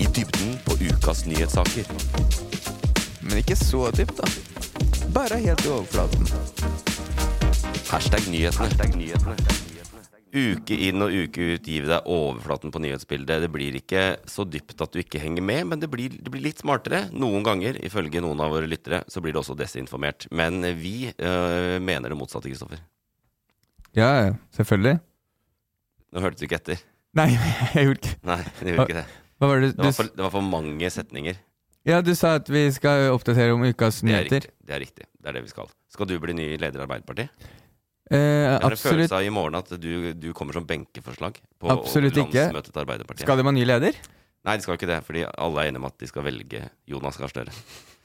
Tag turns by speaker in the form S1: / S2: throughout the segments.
S1: I dybden på ukas nyhetssaker.
S2: Men ikke så dypt, da. Bare helt i overflaten.
S1: Hashtag nyhetene. Uke inn og uke ut gir vi deg overflaten på nyhetsbildet. Det blir ikke så dypt at du ikke henger med, men det blir, det blir litt smartere. Noen ganger, ifølge noen av våre lyttere, så blir det også desinformert. Men vi øh, mener det motsatte, Kristoffer.
S2: Ja, ja, selvfølgelig.
S1: Nå hørtes du ikke etter.
S2: Nei, jeg gjorde ikke
S1: Nei, det gjorde ikke det.
S2: Hva var det
S1: Det
S2: du
S1: var
S2: s-
S1: for, det var for mange setninger.
S2: Ja, du sa at vi skal oppdatere om ukas
S1: Det er
S2: nyheter.
S1: riktig. Det er riktig. Det er det vi skal. Skal du bli ny leder i Arbeiderpartiet?
S2: Eh,
S1: Jeg har en
S2: absolutt.
S1: følelse av i morgen at du, du kommer som benkeforslag på
S2: Absolutt ikke.
S1: landsmøtet til Arbeiderpartiet.
S2: Skal de ha ny leder?
S1: Nei, de skal ikke det, fordi alle er enige om at de skal velge Jonas Gahr Støre.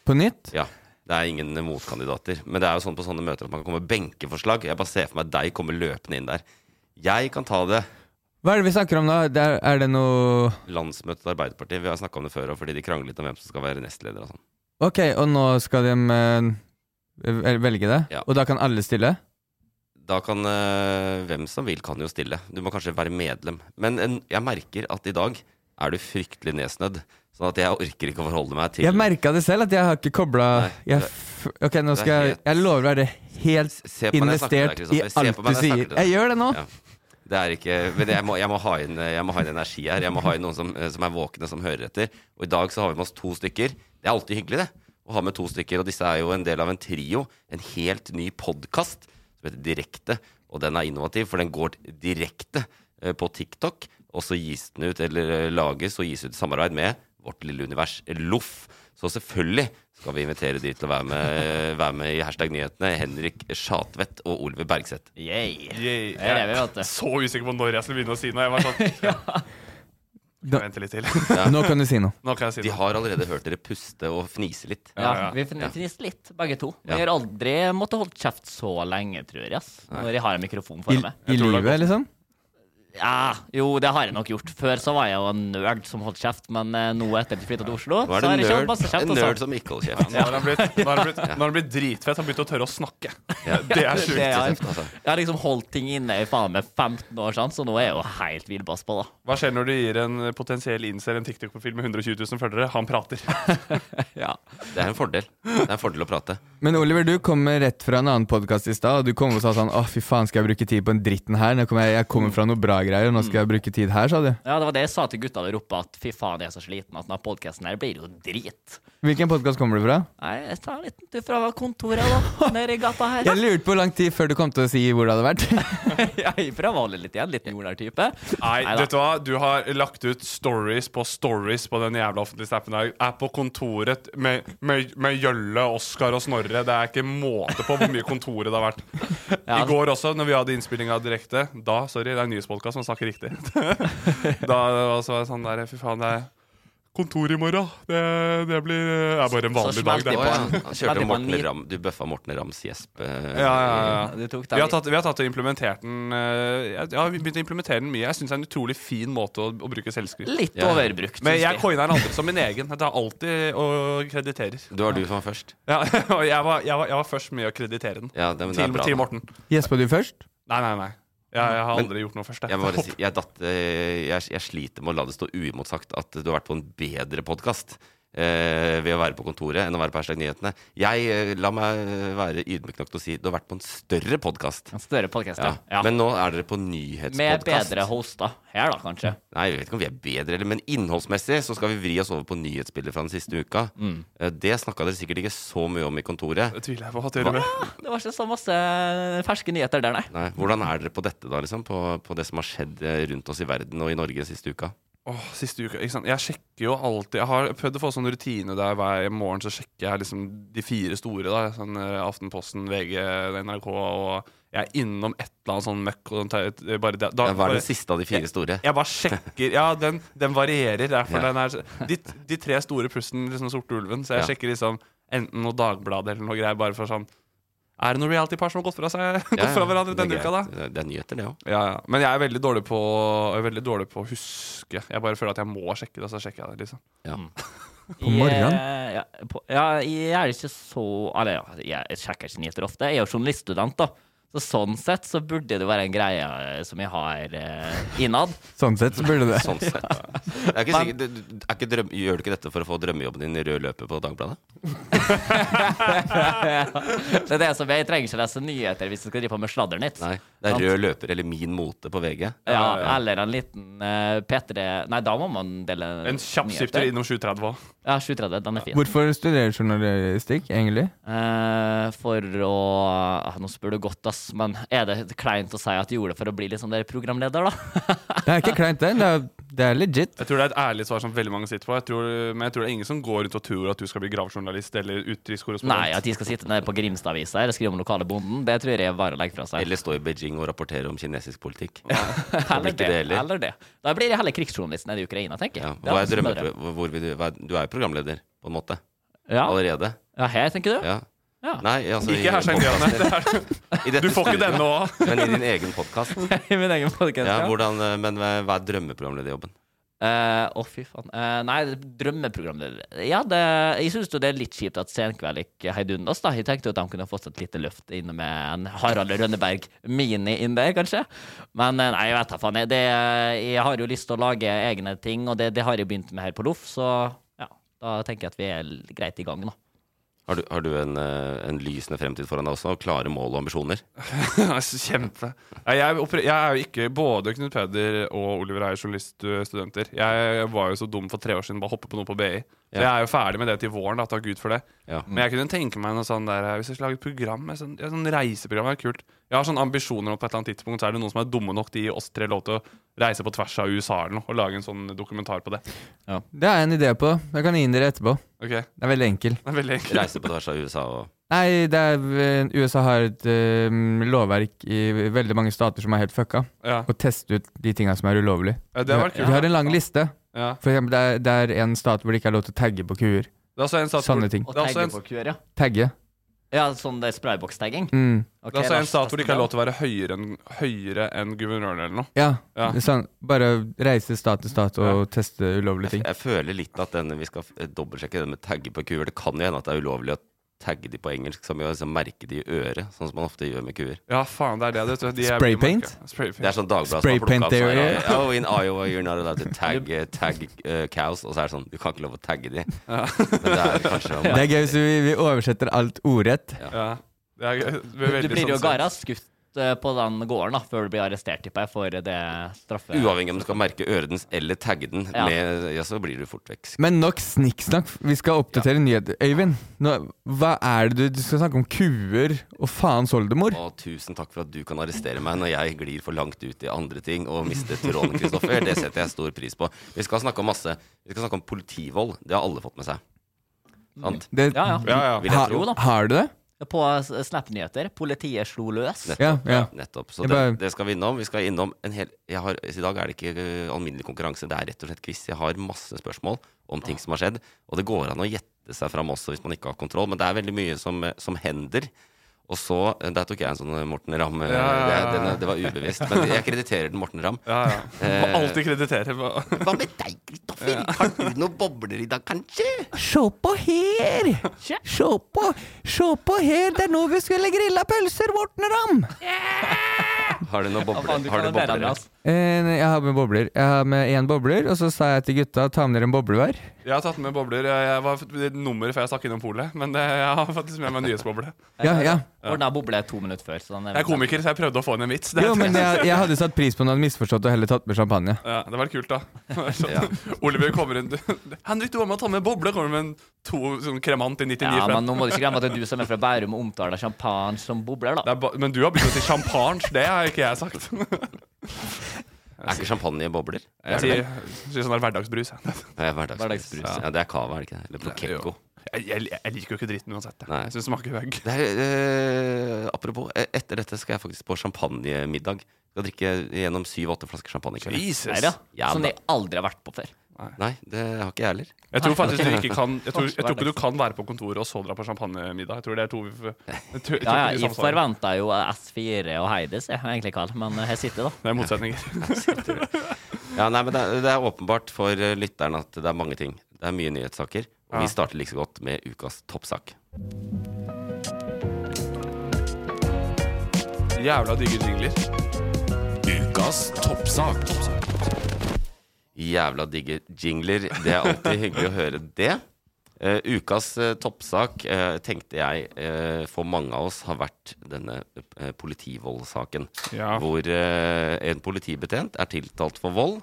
S2: På nytt?
S1: Ja. Det er ingen motkandidater. Men det er jo sånn på sånne møter at man kan komme med benkeforslag. Jeg bare ser for meg deg komme løpende inn der. Jeg kan ta det.
S2: Hva er det vi snakker om da? Det er, er det noe
S1: Landsmøtet til Arbeiderpartiet, vi har snakka om det før òg, fordi de krangler litt om hvem som skal være nestleder og sånn.
S2: Ok, og nå skal de eh, velge det?
S1: Ja.
S2: Og da kan alle stille?
S1: Da kan eh, hvem som vil, kan jo stille. Du må kanskje være medlem. Men en, jeg merker at i dag er du fryktelig nedsnødd. Sånn at jeg orker ikke å forholde meg til
S2: Jeg merka det selv, at jeg har ikke kobla
S1: Nei,
S2: jeg,
S1: det-
S2: f- Ok,
S1: det
S2: nå
S1: er
S2: skal jeg
S1: helt-
S2: Jeg lover å være helt
S1: Se på meg når jeg snakker
S2: investert
S1: til deg,
S2: i
S1: Kristoffer. sånn. Se
S2: alt
S1: på meg
S2: du
S1: når jeg
S2: sier.
S1: snakker til deg.
S2: Jeg gjør det nå.
S1: Ja. Det er ikke Men jeg må, jeg må, ha, inn, jeg må ha inn energi her. Jeg må ha inn noen som, eh, som er våkne, som hører etter. Og i dag så har vi med oss to stykker. Det er alltid hyggelig, det. Å ha med to stykker. Og disse er jo en del av en trio. En helt ny podkast som heter Direkte. Og den er innovativ, for den går direkte eh, på TikTok. Og så gis den ut, eller eh, lages og gis ut i samarbeid med Vårt lille univers, Loff. Så selvfølgelig skal vi invitere de til å være med, eh, være med i Hashtag nyhetene. Henrik Schatvedt og Oliver Bergseth.
S3: Yay. Der er vi, vet du.
S4: så usikker på når jeg skulle begynne å si noe. Jeg var sånn,
S2: Da-
S4: vente litt til.
S2: Nå kan du si noe.
S4: Nå kan jeg si
S1: De
S4: noe.
S1: har allerede hørt dere puste og fnise litt.
S3: Ja,
S4: ja.
S3: vi fn-
S1: Ja.
S3: fniste litt, begge to. Vi
S1: Ja.
S3: har aldri måttet holde kjeft så lenge, tror jeg. Ass. Når jeg har en mikrofon
S2: I,
S3: foran meg.
S2: i livet, liksom?
S3: Ja, jo, det har jeg nok gjort. Før så var jeg jo en nerd som holdt kjeft, men eh, nå etter at jeg flytta til Oslo,
S1: Nå
S3: så
S1: er det
S3: har
S1: en
S3: jeg ikke holdt
S1: nerd,
S3: masse kjeft.
S1: en nerd
S3: Altså.
S1: som ikke holder kjeft.
S4: Nå har han blitt, nå har han blitt, nå har han blitt dritfett. Han begynte å tørre å snakke. Det er
S3: Det
S4: sjukt.
S3: er-
S1: Kjeft, altså.
S3: Jeg har liksom holdt ting inne i faen meg 15 år, sånn, så nå er jeg jo helt villbass på, da.
S4: Hva skjer når du gir en potensiell innser en TikTok-profil med 120 000 følgere? Han prater.
S3: Ja.
S1: Det er en fordel. Det er en fordel å prate.
S2: Men Oliver, du kommer rett fra en annen podkast i stad, og du kom og sa sånn Å, fy faen, skal jeg bruke tid på den dritten her? Nå kommer jeg, jeg kommer fra noe bra greier, og nå skal jeg bruke tid her, sa du.
S3: ja, det var det jeg sa til gutta der oppe, at fy faen, jeg er så sliten at denne podkasten her blir jo drit.
S2: Hvilken podkast kommer du fra?
S3: Nei, jeg tar en liten tur fra kontoret, da, nede i gata her.
S2: Jeg lurte på hvor lang tid før du kom til å si hvor det hadde vært.
S3: Jeg prøver å holde litt igjen. Litt jordnær-type.
S4: Nei,
S3: Neida.
S4: vet du hva? Du har lagt ut stories på stories på den jævla offentlige snappen. her. Er på kontoret med, med, med Jølle, Oskar og Snorre. Det er ikke måte på hvor mye kontoret det har vært. I går også, når vi hadde innspillinga direkte Da, sorry, det er en nyhetspodkast som snakker riktig. Da var det sånn der, fy faen, det er kontor i morgen. Det, det blir Det er bare en vanlig dag.
S3: smalt de
S4: Det.
S1: Å,
S3: på
S1: ja. Han
S3: en- smalt de
S1: Kjørte
S3: på en
S1: Morten
S3: mil.
S1: Ram, du bøffa Morten Rams gjesp. eh,
S4: Ja, ja, ja.
S3: Du tok
S4: Vi
S3: den
S4: har, tatt, vi har tatt og implementert den eh, Jeg jeg har begynt å implementere den mye. Jeg syns det er en utrolig fin måte å, å bruke selvskriv.
S3: litt
S1: Ja.
S3: overbrukt.
S4: Men
S3: synes
S4: jeg coina den aldri som min egen. Jeg tar alltid og krediterer.
S1: Det var du som var først.
S4: Ja, og jeg var, jeg, var, jeg var først med å kreditere den.
S1: Ja, det, men det er
S4: Til,
S1: bra.
S4: til
S1: da.
S4: Morten.
S2: Gjespa du først?
S4: Nei, nei, nei. Jeg, jeg har
S1: Men-
S4: aldri gjort noe først.
S1: Jeg, må bare si, jeg, datt, eh, jeg, jeg sliter med å la det stå uimotsagt at du har vært på en bedre podkast eh, ved å være på kontoret enn å være på Hashtag Nyhetene. Jeg eh, la meg være ydmyk nok til å si du har vært på en større podkast.
S3: En større podcast,
S1: Ja.
S3: ja. ja.
S1: Men nå er dere på
S3: Med
S1: nyhetspodkast.
S3: bedre hoster her, da, kanskje.
S1: Nei, jeg vet ikke om vi er bedre, eller, men innholdsmessig så skal vi vri oss over på nyhetsbildet fra den siste uka.
S3: Mm.
S1: Eh, Det snakka dere sikkert ikke så mye om i kontoret.
S4: Det tviler jeg på. Hva til og med.
S3: Det var ikke så masse eh, ferske nyheter der, nei.
S1: Nei, hvordan er dere på dette, da? liksom? På, på det som har skjedd eh, rundt oss i verden og i Norge siste uka?
S4: Åh, siste uka, ikke sant? Jeg sjekker jo alltid Jeg har prøvd å få sånn rutine der hver morgen så sjekker jeg liksom de fire store. da sånn eh, Aftenposten, VG, NRK og Jeg er innom et eller annet sånn møkk. Og sånn, te- bare, det- da,
S1: Ja, Hva er
S4: bare,
S1: den siste av de fire store?
S4: jeg bare sjekker Ja, den, den varierer. Derfor
S1: Ja.
S4: den er de, de tre store plussen liksom Sorte ulven. Så jeg
S1: Ja.
S4: sjekker liksom enten noe Dagbladet eller noe greier, bare for sånn Er det noen reality-par som har gått fra seg Gått
S1: Ja, ja,
S4: fra hverandre
S1: det er
S4: denne uka, da?
S1: greit. Det er- Det er nyheter, det òg.
S4: Ja, ja. Men jeg er veldig dårlig på Jeg er veldig dårlig på å huske. Jeg bare føler at jeg må sjekke det, så sjekker jeg det. liksom
S2: På morgenen?
S3: Jeg, eh, ja, på, ja, jeg er ikke så Eller ja, jeg sjekker ikke nyheter ofte. Jeg er jo journaliststudent, da. Så sånn sett så burde det jo være en greie eh, som jeg har eh, innad.
S2: Sånn sett så burde det.
S1: Sånn sett. Det er ikke sikkert, det- det er ikke drøm, gjør du ikke dette for å få drømmejobben din i rød løper på Dagbladet?
S3: Det er det som Jeg trenger ikke lese nyheter hvis jeg skal drive på med sladdernytt.
S1: Nei. Det er rød løper eller Min mote på VG.
S3: Ja, eller en liten eh, P3 Nei, da må man dele
S4: En kjapp
S3: nyheter.
S4: syfter innom 7.30 òg.
S3: Ja, 7.30. Den er fin.
S2: Hvorfor studerer du journalistikk, egentlig?
S3: Eh, for å ah, Nå spør du godt, ass, men er det kleint å si at jeg gjorde det for å bli litt sånn der programleder, da?
S2: Det er ikke kleint, det. Det er- Det er legit.
S4: Jeg tror det er et ærlig svar som veldig mange sitter på. Jeg tror, men jeg tror det er ingen som går rundt og tror at du skal bli gravejournalist eller
S3: Nei,
S4: utenrikskorrespondent.
S3: at de skal sitte nede på Grimstad-avisa og skrive om lokale bonden, det tror jeg er bare å legge fra seg.
S1: Eller stå i Beijing og rapportere om kinesisk politikk. Det blir ikke det heller.
S3: eller det. Da blir jeg heller krigsjournalist nede i Ukraina, tenker
S1: Ja.
S3: jeg. Det er
S1: Hva er
S3: det som er
S1: drømme, hvor hvor vil du, hva er, du er jo programleder, på en måte.
S3: det. ja.
S1: Allerede.
S3: ja, her, tenker du?
S1: Ja.
S3: Ja.
S1: Nei, altså i
S4: Ikke her, Skjeng
S1: podcasten.
S4: Grønne. Det er-
S1: I dette
S4: Du får ikke
S1: studioet,
S4: denne òg.
S1: Men i din egen podkast.
S3: I min egen podcast,
S1: Ja,
S3: ja.
S1: hvordan, eh, men hva hva er drømmeprogramlederjobben?
S3: Eh, Å, fy faen. Eh, nei, drømmeprogramleder Ja, det, jeg syns jo det er litt kjipt at Senkveld ikke heidundas, da. Jeg tenkte jo at de kunne fått et lite løft inne med en Harald Rønneberg mini inn der, kanskje. Men eh, nei, jeg vet da faen. Jeg, det, jeg har jo lyst til å lage egne ting, og det, det har jeg begynt med her på Loff, så ja. Da tenker jeg at vi er l- greit i gang, da.
S1: Har du, har du en, eh, en lysende fremtid foran deg også, og klare mål og ambisjoner?
S4: Altså, Kjempe. Nei, Jeg, oppre- jeg er jo ikke Både Knut Peder og Oliver er jo journaliststudenter. Jeg var jo så dum for tre år siden, bare hoppe på noe på BI.
S1: Ja.
S4: Så jeg er jo ferdig med det til våren, da, takk Gud for det.
S1: Ja.
S4: Men jeg kunne tenke meg noe sånn der Hvis jeg skulle lage et program et sånn, ja, sånn reiseprogram, det er kult. Jeg har sånne ambisjoner om at på et eller annet tidspunkt Så er det noen som er dumme nok til å gi oss tre lov til å reise på tvers av USA eller noe og lage en sånn dokumentar på det.
S2: Det er en idé på. Jeg kan gi dere etterpå.
S4: Ok, det
S2: Det er veldig enkel.
S4: er veldig enkelt.
S1: Reise på tvers av USA og
S2: Nei, det er, USA har et eh, lovverk i veldig mange stater som er helt fucka.
S4: Ja.
S2: Å teste ut de tinga som er ulovlig.
S4: Ja, det har vært
S2: Vi
S4: kult.
S2: har en lang liste.
S4: Ja.
S2: For eksempel, det er, det er en stat hvor det ikke er lov til å tagge på kuer.
S4: Det er også en stat hvor,
S2: Sanne ting.
S3: Og
S4: Det er også
S3: tagge
S4: en-
S3: på QR, ja.
S2: Tagge.
S3: Ja, sånn det er sprayboks-tagging.
S2: Mm.
S3: Ok,
S4: det er også en
S3: Lars,
S4: stat hvor det ikke er
S3: testen
S4: lov til å være høyere enn, høyere enn guvernøren eller noe.
S2: Ja.
S4: Ja.
S2: det er Sånn, bare reise stat til stat og teste ulovlige ting.
S1: Jeg føler litt at denne, vi skal eh, dobbeltsjekke den med tagge på kuer. Det kan jo hende at det er ulovlig å tagge de på engelsk, som jo liksom merke de i øret, sånn som man ofte gjør med kuer.
S4: Ja, faen, det er det. vet du. De er-
S2: Spraypaint?
S4: Spraypaint.
S1: Det er sånn Dagbladet som
S2: Spray
S1: har plukket
S2: paint
S1: opp sånn,
S2: theory.
S1: eh, Oh, in Iowa you're not allowed to tag, eh, tag eh, cows. Og så er det sånn, du kan ikke lov å tagge de. Men det er kanskje om,
S2: Det er gøy hvis vi, vi oversetter alt ordrett.
S4: Ja. Det er, gøy. det er
S3: Du
S4: veldig
S3: blir jo
S4: sånn-
S3: gara skutt eh, på den gården da, før du blir arrestert, tipper jeg, for det straffe...
S1: Uavhengig om du skal merke øret dens eller tagge den,
S3: Ja.
S1: med, ja, så blir du fort vekk.
S2: Men nok snikksnakk. Vi skal oppdatere nyheter. Øyvind, nå, hva er det du Du skal snakke om kuer og faens oldemor?
S1: Og tusen takk for at du kan arrestere meg når jeg glir for langt ut i andre ting og mister tråden, Kristoffer. Det setter jeg stor pris på. Vi skal snakke om masse. Vi skal snakke om politivold. Det har alle fått med seg. Sant?
S2: Det,
S3: Ja, ja.
S4: Ja, ja.
S1: Vil jeg tro.
S3: Jo da.
S2: Har du det?
S3: På s- Snap-nyheter. Politiet slo løs.
S1: Nettopp.
S2: Ja, ja.
S1: Nettopp. Så
S2: Jeg
S1: det,
S2: bare-
S1: det skal vi innom. Vi skal øh, innom en hel jeg har, I dag er det ikke ø, alminnelig konkurranse, det er rett og slett quiz. Jeg har masse spørsmål om ting som har skjedd. Og det går an å gjette seg fram også hvis man ikke har kontroll, men det er veldig mye som, øh, som hender. Og så, Der tok jeg en sånn Morten Ramm. eh,
S4: Ja, ja, ja.
S1: Det, den- det var ubevisst. Men jeg krediterer den Morten Ramm. Eh,
S4: Ja, ja. Må alltid kreditere. på-
S1: Hva med deg, Kristoffer? Har du noen bobler i dag, kanskje?
S5: Se på her! Se på, se på her, det er nå vi skulle grilla pølser, Morten Ramm!
S1: Har du noen bobler?
S3: Faen, du
S1: har
S3: kan
S1: du
S3: jo
S1: bobler?
S3: lære av Altså, det,
S1: ja?
S3: ass.
S2: Eh, nei, jeg har med bobler. Jeg har med én bobler, og så sa jeg til gutta ta med dere en boble hver.
S4: Jeg har tatt med bobler. Jeg var et nummer før jeg stakk innom polet, men det, jeg har faktisk med meg nyhetsboble.
S2: Ja, ja.
S3: Ordna boble to minutter før. Så den
S4: Jeg er komiker, så jeg prøvde å få inn en vits. Det,
S2: Jo, men jeg, jeg hadde satt pris på om du hadde misforstått og heller tatt med champagne.
S4: ja, det var kult, da. Sånn,
S1: Ja.
S4: Oliver kommer inn du- Henrik, du var med å ta med boble. Kommer med en to sånn kremant i 99
S3: Ja,
S4: fra-
S3: men nå må du ikke glemme at det er du som er fra Bærum og omtaler champagne som bobler,
S4: det
S3: da.
S4: er ba men du har begynt å si champagne. Det har ikke jeg sagt.
S1: Er ikke champagne bobler?
S4: Jeg
S1: Er det
S4: sier,
S1: vel?
S4: sier sånn der hverdagsbrus. jeg.
S1: Ja, Hverdagsbrus.
S3: Hverdagsbrus,
S1: ja.
S3: ja.
S1: Det er cava, er det ikke det? Eller
S4: Jo.
S1: Prokekko.
S4: Jeg, jeg, jeg liker jo ikke dritten uansett. Jeg,
S1: Nei.
S4: jeg syns det smaker høgg.
S1: Det er, eh, apropos, eh, etter dette skal jeg faktisk på champagnemiddag. Skal drikke gjennom syv-åtte flasker champagne i kveld.
S4: Jesus.
S3: Nei da.
S1: Ja,
S3: Som
S1: da.
S3: jeg aldri har vært på før.
S1: Nei, det har ikke jeg heller.
S4: Jeg tror faktisk du ikke kan Jeg tror, jeg tror ikke du kan være på kontoret og så dra på champagnemiddag. Jeg tror det er to jeg tror, jeg tror
S3: Ja, ja,
S4: ikke de
S3: jeg
S4: samsvarer.
S3: forventa jo S4 og Heides, jeg, egentlig, Karl, men her sitter jeg, da.
S4: Det er motsetninger.
S1: Ja, nei, men det, er- det er åpenbart for eh, lytteren at det er mange ting. Det er mye nyhetssaker. Og
S4: Ja.
S1: vi starter like så godt med ukas toppsak.
S4: Jævla digge jingler. Ukas toppsak.
S1: Jævla digge jingler. Det er alltid hyggelig å høre det. Eh, ukas eh, toppsak eh, tenkte jeg eh, for mange av oss har vært denne eh, politivoldssaken.
S4: Ja.
S1: Hvor eh, en politibetjent er tiltalt for vold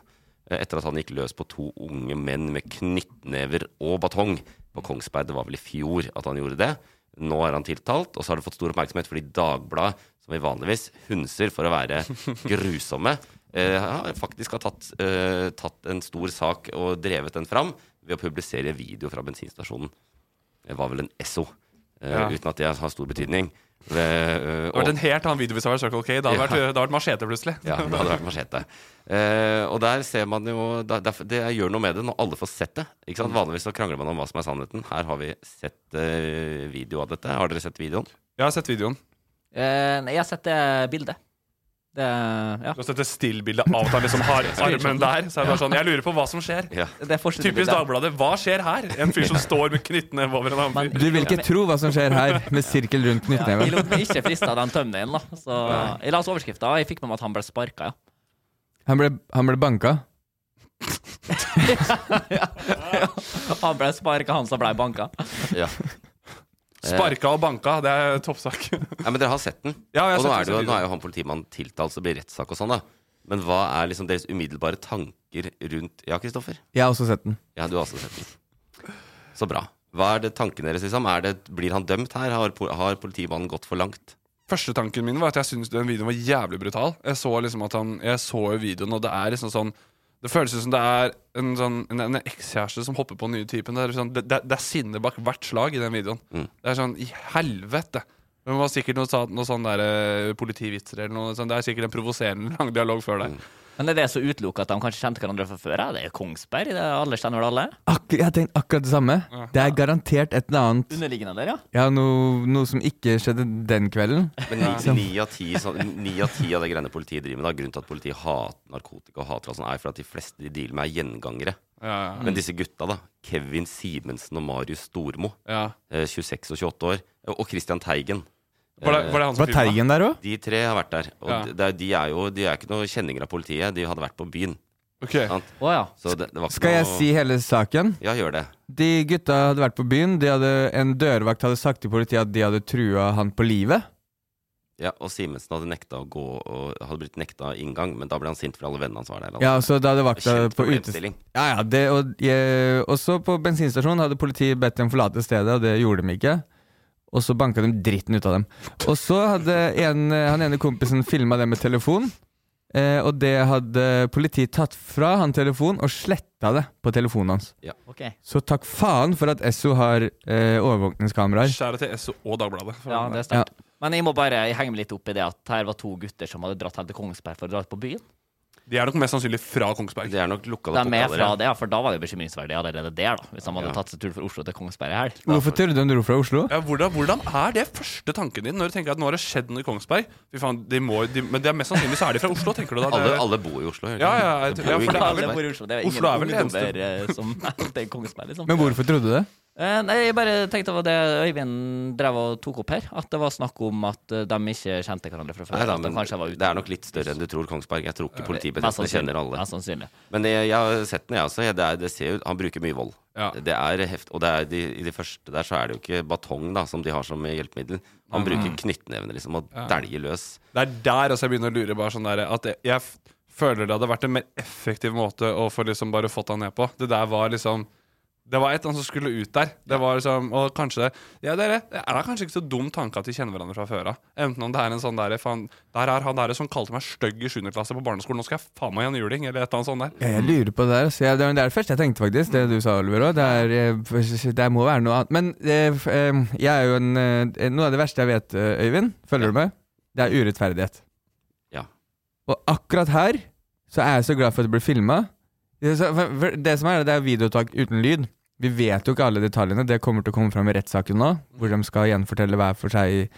S1: eh, etter at han gikk løs på to unge menn med knyttnever og batong på Kongsberg. Det var vel i fjor at han gjorde det. Nå er han tiltalt, og så har det fått stor oppmerksomhet fordi Dagbladet, som vi vanligvis hunser for å være grusomme, eh, har faktisk har tatt, eh, tatt en stor sak og drevet den fram ved å publisere video fra bensinstasjonen. Det var vel en Esso, eh,
S4: Ja.
S1: uten at det har stor betydning. Ved, eh,
S4: Det hadde vært en helt annen video hvis det hadde vært Circle K. Det hadde
S1: Ja.
S4: vært, det hadde vært machete plutselig.
S1: ja, det hadde vært machete. Eh, og der ser man jo da- derf- Det gjør noe med det når alle får sett det. Ikke
S4: Mm.
S1: sant? Vanligvis så krangler man om hva som er sannheten. Her har vi sett eh, video av dette. Har dere sett videoen?
S4: Jeg har sett videoen.
S3: Eh, nei, jeg har sett det bildet. Det, ja.
S4: Du har sett et stillbilde av at han liksom har armen der. Så er det bare sånn, Jeg lurer på hva som skjer.
S1: Ja.
S3: det er
S4: Typisk
S3: forsidebildet.
S4: Dagbladet. Hva skjer her? En fyr som står med knyttneve over en annen
S3: Men-
S4: fyr.
S2: Du vil ikke tro hva som skjer her, med sirkel rundt
S3: Jeg
S2: knyttneven.
S3: lot meg ikke friste av den tømneien, da. Så jeg leste overskrifta, og jeg fikk med meg at han ble sparka, ja.
S2: Han ble, han ble banka.
S3: Han ble sparka, han som ble banka.
S1: Ja.
S4: Sparka og banka. Det er toppsak.
S1: ja, Men dere har sett den?
S4: Ja, jeg har
S1: og nå er,
S4: sett
S1: det
S4: den
S1: jo,
S4: videoen.
S1: nå er jo han politimannen tiltalt, så blir det rettssak og sånn, da. Men hva er liksom deres umiddelbare tanker rundt Ja, Kristoffer?
S2: Jeg har også sett den.
S1: Ja, du har også sett den. Så bra. Hva er det tanken deres, liksom? Er det, blir han dømt her? Har, po- har politimannen gått for langt?
S4: Første tanken min var at jeg syntes den videoen var jævlig brutal. Jeg så liksom at han Jeg så jo videoen, og det er liksom sånn Det føles som det er en sånn En, en ekskjæreste som hopper på den nye typen. Det er, sånn, det, det, det er sinne bak hvert slag i den videoen. Det er sånn I helvete! Det var sikkert noe, sa- noe sånn der, eh, politivitser eller noe sånt. Det er sikkert en provoserende lang dialog før det.
S3: Men er det så utelukka at de kanskje kjente hverandre fra før? Ja? Det er jo Kongsberg, det er alle kjenner vel alle?
S2: Akkur jeg har tenkt akkurat det samme. Det er garantert et eller annet
S3: Underliggende der, ja.
S2: Ja, noe, noe som ikke skjedde den kvelden.
S1: Men ni- ni av ti sånn- ni av ti av det greiene politiet driver med, da, grunnen til at politiet hater narkotika og hater alt sånt, er for at de fleste de dealer med, er gjengangere.
S4: Ja,
S2: Mm.
S4: ja,
S1: Men disse gutta, da. Kevin Simensen og Marius Stormo.
S4: ja.
S1: eh, 26 og 28 år. eh, Og Christian Teigen.
S4: Var, det, var det han som
S2: Var Teigen der òg?
S1: De tre har vært der. Og
S4: Ja.
S1: de- det er- de er jo de er ikke noen kjenninger av politiet. De hadde vært på byen.
S4: Ok.
S1: Ja.
S3: Å ja.
S1: Så det, det var ikke
S2: Skal jeg
S1: noe-
S2: si hele saken?
S1: Ja, gjør det.
S2: De gutta hadde vært på byen. De hadde, en dørvakt hadde sagt til politiet at de hadde trua han på livet.
S1: Ja, og Simensen hadde nekta å gå og hadde blitt nekta inngang, men da ble han sint for alle vennene hans var der. altså.
S2: Ja, så da hadde vakta
S1: Kjent
S2: på utes...
S1: problemstilling.
S2: Ja, ja, det, og, eh, også på bensinstasjonen hadde politiet bedt dem forlate stedet, og det gjorde de ikke. Og så banka de dritten ut av dem. Og så hadde en, eh, han ene kompisen filma det med telefon, eh, og det hadde politiet tatt fra han telefon og sletta det på telefonen hans.
S3: Ok.
S2: Så takk faen for at Esso har eh, overvåkningskameraer.
S4: Skjæret til SO og Dagbladet. for
S3: Ja,
S4: den
S3: det
S4: der.
S3: er sterkt. Men jeg må bare jeg henger meg litt opp i det at her var to gutter som hadde dratt helt til Kongsberg for å dra ut på byen.
S4: De er nok mest sannsynlig fra Kongsberg.
S1: Det er nok lokale
S3: De er med fra
S1: popdaler,
S3: det, ja, for da var det jo bekymringsverdig allerede der, da. Hvis de hadde
S1: Ja.
S3: tatt seg tur fra Oslo til Kongsberg i helg.
S2: Hvorfor tør du om du dro fra Oslo?
S4: Ja, hvordan, hvordan er det første tanken din når du tenker at nå har det skjedd noe i Kongsberg? Fy faen, de må, de, men det er mest sannsynlig så er de fra Oslo, tenker du da?
S1: ja. alle,
S4: Det-
S1: alle bor i Oslo. gjør de
S4: Ja,
S1: ikke?
S4: ja, jeg
S1: Det bor jo
S4: tror- ja, for
S1: ingen i
S4: det er vel-
S1: Kongsberg.
S3: bor i Oslo. Det er jo
S4: Oslo er vel
S3: ingen
S4: det eneste-
S3: ungdommer eh, som til Kongsberg, liksom.
S2: Men hvorfor trodde du det?
S3: Eh, Nei, jeg bare tenkte på det Øyvind drev og tok opp her. At det var snakk om at eh, de ikke kjente hverandre fra før.
S1: Nei da,
S3: at de
S1: men
S3: kanskje var ute.
S1: det er nok litt større enn du tror, Kongsberg. Jeg tror ikke
S3: Mest
S1: politibetjentene
S3: sannsynlig.
S1: kjenner alle.
S3: Mest sannsynlig.
S1: Men jeg, jeg har sett den, jeg også. Jeg- Det, er, det ser ut, han bruker mye vold.
S4: Ja.
S1: Det er heft, og det er de, i de første der så er det jo ikke batong da, som de har som hjelpemiddel. Han bruker knyttneven liksom, og dæljer løs.
S4: Det er der altså jeg begynner å lure bare sånn der, at jeg, jeg f- føler det hadde vært en mer effektiv måte å få liksom bare fått han ned på. Det der var liksom Det var et eller annet som skulle ut der. Det var liksom, Og kanskje det Ja, dere, det er da kanskje ikke så dum tanke at de kjenner hverandre fra før av. Enten om det er en sånn derre faen Der er han derre som kalte meg stygg i 7. klasse på barneskolen, nå skal jeg faen meg gi han juling, eller et eller annet sånt der.
S2: Ja, Jeg lurer på det der. Så jeg, det var det første jeg tenkte, faktisk. Det du sa, Oliver òg. Det, er, eh, det må være noe annet. Men eh, f- eh, jeg er jo en eh, Noe av det verste jeg vet, eh, Øyvind, følger du med? Det er urettferdighet.
S1: Ja.
S2: Og akkurat her så er jeg så glad for at det blir filma. Det så- for- for det som er, det er videoopptak uten lyd. Vi vet jo ikke alle detaljene. Det kommer til å komme fram i rettssaken nå, hvor de skal gjenfortelle hver for seg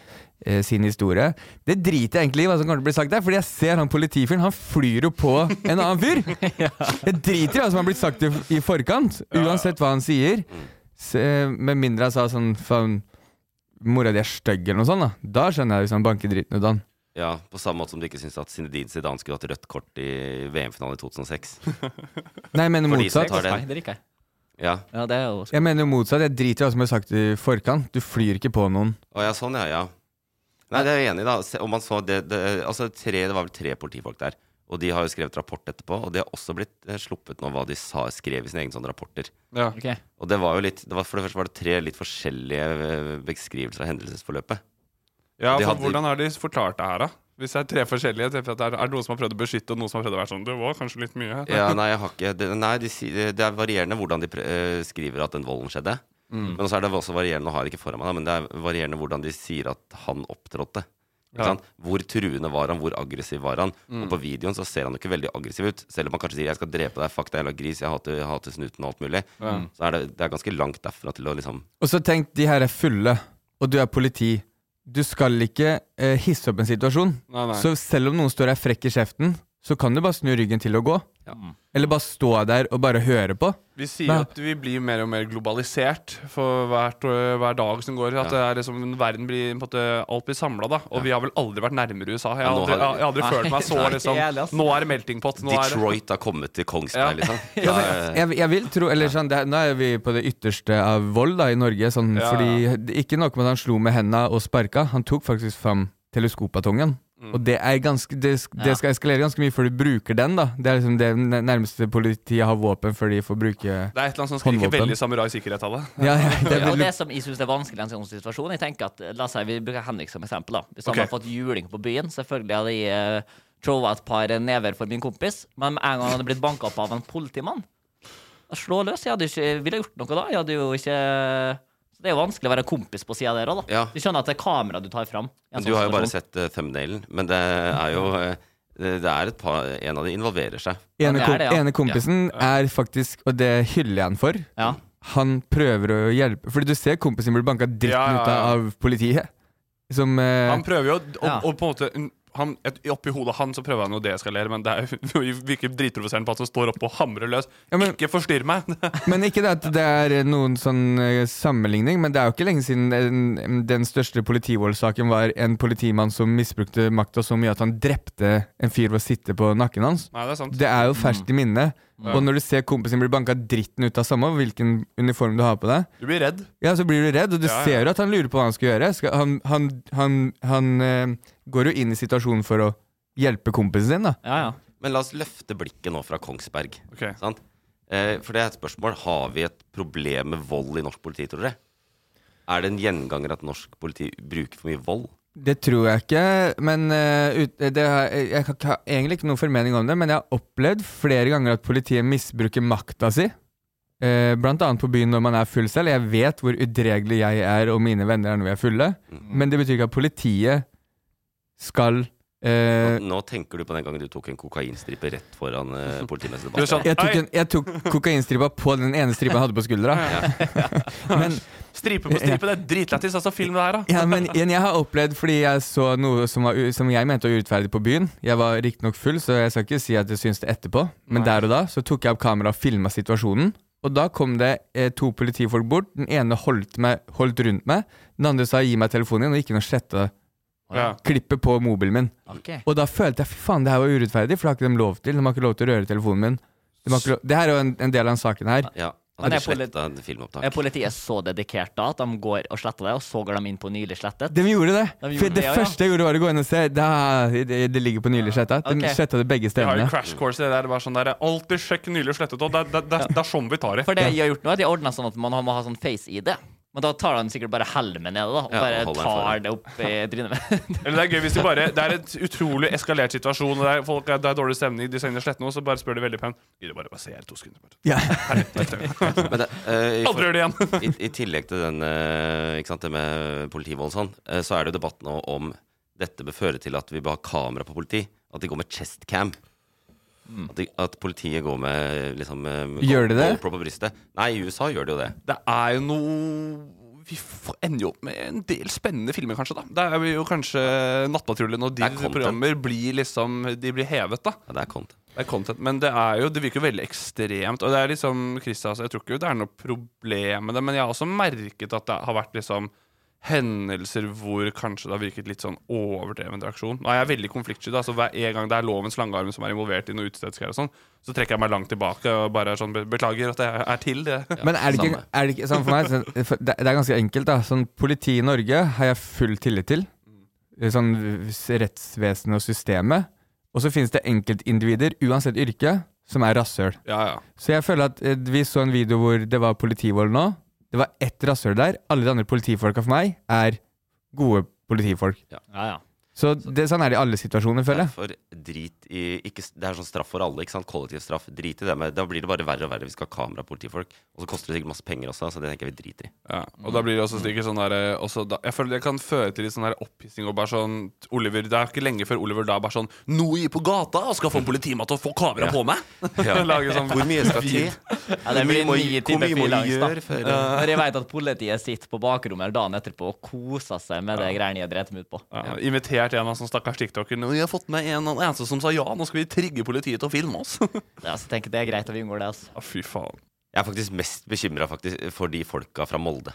S2: eh, sin historie. Det driter jeg egentlig i hva som kommer til å bli sagt der, fordi jeg ser han politifyren, han flyr jo på en annen fyr. Jeg driter i hva som har blitt sagt i, i forkant, uansett hva han sier. Se, med mindre han sa sånn faen, mora di er stygg eller noe sånt, da. Da skjønner jeg hvis han banker dritten ut av han.
S1: Ja, På samme måte som du ikke syns at Zinedine Zidane skulle hatt rødt kort i VM-finalen i 2006.
S2: Nei, jeg mener
S1: For de som
S2: motsatt.
S1: tar det.
S3: Nei, det liker jeg.
S1: Ja,
S3: Ja, det er jo
S2: Jeg mener jo motsatt. Jeg driter i hva som er sagt i forkant. Du flyr ikke på noen.
S1: Å ja, sånn ja, ja. Nei, det er jeg enig i, da. Se- Om man så det, det, altså tre, det var vel tre politifolk der. Og de har jo skrevet rapport etterpå, og det har også blitt eh, sluppet nå hva de sa, skrev i sine egne sånne rapporter.
S4: Ja.
S3: Ok.
S1: Og det var jo litt, det var, For det første var det tre litt forskjellige eh, beskrivelser av hendelsesforløpet.
S4: Ja,
S1: De
S4: for
S1: hadde-
S4: Hvordan har de forklart det her, da? Hvis det er tre forskjellige, tenker jeg at det er, er det noen som har prøvd å beskytte, og noen som har prøvd å være sånn Det var kanskje litt mye. her».
S1: Ja, nei, jeg har ikke det, Nei, de, sier- det er varierende hvordan de pr- eh, skriver at den volden skjedde.
S4: Mm.
S1: Men også er det også varierende, nå har jeg det ikke foran meg, da, men det er varierende hvordan de sier at han opptrådte. Ikke
S4: Ja. Mm.
S1: sant? Hvor truende var han, hvor aggressiv var han? Og på videoen så ser han jo ikke veldig aggressiv ut. Selv om han kanskje sier 'jeg skal drepe deg, fuck deg, jævla gris', jeg hater, jeg hater snuten og alt mulig. Så er det, det er ganske langt derfra til å liksom
S2: Og så tenk, de her er fulle, og du er politi. Du skal ikke eh, hisse opp en situasjon.
S4: Nei, nei.
S2: Så selv om noen står deg frekk i kjeften, så kan du bare snu ryggen til og gå. Eller bare stå der og bare høre på.
S4: Vi sier
S2: Nei.
S4: at vi blir mer og mer globalisert for hvert, øh, hver dag som går. At det er liksom, verden blir, på en måte, alt blir samla, da. Og vi har vel aldri vært nærmere USA. Jeg
S1: Ja,
S4: har
S1: nå
S4: aldri, jeg,
S1: har-
S4: har aldri følt meg så
S3: Nei.
S4: liksom
S3: Jævlig, ass.
S4: Nå er det melting pot. Nå er det
S1: Detroit har kommet til Kongsberg,
S4: Ja.
S1: liksom. Ja, eh,
S2: Jeg, jeg vil tro, eller sånn, det, er- Nå er vi på det ytterste av vold da, i Norge. Sånn,
S4: Ja.
S2: Fordi det- Ikke nok med at han slo med henda og sparka, han tok faktisk fram teleskopatongen.
S4: Mm.
S2: Og det, er ganske, det, sk- det skal eskalere ganske mye før du bruker den. da Det er liksom det n- nærmeste politiet har våpen før de får bruke
S4: det er et eller annet som skriker
S2: Håndvåpen.
S4: veldig samurai sikkerhet av det.
S2: Ja, ja, det
S3: Ja, og
S2: vil,
S3: det som jeg synes er vanskelig i en sånn situasjon Jeg tenker at, la oss si vi bruker Henrik som eksempel da Hvis han
S4: Ok.
S3: hadde fått juling på byen Selvfølgelig hadde jeg eh, trova et par never for min kompis Men med en gang han hadde blitt banket opp av en politimann Da slå løs, jeg hadde ikke Ville gjort noe da, jeg hadde jo ikke Så det er jo vanskelig å være kompis på siden der også da
S1: Ja.
S3: Du skjønner at det er kamera du tar frem i en
S1: Men
S3: sånn
S1: Du har jo bare
S3: situasjon.
S1: sett uh, thumbnailen, men det er jo eh, det det er et par, En av de involverer seg.
S2: ene,
S3: det er
S2: kom,
S3: det, ja.
S2: ene kompisen er faktisk, og det hyller jeg han for
S3: ja.
S2: Han prøver å hjelpe Fordi du ser kompisen blir banka dritten
S4: Ja, ja,
S2: ut av-
S4: ja.
S2: av politiet. Som eh,
S4: Han prøver jo å-
S3: Ja.
S4: å- å på en måte un- han, et, Oppi hodet han så prøver han å deeskalere, men det er jo vi virker dritprovoserende på at han står oppe og hamrer løs.
S2: Ja, men-
S4: Ikke forstyrr meg!
S2: Men ikke det at det er noen sånn eh, sammenligning, men det er jo ikke lenge siden den, den største politivoldssaken var en politimann som misbrukte makta så mye at han drepte en fyr ved å sitte på nakken hans.
S4: Nei, det er sant.
S2: Det er jo ferskt
S4: Mm.
S2: i minnet. Og når du ser kompisen blir banka dritten ut av samme hvilken uniform du har på deg,
S4: Du blir redd.
S2: ja, så blir du redd, og du
S4: Ja, ja.
S2: ser jo at han lurer på hva han skal gjøre. Skal, han han, han, han eh, går jo inn i situasjonen for å hjelpe kompisen sin, da.
S3: ja, ja
S1: Men la oss løfte blikket nå fra Kongsberg.
S4: Ok.
S1: Sant? Eh, for det er et spørsmål. Har vi et problem med vold i norsk politi, tror dere? Er det en gjenganger at norsk politi bruker for mye vold?
S2: Det tror jeg ikke, men eh, ut, det har, jeg har ikke- har egentlig ikke noen formening om det, men jeg har opplevd flere ganger at politiet misbruker makta si. Eh, blant annet på byen når man er full selv. Jeg vet hvor udregelig
S4: Mhm.
S2: jeg er og mine venner er når vi er fulle, men det betyr ikke at politiet skal Eh,
S1: Nå tenker du på den gangen du tok en kokainstripe rett foran uh, politimesteren.
S4: Du er sånn,
S2: jeg, tok
S4: «Ei,
S2: en, jeg tok kokainstripa på den ene stripa jeg hadde på skuldra. Men,
S4: Stripe på stripe, det er dritlættis. Altså, film det her, da.
S2: ja, men igjen, jeg har opplevd fordi jeg så noe som, var, u- som jeg mente var urettferdig på byen. Jeg var riktignok full, så jeg skal ikke si at jeg syns det etterpå. Men der og da så tok jeg opp kameraet og filma situasjonen. Og da kom det eh, to politifolk bort. Den ene holdt, meg, holdt rundt meg. Den andre sa 'gi meg telefonen din', og gikk inn og sletta
S4: Ja.
S2: klippet på mobilen min.
S3: Ok.
S2: Og da følte jeg fy faen, det her var urettferdig, for det har ikke de lov til. De har ikke lov til å røre telefonen min. De har ikke lov... Det her er jo en, en del av den saken her.
S1: Ja,
S3: Men
S1: han hadde
S3: jeg får litt-
S1: sletta en filmopptak.
S3: Er politiet så dedikert da at de går og sletter det, og så går de inn på nylig slettet?
S2: De gjorde det.
S3: De gjorde
S2: for det
S3: det, ja, ja.
S2: første jeg gjorde, var å gå inn og se. Da, det, det ligger på nylig sletta. De
S3: Ok.
S2: sletta det begge
S4: Vi har jo
S2: stedene.
S4: crash course i det der. Bare sånn der Alltid sjekk nylig slettet. Og det, det, det, det er sånn vi tar det.
S3: For det de har gjort nå, er at de ordna sånn at man må ha sånn face-ID. Men da tar de sikkert bare helmen ned, da, og
S1: Ja,
S3: bare
S1: og holder den
S3: tar
S1: foran.
S3: det opp i trynet mitt.
S4: Eller det er gøy hvis de bare Det er et utrolig eskalert situasjon. og Det er, folk, er- det er dårlig stemning, de skal inn og slette noe, så bare spør de veldig pent. Gidder du bare bare se her i to sekunder? Bare.
S2: Ja.
S1: Men det, eh, i for-
S4: Aldri gjør det igjen!
S1: I, I tillegg til den eh, ikke sant, det med politivold og sånn, eh, så er det jo debatt nå om dette bør føre til at vi bør ha kamera på politi. At de går med chestcam. At, de, at politiet går med liksom eh,
S2: Gjør de det?
S1: GoPro på brystet. Nei, i USA gjør de jo det.
S4: Det er jo noe Vi får- ender jo opp med en del spennende filmer, kanskje. da Det er jo kanskje Nattpatruljen og de
S1: Det er content.
S4: programmer blir liksom De blir hevet, da.
S1: Ja, det er content.
S4: Det er content, men det er jo Det virker jo veldig ekstremt. Og det er liksom Christian, altså, jeg tror ikke det er noe problem med det, men jeg har også merket at det har vært liksom hendelser hvor kanskje det har virket litt sånn overdreven reaksjon. Nå er jeg veldig konfliktsky. da, så Hver en gang det er lovens langarm som er involvert i noe utestedsgreier, og sånn, så trekker jeg meg langt tilbake og bare er sånn be- Beklager at jeg er til det.
S2: Men er det ikke,
S1: samme.
S2: er det ikke sånn for meg sånn, for det, det er ganske enkelt, da. Sånn politi i Norge har jeg full tillit til.
S1: Mm.
S2: Sånn s- rettsvesenet og systemet. Og så finnes det enkeltindivider, uansett yrke, som er rasshøl.
S4: Ja, ja.
S2: Så jeg føler at eh, vi så en video hvor det var politivold nå. Det var ett rasshøl der. Alle de andre politifolka for meg er gode politifolk.
S3: Ja, ja.
S2: Så det, sånn er det i alle situasjoner, føler jeg.
S1: Derfor drit i ikke, s- Det er sånn straff for alle. ikke sant? Kollektiv straff. Drit i det. Men da blir det bare verre og verre. Vi skal ha kamera og politifolk. Og så koster det sikkert masse penger også, så det tenker jeg vi driter i.
S4: Ja, og da blir det også sikkert sånn der, eh, også da, Jeg føler det kan føre til litt sånn der opphissing og bare sånn Oliver, Det er ikke lenge før Oliver da bare sånn Nå gikk på gata og skal få en politimann til å få kamera på meg!
S1: Ja.
S4: Lage sånn
S1: Hvor mye skal til?
S3: Ja, det blir
S1: Hvor mye må-
S3: nye
S1: hvor
S3: typer
S1: mye må vi
S3: frilans, da.
S1: gjøre for-
S3: Når jeg vet at politiet sitter på bakrommet dagen etterpå og koser seg med det greiene jeg dreit meg ut på.
S4: Ja, invitert en av sånne stakkars tiktoker. Nå, 'Jeg har fått med en av de eneste som sa ja, nå skal vi trigge politiet til å filme oss'.
S3: Ja, så tenker jeg det er greit at vi unngår det, altså.
S4: Ja, fy faen.
S1: Jeg er faktisk mest bekymra for de folka fra Molde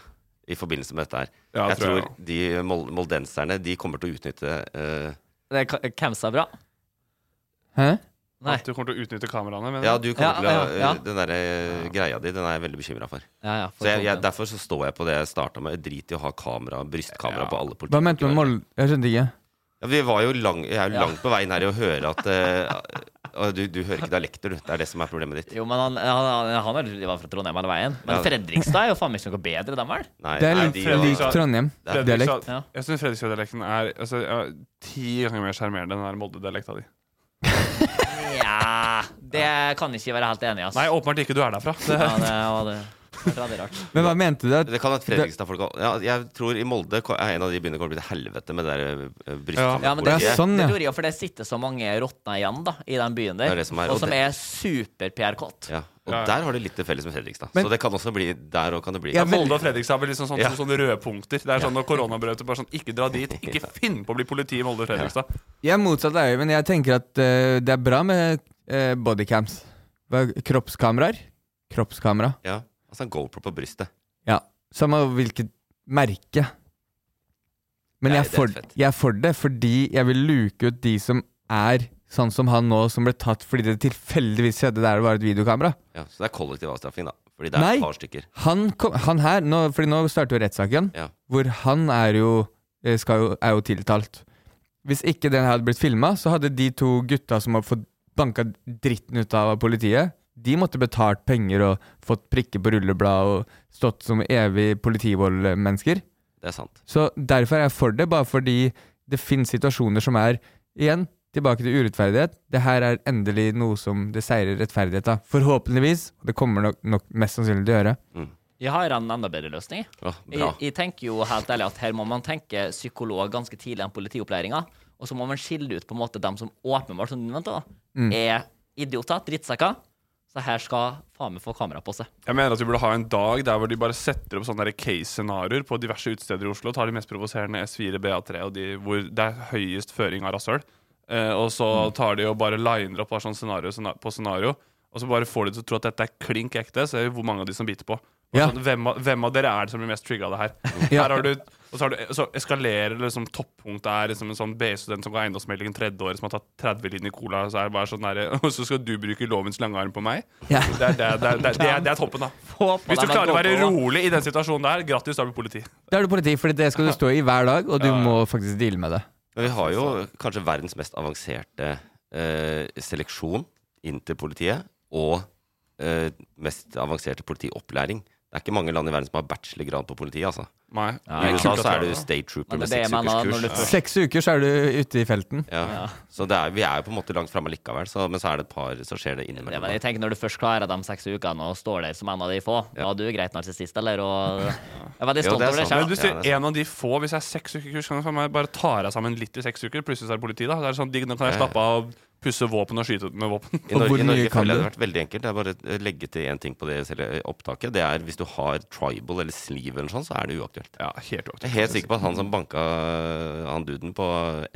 S1: i forbindelse med dette her.
S4: Ja,
S1: jeg
S4: tror
S1: tror
S4: jeg
S1: de mol moldenserne de kommer til å utnytte eh,
S3: Det er ka- Hvem som er bra?
S2: Hæ?
S3: Nei.
S4: At du kommer til å utnytte kameraene. Men
S1: Ja, du kommer
S3: Ja,
S1: til å
S3: ja, ja.
S1: Den derre eh, greia di, den er jeg veldig bekymra for.
S3: Ja, ja, for
S1: Så jeg, jeg,
S3: sånn, ja.
S1: derfor så står jeg på det jeg starta med. Drit i å ha kamera, brystkamera
S4: Ja.
S1: på alle politi.
S2: Hva mente du med Molde? Jeg skjønte ikke.
S1: Ja, vi var jo lang, jeg er jo
S3: Ja.
S1: langt på veien her i å høre at eh, ah, du, du hører ikke dialekter, du. Det er det som er problemet ditt.
S3: Jo, men han, han, han, han er- de var fra Trondheim hele veien. Men
S1: Ja.
S3: Fredrikstad er jo faen meg ikke noe bedre, dem vel?
S1: Nei,
S2: Det er
S1: nei,
S2: litt
S1: de,
S4: Fredrik
S2: lik
S4: sa-
S2: Trondheim.
S1: det er- sånn-
S2: Dialekt.
S4: Fredrikstad- Jeg syns Fredrikstad-dialekten er altså, ja, ti ganger mer sjarmerende enn den der Molde-dialekta di.
S3: Ja, det kan jeg ikke være helt enig i,
S4: Nei,
S3: altså.
S4: åpenbart ikke. Du er derfra. Det,
S3: Ja, det var det. det var veldig rart.
S2: Men hva mente du? At,
S1: det kan at Fredrikstad-folk ja, Jeg tror i Molde ko- er en av de byene kommer til å bli til helvete med det der eh, brystkamera.
S3: Ja, men det,
S2: Ja, sånn,
S3: det
S2: ja.
S3: tror jeg, for det sitter så mange råtner igjen da, i den byen der.
S1: Det er det som er,
S3: og
S1: og
S3: som
S1: det-
S3: er super-PR-kåt.
S1: Ja, og
S4: Ja, ja.
S1: der har de litt til felles med Fredrikstad.
S2: Men-
S1: så det kan også bli der og kan det bli
S2: Ja,
S4: Ja,
S2: men-
S4: Molde og Fredrikstad er vel liksom sånne,
S1: Ja.
S4: sånne røde punkter. Det er sånn når koronabrøtet bare sånn Ikke dra dit. Ikke finn på å bli politi i Molde og Fredrikstad.
S2: jeg er motsatt av Øyvind. Jeg tenker at eh, det er bra med eh, bodycams. Hva- Kroppskameraer. Kroppskamera.
S1: Ja, altså en GoPro på brystet.
S2: Ja. Samme hvilket merke. Men
S1: Nei, det er
S2: jeg er, for,
S1: fett.
S2: jeg er for det, fordi jeg vil luke ut de som er sånn som han nå, som ble tatt fordi det tilfeldigvis skjedde der det var et videokamera.
S1: Ja, så det er kollektiv avstraffing, da. Fordi det er
S2: Nei.
S1: et par stykker.
S2: Han, kom, han her, nå, fordi nå starter jo rettssaken,
S1: Ja.
S2: hvor han er jo, eh, skal jo, er jo tiltalt. Hvis ikke den hadde blitt filma, så hadde de to gutta som har fått banka dritten ut av politiet, de måtte betalt penger og fått prikker på rulleblad og stått som evig politivoldmennesker.
S1: Det er sant.
S2: Så derfor er jeg for det, bare fordi det finnes situasjoner som er Igjen, tilbake til urettferdighet. Det her er endelig noe som det seirer rettferdighet av. Forhåpentligvis. og Det kommer nok, nok mest sannsynlig til å gjøre.
S3: Jeg har en enda bedre løsning.
S1: Ja, bra.
S3: Jeg, jeg tenker jo helt ærlig at her må man tenke psykolog ganske tidlig enn politiopplæringa. Og så må man skille ut på en måte dem som åpenbart som du nevnte, da, er idioter, drittsekker. Så her skal faen meg få kamera på seg.
S4: Jeg mener at vi burde ha en dag der hvor de bare setter opp sånne der case-scenarioer på diverse utesteder i Oslo. Tar de mest provoserende S4, BA3 og de hvor det er høyest føring av rasshøl. Eh, og så
S2: Mm.
S4: tar de og bare liner opp bare sånn scenario scena- på scenario. Og så bare får de til å tro at dette er klink ekte. Så er det hvor mange av de som biter på. Og
S2: Ja.
S4: Sånn, hvem, av, hvem av dere er det som blir mest trigga av det her?
S2: Ja.
S4: her har du, og så, har du, så eskalerer det liksom toppunktet er liksom en sånn BI-student som går eiendomsmeldingen tredje året, som har tatt 30 liter i cola, og så er det bare sånn der, og så skal du bruke lovens lange arm på meg?
S2: Ja.
S4: Det er, det, er, det, er, det, er, det er toppen, da.
S3: Håper
S4: Hvis du
S3: de er
S4: klarer å være
S3: gåpåla.
S4: rolig i den situasjonen der, grattis, da blir du politi.
S2: Da er du politi, for det skal du stå i hver dag, og du må faktisk deale med det.
S1: Men vi har jo kanskje verdens mest avanserte eh, seleksjon inn til politiet, og eh, mest avanserte politiopplæring. Det er ikke mange land i verden som har bachelorgrad på politiet, altså.
S4: Nei. altså,
S1: I USA så er du
S4: det
S1: state trooper
S3: Men det
S1: med
S3: er det
S1: seks ukers
S3: jeg mener, når
S1: kurs.
S3: du først
S2: Seks uker, så er du ute i felten.
S1: Ja. Så det er, vi er jo på en måte langt framme likevel, så, men så er det et par så skjer det
S3: det
S1: innimellom.
S3: var, jeg tenker Når du først klarer de seks ukene og står der som en av de få, ja. da er du greit narsissist, eller? Og jeg er veldig
S1: Jo,
S3: stolt
S1: det er
S3: over det
S1: sant.
S4: men
S3: sjøl.
S4: du
S1: Ja,
S4: sier
S1: det er
S4: en av de få. Hvis jeg er seks uker i kurs, kan jeg faen meg bare ta deg sammen litt i seks uker. Plutselig så er det politi, da. Det er sånn digg, Nå kan jeg
S1: Ja.
S4: slappe av, pusse våpen og skyte med våpen.
S1: I Norge,
S2: hvor
S1: i Norge
S2: mye kan
S1: føler jeg det
S2: du?
S1: har vært veldig enkelt. Det er bare å legge til én ting på det selv- opptaket. Det er hvis du har tribal eller sleeve eller sånn, så er det uaktuelt.
S4: Ja, helt uaktuelt.
S1: Jeg er helt sikker på at han som banka han duden på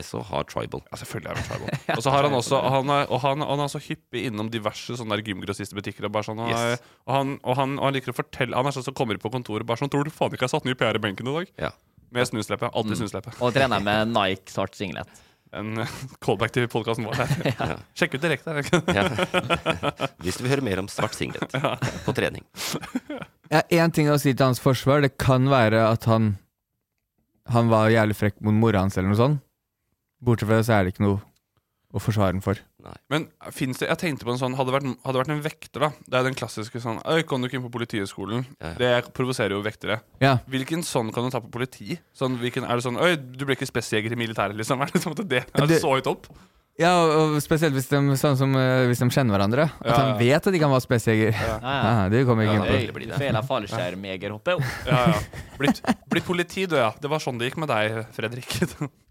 S1: SO, har tribal.
S4: Ja, selvfølgelig er han tribal. Og så har han også han er, og han, han er så hyppig innom diverse sånne der gymgrossistbutikker. Og, bare sånn, og,
S1: Yes.
S4: og, han, og, han, og han liker å fortelle Han er sånn som kommer på kontoret bare sånn 'Tror du faen ikke jeg har satt ny PR i benken i dag?'
S1: Ja. Mm.
S4: Med snusleppe. Alltid snusleppe.
S3: Og trener med Nike svart singlet.
S4: En eh, callback til podkasten vår. Der. Sjekk ut direkte. er det ikke?
S1: Ja. Hvis du vil høre mer om svart singlet på trening.
S2: Jeg har én ting å si til hans forsvar. Det kan være at han Han var jævlig frekk mot mora hans, eller noe sånt. Bortsett fra det, så er det ikke noe å forsvare ham for.
S4: Men finnes det Jeg tenkte på en sånn Hadde det vært, hadde det vært en vekter, da. Det er den klassiske sånn Øy, kom du ikke inn på Politihøgskolen?
S1: Ja, ja.
S4: Det provoserer jo vektere.
S2: Ja.
S4: Hvilken sånn kan du ta på politi? Sånn, hvilken, er det sånn Øy, du ble ikke spesijeger i militæret, liksom? Er det, sånn at det, er det
S2: Det-
S4: så høyt opp?
S2: Ja, og, og spesielt hvis de, sånn som, eh, hvis de kjenner hverandre. At
S4: Ja,
S2: han
S4: ja.
S2: vet at de kan være spesijeger.
S3: Ja,
S2: Ja.
S3: ja.
S2: det kommer jeg ikke
S3: Oi,
S2: inn på.
S3: du feiler fallskjermjegerhoppet. jo.
S4: Ja, ja. Blitt, blitt politi, du, ja. Det var sånn det gikk med deg, Fredrik.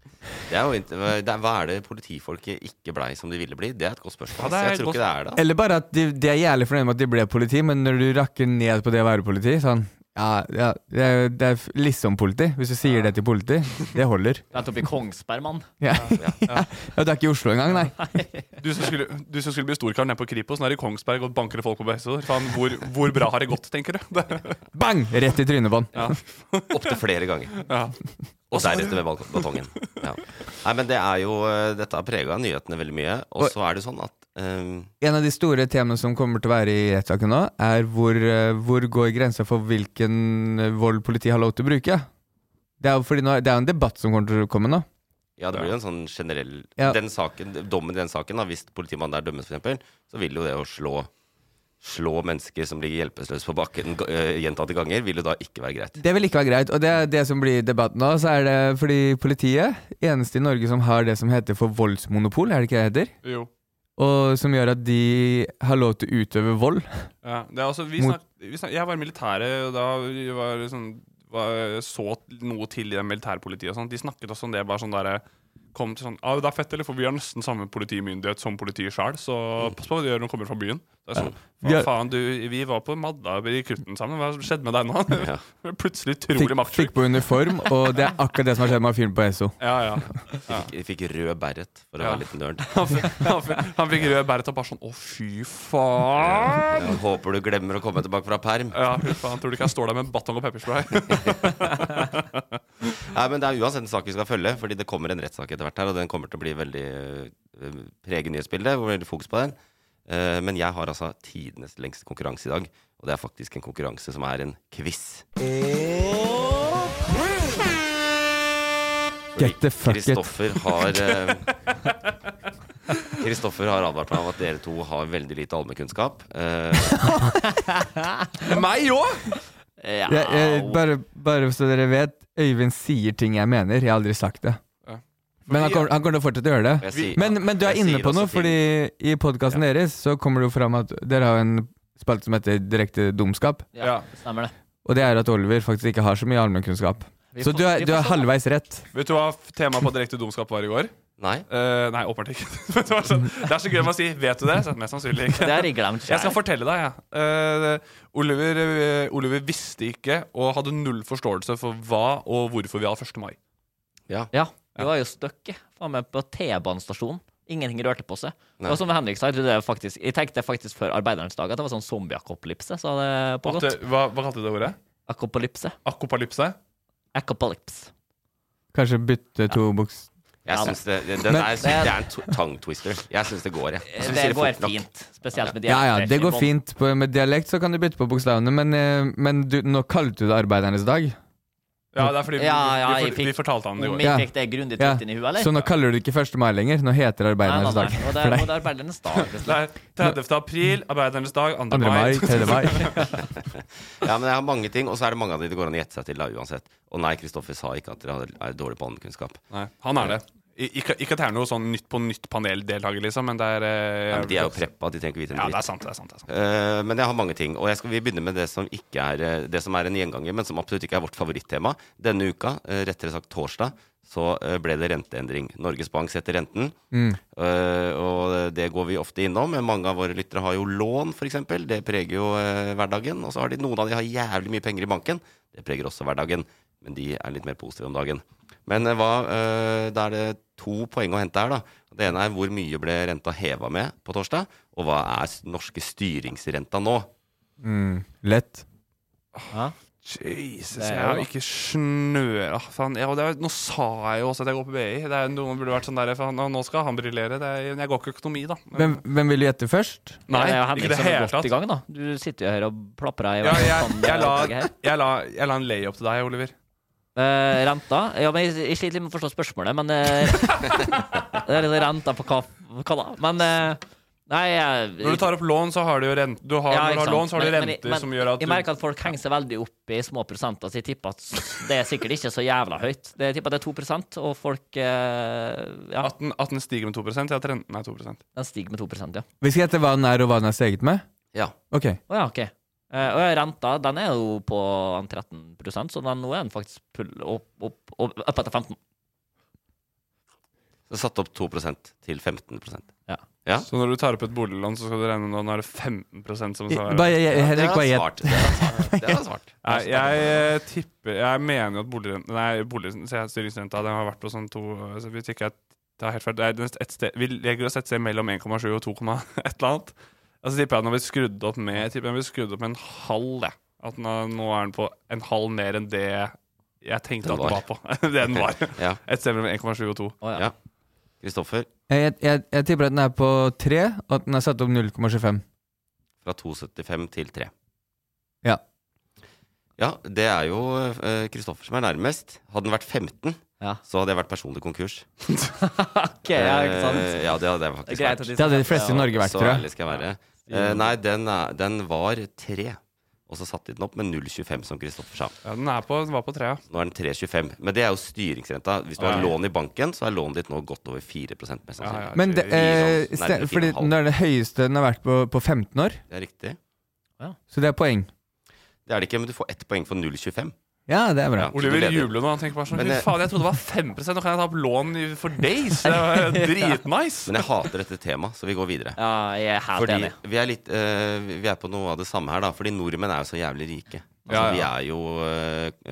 S1: Det er
S4: Ja,
S1: jo ikke, det er, hva er det politifolket ikke blei som de ville bli? Det er et godt spørsmål. altså.
S4: Ja, det er
S1: jeg tror
S4: et
S1: ikke det er det.
S2: Eller bare at de, de er jævlig fornøyd med at de ble politi, men når du rakker ned på det å være politi sånn, ja, ja, det er, det er liksom politi. Hvis du sier det til politi, det holder.
S3: Rett opp i Kongsberg, mann.
S2: Ja. Ja. det er ikke i Oslo engang, nei.
S4: Du som skulle, du som skulle bli storkar nede på Kripos, nå er i Kongsberg og banker folk på BSO. Faen, hvor, hvor bra har det gått, tenker du? Det,
S2: Bang! Rett i trynet på han.
S1: Opptil flere ganger.
S4: ja.
S1: Og
S4: Altså,
S1: deretter med balk- batongen. Ja. Nei, men det er jo eh, Dette har prega nyhetene veldig mye. Og så er det sånn at ehm,
S2: En av de store temaene som kommer til å være i rettssaken nå, er hvor, eh, hvor går grensa for hvilken eh, vold politiet har lov til å bruke? Det er jo fordi nå, det er jo en debatt som kommer til å komme nå.
S1: Ja, det blir jo en sånn generell
S2: Ja.
S1: den saken, Dommen i den saken, da, hvis politimannen der dømmes, for eksempel, så vil jo det å slå Slå mennesker som ligger hjelpeløse på bakken ga- eh, gjentatte ganger, vil jo da ikke være greit.
S2: Det vil ikke være greit. Og det er det som blir debatten nå, så er det fordi politiet, eneste i Norge som har det som heter for voldsmonopol, er det ikke det det heter?
S4: Jo.
S2: Og som gjør at de har lov til å utøve vold.
S4: Ja, det er altså, vi
S2: Mot-
S4: snak, vi snak, jeg var i militæret, og da vi var sånn, var, så noe til i det militærpolitiet. Og sånn. De snakket også om det. bare sånn der, kom til sånn, ah, 'Det er fett, eller? For vi har nesten samme politimyndighet som politiet sjøl, så pass på hva du gjør når du kommer fra byen.' Det er sånn,
S2: Mm. Vi
S4: Hva
S2: har-
S4: faen, du, vi var på Madda i Kutten sammen. Hva skjedde med deg nå?
S1: Ja.
S4: Plutselig
S2: Fikk,
S4: utrolig
S2: fikk
S4: maktsjuk.
S2: på uniform, og det er akkurat det som har skjedd med han fyren på E Esso.
S4: Ja, ja.
S1: Jeg fikk rød beret, for å
S4: Ja.
S1: være litt nerd.
S4: Han fikk, han fikk, han fikk rød beret og bare sånn 'Å, fy faen'.
S1: Jeg håper du glemmer å komme tilbake fra perm.
S4: Ja, fy faen, Tror du ikke jeg står der med en batong og pepperspray?
S1: Nei, men Det er uansett en sak vi skal følge, fordi det kommer en rettssak etter hvert her, og den kommer til å bli veldig eh, prege nyhetsbildet. hvor det er Veldig fokus på den. Eh, Men jeg har altså tidenes lengste konkurranse i dag, og det er faktisk en konkurranse som er en quiz.
S2: Get the fuck it.
S1: Kristoffer har eh, Kristoffer har advart meg om at dere to har veldig lite allmennkunnskap. Eh,
S4: Meg òg!
S3: Ja.
S2: Jeg, jeg, bare, bare så dere vet, Øyvind sier ting jeg mener. Jeg har aldri sagt det.
S4: Ja.
S2: Men han kommer, han kommer til å fortsette å gjøre det.
S1: jeg sier-
S2: Men, men du er
S1: jeg
S2: inne
S1: sier
S2: på
S1: også
S2: noe,
S1: ting-
S2: fordi i podkasten deres så kommer det jo fram at dere har jo en spalte som heter Direkte dumskap.
S3: ja, stemmer det.
S2: Og det er at Oliver faktisk ikke har så mye allmennkunnskap.
S3: Vi
S2: Så
S3: får-
S2: du er,
S3: vi
S2: du
S3: får
S2: er
S3: se, da.
S2: halvveis rett.
S4: Vet du hva f- temaet på Direkte dumskap var i går?
S1: Nei.
S4: Eh, nei, åpenbart ikke. det var sånn- det er så gøy med å si 'vet du det?' Så mest sannsynlig ikke.
S3: Det har jeg glemt
S4: Jeg skal
S3: selv.
S4: fortelle deg, jeg. Eh, Oliver, eh, Oliver visste ikke og hadde null forståelse for hva og hvorfor vi har 1. mai.
S3: Ja, vi var jo stuck jeg, faen meg på T-banestasjonen. Ingenting rørte på seg.
S1: Nei.
S3: Og som Henrik sa, jeg, trodde faktisk, jeg tenkte faktisk før arbeiderens dag at det var sånn zombieakopalypse. Så det på
S4: At,
S3: godt.
S4: eh, hva, hva kalte du det ordet?
S3: Akopalypse.
S4: Akopalypse?
S3: Akopalypse.
S2: Kanskje bytte to boks...
S1: Jeg
S3: Ja,
S1: synes det, det, den
S2: Men-
S1: er, det er en to- tongue twister. Jeg syns det går, jeg. jeg synes
S3: Det
S1: sier
S3: går
S1: fort nok.
S3: fint. Spesielt med
S2: Ja, ja,
S3: dialekt.
S2: det går fint. På- Med dialekt så kan du bytte på bokstavene, men, eh, men du, nå kalte du det arbeidernes dag.
S4: Ja, det er fordi vi-
S3: Ja, ja,
S4: vi,
S3: jeg
S4: vi, vi
S3: fikk-
S4: fortalte han det i
S3: Om
S4: går.
S3: vi
S2: Ja.
S3: fikk det grundig
S2: Ja.
S3: tøtt inn i huet, eller?
S2: Så nå kaller du det ikke 1. mai lenger. Nå heter det
S3: Nei, nei,
S2: arbeidernes
S3: nei.
S2: dag.
S3: Og
S2: For
S3: det er,
S2: deg.
S3: og det er arbeidernes dag. rett og slett.
S4: Det er 30. april, arbeidernes dag, 2.
S2: 2. mai,
S4: mai.
S2: 3. mai.
S1: Ja, men jeg har mange ting, og så er det mange av de det går an å gjette seg til da, uansett. Og nei, Kristoffer sa ikke at dere er dårlig på allmennkunnskap.
S4: Nei, han er det. I- Ikke, ikke at det er noe sånn Nytt på nytt-paneldeltaker, liksom, men det er eh,
S1: Ja, men de er jo preppa, de trenger ikke vite en
S4: Ja, det er
S1: dritt.
S4: sant. det er sant, det er sant.
S1: Eh, men jeg har mange ting, og jeg skal, vi begynner med det som, ikke er, eh, det som er en gjenganger, men som absolutt ikke er vårt favorittema. Denne uka, eh, rettere sagt torsdag, så eh, ble det renteendring. Norges Bank setter renten, eh, og det går vi ofte innom. Mange av våre lyttere har jo lån, f.eks. Det preger jo eh, hverdagen. Og så har de, noen av de har jævlig mye penger i banken. Det preger også hverdagen, men de er litt mer positive om dagen. Men eh, hva, eh, da er det to poeng å hente her. da. Det ene er hvor mye ble renta heva med på torsdag, og hva er s- norske styringsrenta nå?
S2: Mm, lett.
S4: Jesus,
S3: Det er
S4: jeg
S3: jo
S4: har
S3: da.
S1: ikke
S4: ikke snøra faen. Ja, og det er, nå sa jeg jo også at jeg går på BI. Det er, noen burde vært sånn der faen, Nå skal han briljere. Det er- Jeg går ikke økonomi, da.
S2: Hvem, hvem vil du gjette først?
S4: Nei,
S3: det er jo
S4: ikke
S3: Henrik
S4: det
S3: som er
S4: hele
S3: godt
S4: tatt.
S3: i gang, da. Du sitter jo her og plaprer i
S4: Ja,
S3: hvert
S4: jeg,
S3: fall
S4: jeg, la,
S3: opplegget her.
S4: jeg, la, jeg la en layup til deg, Oliver.
S3: Eh, renta Ja, men jeg, jeg sliter litt med å forstå spørsmålet, men eh, Det er litt sånn renta på hva, hva da? Men eh, Nei, jeg
S4: Når du tar opp lån, så har du jo rent, du har,
S3: Ja,
S4: når du
S3: ikke
S4: har
S3: sant.
S4: lån, så har du
S3: Men- men-
S4: renter
S3: men
S4: som gjør at
S3: Jeg
S4: du
S3: merker at folk henger seg veldig opp i små prosenter, så jeg tipper at det er sikkert ikke så jævla høyt. Det- Jeg tipper det er 2 og folk eh, Ja,
S4: at den, at den stiger med 2 ja, at renten er 2
S3: den stiger med 2 ja.
S2: Vi skal gjette hva den er, og hva den er steget med?
S1: Ja.
S2: Ok.
S3: Å ja, OK. Eh, og ja, renta den er jo på en 13 så den, nå er den faktisk pull opp, opp, opp, opp etter 15
S1: Så satt opp 2 til 15
S4: Så når du tar opp et boliglån, så skal du regne med at nå er det 15 som
S2: I,
S4: svarer.
S2: bare,
S3: Eh,
S2: jeg,
S1: Ja,
S2: Henrik, bare
S1: det er
S2: gjett.
S1: svart. Det er svart. Det er svart.
S4: Nei, jeg eh, tipper Jeg mener jo at boligrenten Nei, boligstyringsrenta Den har vært på sånn to så Hvis ikke jeg tar helt feil det er et sted, Vi legger oss et sted mellom 1,7 og 2, komma et eller annet. Og så tipper jeg at den har blitt skrudd opp med Jeg tipper den har blitt skrudd opp med en halv. Jeg. At den har, nå er den på en halv mer enn det jeg tenkte
S1: Den
S4: at den var på. det den var.
S1: Ja.
S4: Et sted mellom 1,7 og 2.
S3: Å ja.
S1: Ja. Kristoffer,
S2: Jeg, jeg, jeg tipper at den er på 3, og at den er satt opp 0,25.
S1: fra 2,75 til 3.
S2: Ja.
S1: Ja, det er jo eh, Kristoffer som er nærmest. Hadde den vært 15,
S3: Ja.
S1: så hadde jeg vært personlig konkurs.
S3: OK, ja, ikke sant?
S1: Eh, ja, det hadde jeg
S3: Det er
S1: faktisk
S3: greit
S1: vært.
S3: at
S2: Det hadde de fleste i Norge vært,
S1: Så
S2: tror jeg.
S1: ærlig skal jeg være. Eh, nei, den, er, den var 3. Og så satte de den opp med 0,25, som Kristoffer sa.
S4: Ja, den, er på, den var på 3, ja.
S1: Nå er den 3,25. Men det er jo styringsrenta. Hvis du har lån i banken, så er lånet ditt nå godt over 4 mest sannsynlig.
S4: ja, ja.
S2: Men det, eh,
S1: Nei,
S2: ste-
S1: det er sånn
S2: fordi
S1: fire og en halv.
S2: den er det høyeste den har vært på, på 15 år,
S1: Det er riktig.
S2: så det er poeng.
S1: Det er det ikke, men du får ett poeng for 0,25.
S2: Ja, det er bra.
S1: Ja, så du
S4: Oliver
S1: leder.
S4: jubler nå. Han tenker bare sånn
S1: Men
S4: Fy
S1: det-
S4: faen, jeg trodde det var 5 Nå kan jeg ta opp lån i- for days! Det var dritnice!
S1: Men jeg hater dette temaet, så vi går videre.
S3: Ja, jeg er helt
S1: Fordi
S3: enig.
S1: vi er, litt, eh, vi er på noe av det samme her, da. Fordi nordmenn er jo så jævlig rike. Altså,
S4: Ja, ja.
S1: Vi er jo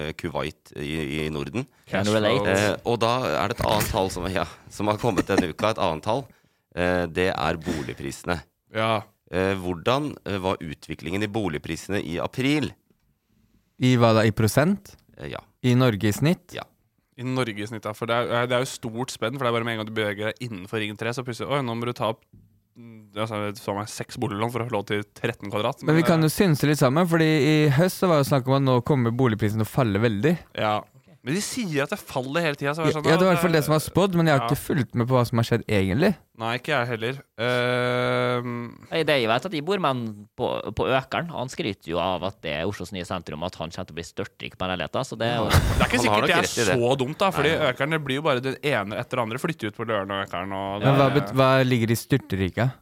S1: eh, Kuwait i, i Norden.
S3: Can relate.
S1: Eh, og da er det et annet tall som, ja, som har kommet denne uka. Et annet tall. Eh, det er boligprisene.
S4: Ja.
S1: Eh, hvordan eh, var utviklingen i boligprisene i april?
S2: I hva da? I prosent?
S1: Eh, ja.
S2: I Norge i snitt?
S4: I Norge i snitt, da. For det er, det er jo stort spenn. For det er bare med en gang du beveger deg innenfor Ring 3, så plutselig Oi, nå må du ta opp mm, altså, jeg så meg seks boliglån for å få lov til 13 kvadrat.
S2: Men vi kan jo synse litt sammen, Fordi i høst så var det snakk om at nå kommer boligprisen til å falle veldig.
S4: ja. Men de sier at det faller hele tida.
S2: Ja, ja, det var i hvert fall det som var spådd, men jeg har
S4: sånn, Ja.
S2: ikke fulgt med på hva som har skjedd egentlig.
S4: Nei, ikke jeg heller. Ehm,
S3: Nei, Det jeg vet at jeg bor med en på, på Økeren, og han skryter jo av at det er Oslos nye sentrum, og at han kommer til å bli størtrik på leiligheter, så det er jo
S4: det er ikke
S1: Han har
S4: sikkert det
S1: nok
S4: er
S1: rett i
S4: så
S1: det.
S4: dumt, da. Fordi økerne blir jo bare den ene etter den andre. Flytter ut på Løren og Økeren og
S2: Men hva,
S4: det-
S2: bet- hva ligger i styrteriket?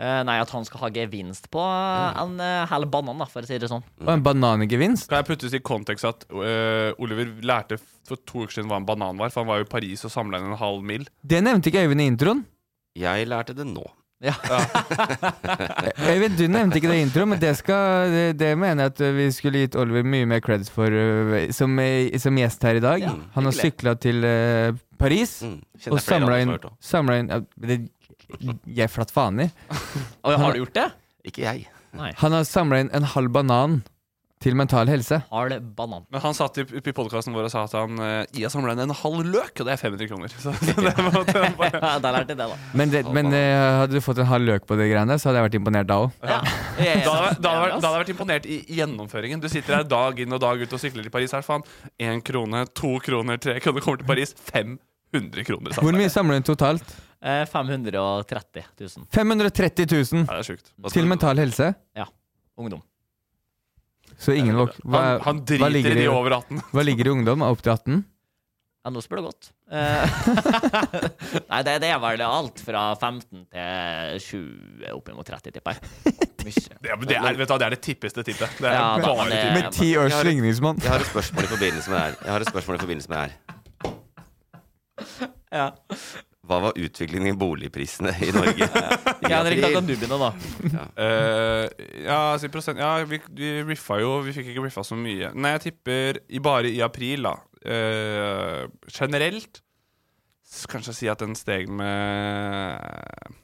S3: Eh, nei, at han skal ha gevinst på en eh, hel banan, da, for å si det sånn.
S2: Og en banangevinst.
S4: Kan jeg puttes i kontekst at øh, Oliver lærte for to uker siden hva en banan var? For han var jo i Paris og samla inn en halv mil.
S2: Det nevnte ikke Øyvind i introen.
S1: Jeg lærte det nå.
S2: Eh, Øyvind, du nevnte ikke det i introen, men det, skal, det, det mener jeg at vi skulle gitt Oliver mye mer cred for øh, som, øh, som gjest her i dag.
S3: Ja,
S2: Han har
S3: hyggelig.
S2: sykla til øh, Paris
S1: Mm. Kjenner
S2: og
S1: jeg flere andre
S2: samla
S1: som
S2: inn,
S1: har hørt om.
S2: samlet inn ja, det, Jeg er flatt faen i.
S3: Oi, har du gjort det?
S1: Ikke jeg.
S2: Han har samla inn en halv banan til mental helse.
S3: Hal banan.
S4: Men han satt i, i podkasten vår og sa at han øh, Jeg har samla inn en halv løk, og det er 500 kroner. Så det var, det var bare,
S3: Ja, da lærte jeg det, da.
S2: Men, det, men øh, hadde du fått en halv løk på de greiene, så hadde jeg vært imponert da òg.
S3: Ja. Jeg er
S4: da, hadde jeg vært- da, hadde jeg vært- da
S3: enig, ass.
S4: hadde jeg vært imponert i gjennomføringen. Du sitter her dag inn og dag ut og sykler til Paris. Her faen én krone, to kroner, tre kroner. Kommer til Paris 500 kroner.
S2: Hvor
S4: Sammen.
S2: mye samler du inn totalt?
S3: Eh, 530 000.
S2: 530 000
S4: Ja, det er sjukt.
S1: Hva skal
S2: til
S1: du-
S2: mental helse.
S3: Ungdom.
S2: Så ingen våk... Hva,
S4: Han, han
S2: hva,
S4: driter i
S2: ligger i,
S4: de over 18.
S2: hva ligger i ungdom? Opp til 18?
S3: Ja, nå spør du godt. Eh, Nei, det, det er vel alt fra 15 til 20, oppimot 30, tipper jeg. Mye.
S4: Det, det, er, vet du, hva, det er det tippeste tippet. Det er
S3: Ja, da,
S4: bare
S3: men det-
S4: tipp.
S2: Med ti års
S1: Jeg har-
S2: ligningsmann.
S1: Jeg har et spørsmål i forbindelse med det her. Jeg har et spørsmål i forbindelse med det her.
S3: Ja.
S1: Hva var utviklingen i boligprisene i Norge?
S3: Ja, Henrik, da kan du begynne, da.
S4: Eh, ja, altså i prosent Ja, vi, vi riffa jo Vi fikk ikke riffa så mye. Nei, jeg tipper i, bare i april, da. Eh, generelt s- kanskje si at den steg med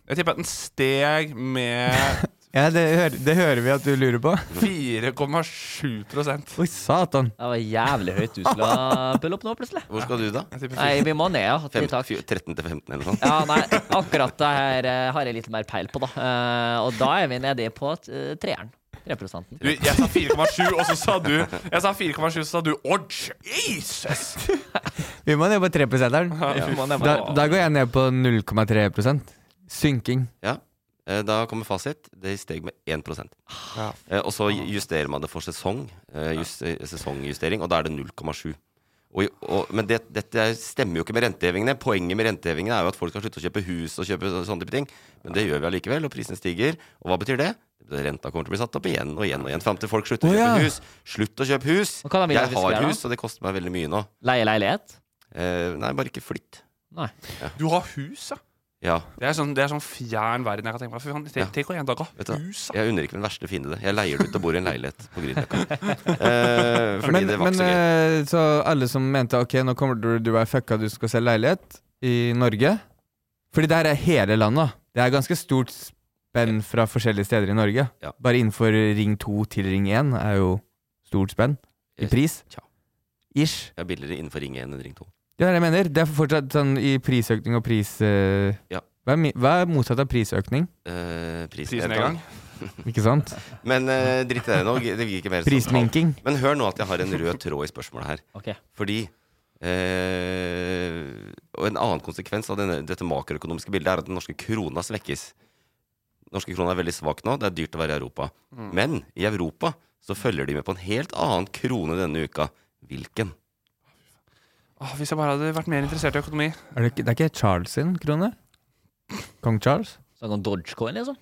S4: Jeg tipper at den steg med
S2: Ja, det, hører, det hører vi at du lurer på.
S4: 4,7 prosent.
S2: Oi, satan.
S3: Det var jævlig høyt du skulle ha pull opp nå, plutselig.
S1: Hvor skal du, da?
S4: Jeg tipper
S3: Nei, vi må ned, ja.
S1: Fem,
S3: Fem,
S1: fj- 13 til 15 eller noe sånt?
S3: Ja, nei, akkurat det her eh, har jeg litt mer peil på, da. Eh, og da er vi nede på eh, treeren. 3 prosenten.
S4: Du, jeg sa 4,7, og så sa du Jeg sa 4,7, så sa du Å, Jesus!
S2: Vi må ned på 3 %-eren. Da, da går jeg ned på 0,3 Synking.
S1: Ja. Eh, Da kommer fasit. Det steg med 1
S4: Ja.
S1: Eh, Og så justerer man det for sesong. eh, Just, eh, sesongjustering, og da er det 0,7. Og, i- og, men det, dette stemmer jo ikke med rentehevingene. Poenget med rentehevingene er jo at folk skal slutte å kjøpe hus og kjøpe så- sånne type ting. Men det gjør vi allikevel, og prisene stiger. Og hva betyr det? Det- Renta kommer til å bli satt opp igjen og igjen og igjen fram til folk slutter å
S2: Å,
S1: kjøpe
S2: ja.
S1: hus. Slutt å kjøpe hus!
S3: Og hva da vil
S1: Jeg
S3: jeg vi skal
S1: har
S3: gjøre da?
S1: hus, og det koster meg veldig mye nå.
S3: Leie leilighet?
S1: Eh, nei, bare ikke flytt.
S3: Nei.
S4: Du har hus, ja.
S1: Ja.
S4: Det er sånn, det er sånn fjern verden jeg kan tenke meg. Fy faen, tenk- Tenk å en dag ha
S1: Vet du hva?
S4: hus, da.
S1: Jeg unner ikke min verste fiende det. Jeg leier det ut og bor i en leilighet på Grünerløkka. Eh, fordi
S2: Men,
S1: det var
S2: men
S1: ikke så gøy.
S2: eh, så alle som mente ok, nå kommer du til å være fucka, du skal selge leilighet i Norge Fordi der er hele landet. da. Det er ganske stort spenn fra forskjellige steder i Norge.
S1: Ja.
S2: Bare innenfor ring 2 til ring 1 er jo stort spenn i
S1: Yes.
S2: pris.
S1: Tja.
S2: Ish.
S1: Jeg er billigere innenfor ring 1 enn ring 2.
S2: Det er det jeg mener. Det er fortsatt sånn i prisøkning og pris... eh,
S1: Ja.
S2: Hva er, mi- hva er motsatt av prisøkning?
S1: Eh, prisen er
S4: Prisnedgang.
S1: et annet.
S2: Ikke sant?
S1: Men eh, drit i det nå. Det blir ikke mer sånn.
S2: Prisminking.
S1: Men hør nå at jeg har en rød tråd i spørsmålet her.
S3: Ok.
S1: Fordi eh, Og en annen konsekvens av denne, dette makroøkonomiske bildet er at den norske krona svekkes. Den norske krona er veldig svak nå. Det er dyrt å være i Europa. Men i Europa så følger de med på en helt annen krone denne uka. Hvilken?
S4: Åh, hvis jeg bare hadde vært mer interessert i økonomi.
S2: Er det, ikke, det er ikke Charles sin krone? Kong Charles?
S3: Snakk om Dogecoin, liksom.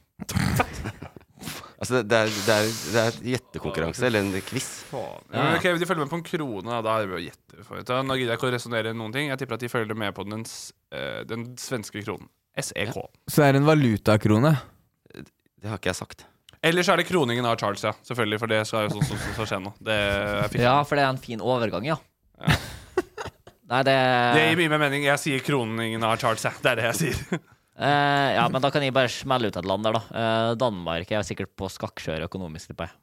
S1: Altså, det er, det er, det er et gjettekonkurranse, eller en quiz.
S4: Ja. men ok, De følger med på en krone. da. Da er det bare å gjette. for vet du. Nå gidder jeg ikke å resonnere noen ting. Jeg tipper at de følger med på den, s- eh, den svenske kronen. E SEK.
S2: Så det er en valutakrone.
S1: Det har ikke jeg sagt.
S4: Ellers er det kroningen av Charles, ja. Selvfølgelig, for det skal jo sånn som så, skje nå. Det, jeg fikk.
S3: Ja, for det er en fin overgang, ja. Nei, det
S4: det gir mye mer mening. Jeg sier kroningen av Charles, ja. Det er det jeg sier.
S3: eh, Ja, men da kan jeg bare smelle ut et land der, da. Eh, Danmark er sikkert på skakkskjør økonomisk, tipper jeg.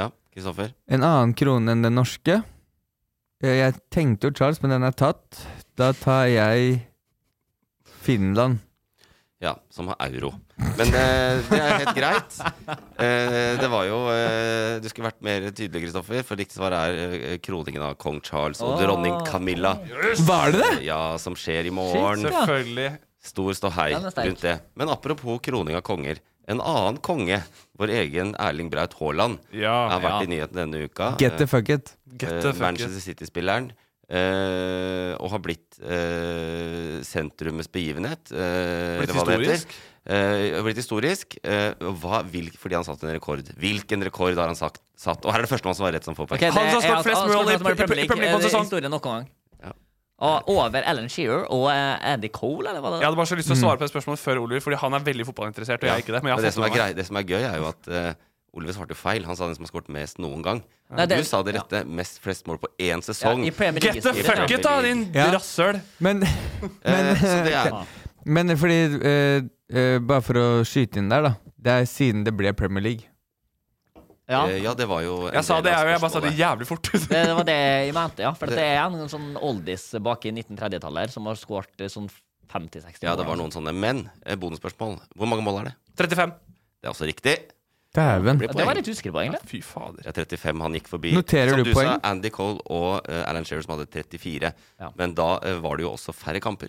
S1: Ja, Kristoffer?
S2: En annen krone enn den norske. Eh, Jeg tenkte jo Charles, men den er tatt. Da tar jeg Finland.
S1: Ja, som har euro. Men eh, det er helt greit. Eh, det var jo eh, Du skulle vært mer tydelig, Kristoffer, for riktig svar er eh, kroningen av kong Charles og dronning Camilla.
S2: Var det det?
S1: Ja, som skjer i morgen.
S4: Selvfølgelig.
S1: Stor ståhei
S3: Den er sterk.
S1: rundt det. Men apropos kroning av konger. En annen konge, vår egen Erling Braut Haaland,
S4: Ja.
S1: har vært
S3: Ja.
S1: i nyhetene denne uka.
S2: Get the fuck it.
S4: Get
S1: Eh,
S4: the fuck it.
S1: Manchester City-spilleren. eh, og har blitt eh, sentrumets begivenhet. eh,
S4: Blitt
S1: eller hva det heter.
S4: historisk?
S1: Eh, det har blitt historisk eh, hva, hvil, fordi han satt en rekord. Hvilken rekord har han sagt, satt? Og her er det førstemann som har rett som får poeng.
S3: Ok,
S4: Han
S3: det
S4: som har
S3: er
S4: skåret
S3: at-
S4: flest
S3: han
S4: mål
S3: skåret
S4: i
S3: mål
S4: Pre- Pre- Premier League på
S3: Det er
S4: sesong.
S3: eh, historien noen gang.
S1: Ja.
S3: Og over Alan Shearer og eh, Andy Cole, eller hva det
S4: Jeg hadde bare så lyst til å
S2: Mm.
S4: svare på et spørsmål før Oliver, fordi han er veldig fotballinteressert. Og jeg er ikke det, men jeg
S1: Men
S4: har
S1: det, som er
S4: fått med
S1: grei, det som er gøy, er jo at uh, Oliver svarte feil. Han sa den som har skåret mest noen gang.
S3: Nei, det-
S1: du sa det rette. Mest flest mål på én
S3: Ja,
S1: sesong.
S3: I Premier
S4: meg. Get the
S3: League-historien, ja.
S4: fuck it, da, din
S2: Ja.
S4: rasshøl!
S2: Men, men,
S1: Eh, så det er,
S2: men fordi eh, eh, Bare for å skyte inn der, da. Det er siden det ble Premier League.
S3: Ja.
S1: eh, ja, det var jo en
S4: Jeg sa
S1: del
S4: det,
S1: av
S4: jeg òg. Jeg bare sa det
S1: spørsmålet.
S4: jævlig fort.
S3: Det, det var det jeg mente, ja. For
S1: Det-
S3: det er en sånn oldis bak i 1930-tallet som har skåret eh, sånn 50-60
S1: Ja, det var
S3: mål.
S1: noen sånne. Men eh, bonusspørsmål. Hvor mange mål er det?
S4: 35.
S1: Det er også riktig.
S2: Dæven.
S1: Det blir
S3: Det var
S1: poeng.
S3: litt usikker på, egentlig.
S4: Fy fader.
S1: Ja, 35 han gikk forbi.
S2: Noterer
S1: som
S2: du
S1: du sa,
S2: poeng?
S1: Andy Cole og eh, Alan Shearer som hadde 34.
S3: Ja.
S1: Men da eh, var det jo også færre kamper.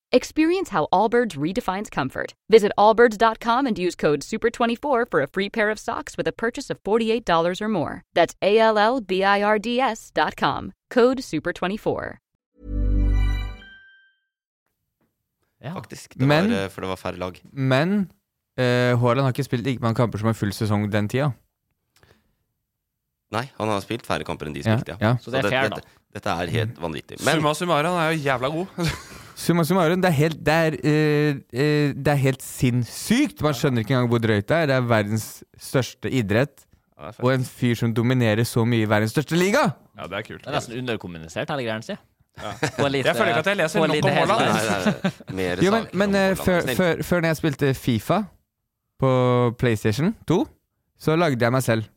S6: Experience how Allbirds redefines comfort. Visit allbirds.com and use code SUPER24 for a free pair of socks with a purchase of $48 or more. That's A L L B I R D S dot com. Code SUPER24.
S3: Ja.
S1: Faktisk. Det
S2: Men-
S1: var, eh, for det var færre lag.
S2: Men eh, Haaland har ikke spilt like mange kamper som en full sesong den tida.
S1: Nei, han har spilt færre kamper enn de
S2: Ja,
S1: spilte,
S2: ja. Mm.
S3: Så det er fair, da.
S1: dette, dette er helt vanvittig. Men
S4: Summa summarum, han er jo jævla god.
S2: Summa summarum, det er helt, det er, eh, eh, det er helt sinnssykt! Man skjønner ikke engang hvor drøyt det er. Det er verdens største idrett. Og en fyr som dominerer så mye i verdens største liga!
S4: Ja, det er kult.
S3: Det er nesten underkommunisert, hele greia si. Få en lite-
S4: Jeg føler ikke at jeg leser
S3: få en
S4: nok
S3: lite
S4: om Haaland.
S1: Nei,
S3: headline.
S1: det er mer
S2: Jo, men,
S1: saker
S2: men
S1: om
S2: eh,
S1: Haaland,
S2: før,
S1: snill.
S2: før, før når jeg spilte Fifa på PlayStation 2, så lagde jeg meg selv.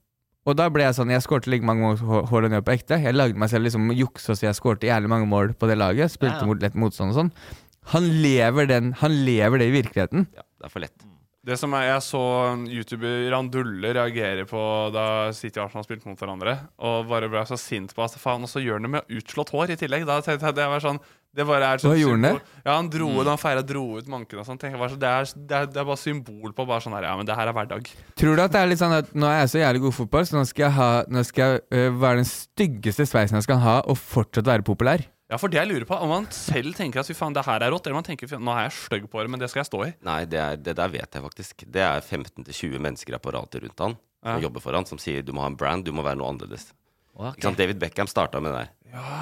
S2: Og da ble jeg sånn Jeg skårte like mange mål som Hå- Haaland gjør på ekte. Jeg lagde meg selv liksom juksa så jeg skårte jævlig mange mål på det laget. Spilte
S3: Ja, ja.
S2: mot lett motstand og sånn. Han lever, den, han lever det i virkeligheten.
S1: Ja, det er for lett.
S4: Det som er, Jeg så en YouTuber Randulle reagere på da City og Arsenal spilte mot hverandre. Og bare ble så sint på at faen, og så gjør han det med utslått hår i tillegg. Da tenkte jeg det var sånn det bare er sånn
S2: Hva gjorde han det? Mm.
S4: symbol- Ja, Han dro ut, han feira dro ut manken og sånn. Tenker jeg bare, så det, er, det, er, det er bare symbol på bare sånn her, ja, men det her er hverdag.
S2: Tror du at det er litt sånn at nå er jeg så jævlig god i fotball, så nå skal jeg, ha, nå skal jeg øh, være den styggeste sveisen jeg skal ha, og fortsatt være populær?
S4: Ja, for det jeg lurer på, Om man selv tenker at fy faen, det her er rått, eller om man tenker fy, nå er jeg stygg på det, men det skal jeg stå i.
S1: Nei, det, er, det der vet jeg faktisk. Det er 15-20 mennesker i apparatet rundt han som jobber for han, som sier du må ha en brand, du må være noe annerledes.
S3: Ok.
S1: Ikke sant? David Beckham starta med det der.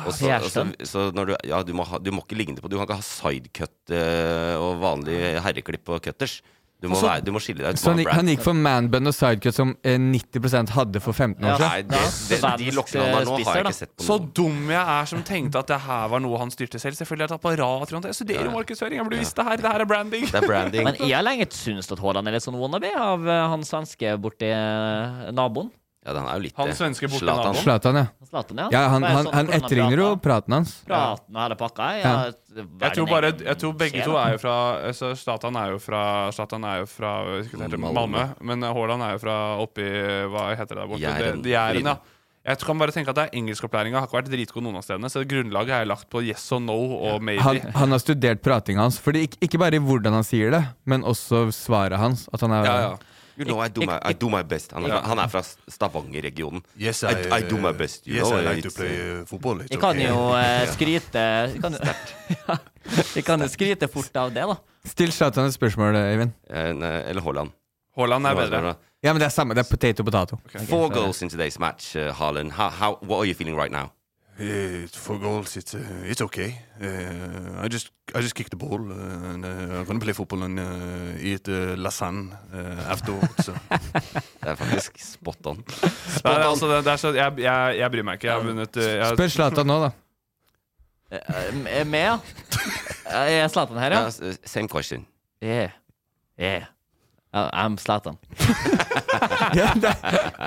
S1: og så, og så,
S3: Gjerstad.
S1: så når du, ja, du, må ha, du må ikke ligne på Du kan ikke ha sidecut eh, og vanlig herreklipp og cutters. Du må,
S2: Og så-
S1: være, du må skille deg ut. du
S2: Så
S1: må ha
S2: han
S1: en
S2: gikk,
S1: brand.
S2: han gikk for manbun og sidecut som eh, 90 hadde for 15 år
S3: Ja. eh,
S2: siden.
S1: Nei, det, det, de lokkene han har nå, har jeg ikke sett på
S4: Så
S1: noen.
S4: dum jeg er som tenkte at det her var noe han styrte selv. Selvfølgelig er det et apparat rundt. Jeg studerer markedsføring, jeg burde visst det her. Det her er branding.
S1: Det er branding.
S3: Men jeg har lenge syntes at Haaland er litt sånn wannabe av eh, han svenske borti eh, naboen.
S1: Ja, han er jo litt
S4: Han
S1: det.
S4: svenske borte
S1: Zlatan.
S4: naboen.
S2: Zlatan, ja.
S3: Zlatan, ja.
S2: ja han,
S3: Bare
S2: han,
S3: sånn
S2: han
S3: hvordan han
S2: etterligner jo
S3: prater.
S2: praten hans.
S3: Praten og hele pakka. Ja,
S2: Ja.
S4: Jeg tror, bare, jeg tror begge to er jo
S3: jo
S4: fra altså, Zlatan er jo fra, Zlatan er jo fra jeg husker ikke hva det heter,
S1: Malmö.
S4: Malmö, men eh, Haaland er jo fra oppi Hva heter det der borte?
S1: Jæren.
S4: Det- det Jæren, ja.
S1: Bryne.
S4: Jeg kan bare tenke at det er Engelskopplæringa har ikke vært dritgod noen av stedene, så grunnlaget er lagt på yes og no og maybe.
S2: Han, han har studert pratinga hans. Fordi ikke, ikke bare i hvordan han sier det, men også svaret hans. At han er
S4: ja, ja.
S1: You know, I do my, I do my best. Han er, han er fra Stavanger-regionen.
S7: Yes,
S1: I- I do my best, you
S7: yes,
S1: know,
S7: I like to
S1: it's,
S7: play uh, football. it's
S3: Jeg kan
S7: okay.
S3: jo eh, skryte jeg kan, ja, jeg kan jo skryte fort av det, da.
S2: Still Zlatan et spørsmål, Eivind.
S1: Eh, ne- Eller Haaland.
S4: Haaland er bedre.
S2: Ja, men det er samme. Det er potato potato.
S1: Four goals in today's match, uh, Haaland. How, how, what are you feeling right now?
S7: Uh, for goals, it's uh, it's okay. Uh, I just I just kicked the ball, uh, and uh, I'm gonna play football and uh, eat uh, lasagne uh, afterwards. so.
S1: Det er faktisk spot on.
S4: Nei, altså, det, det er så, jeg, jeg, jeg bryr meg ikke. Jeg har vunnet eh, jeg,
S2: Spør Zlatan nå, da.
S3: Eh, eh, Med, ja. Eh, Er Zlatan her, ja?
S1: Uh, s- same question.
S3: Yeah. Yeah. Uh, I'm Zlatan.
S2: Ja, det,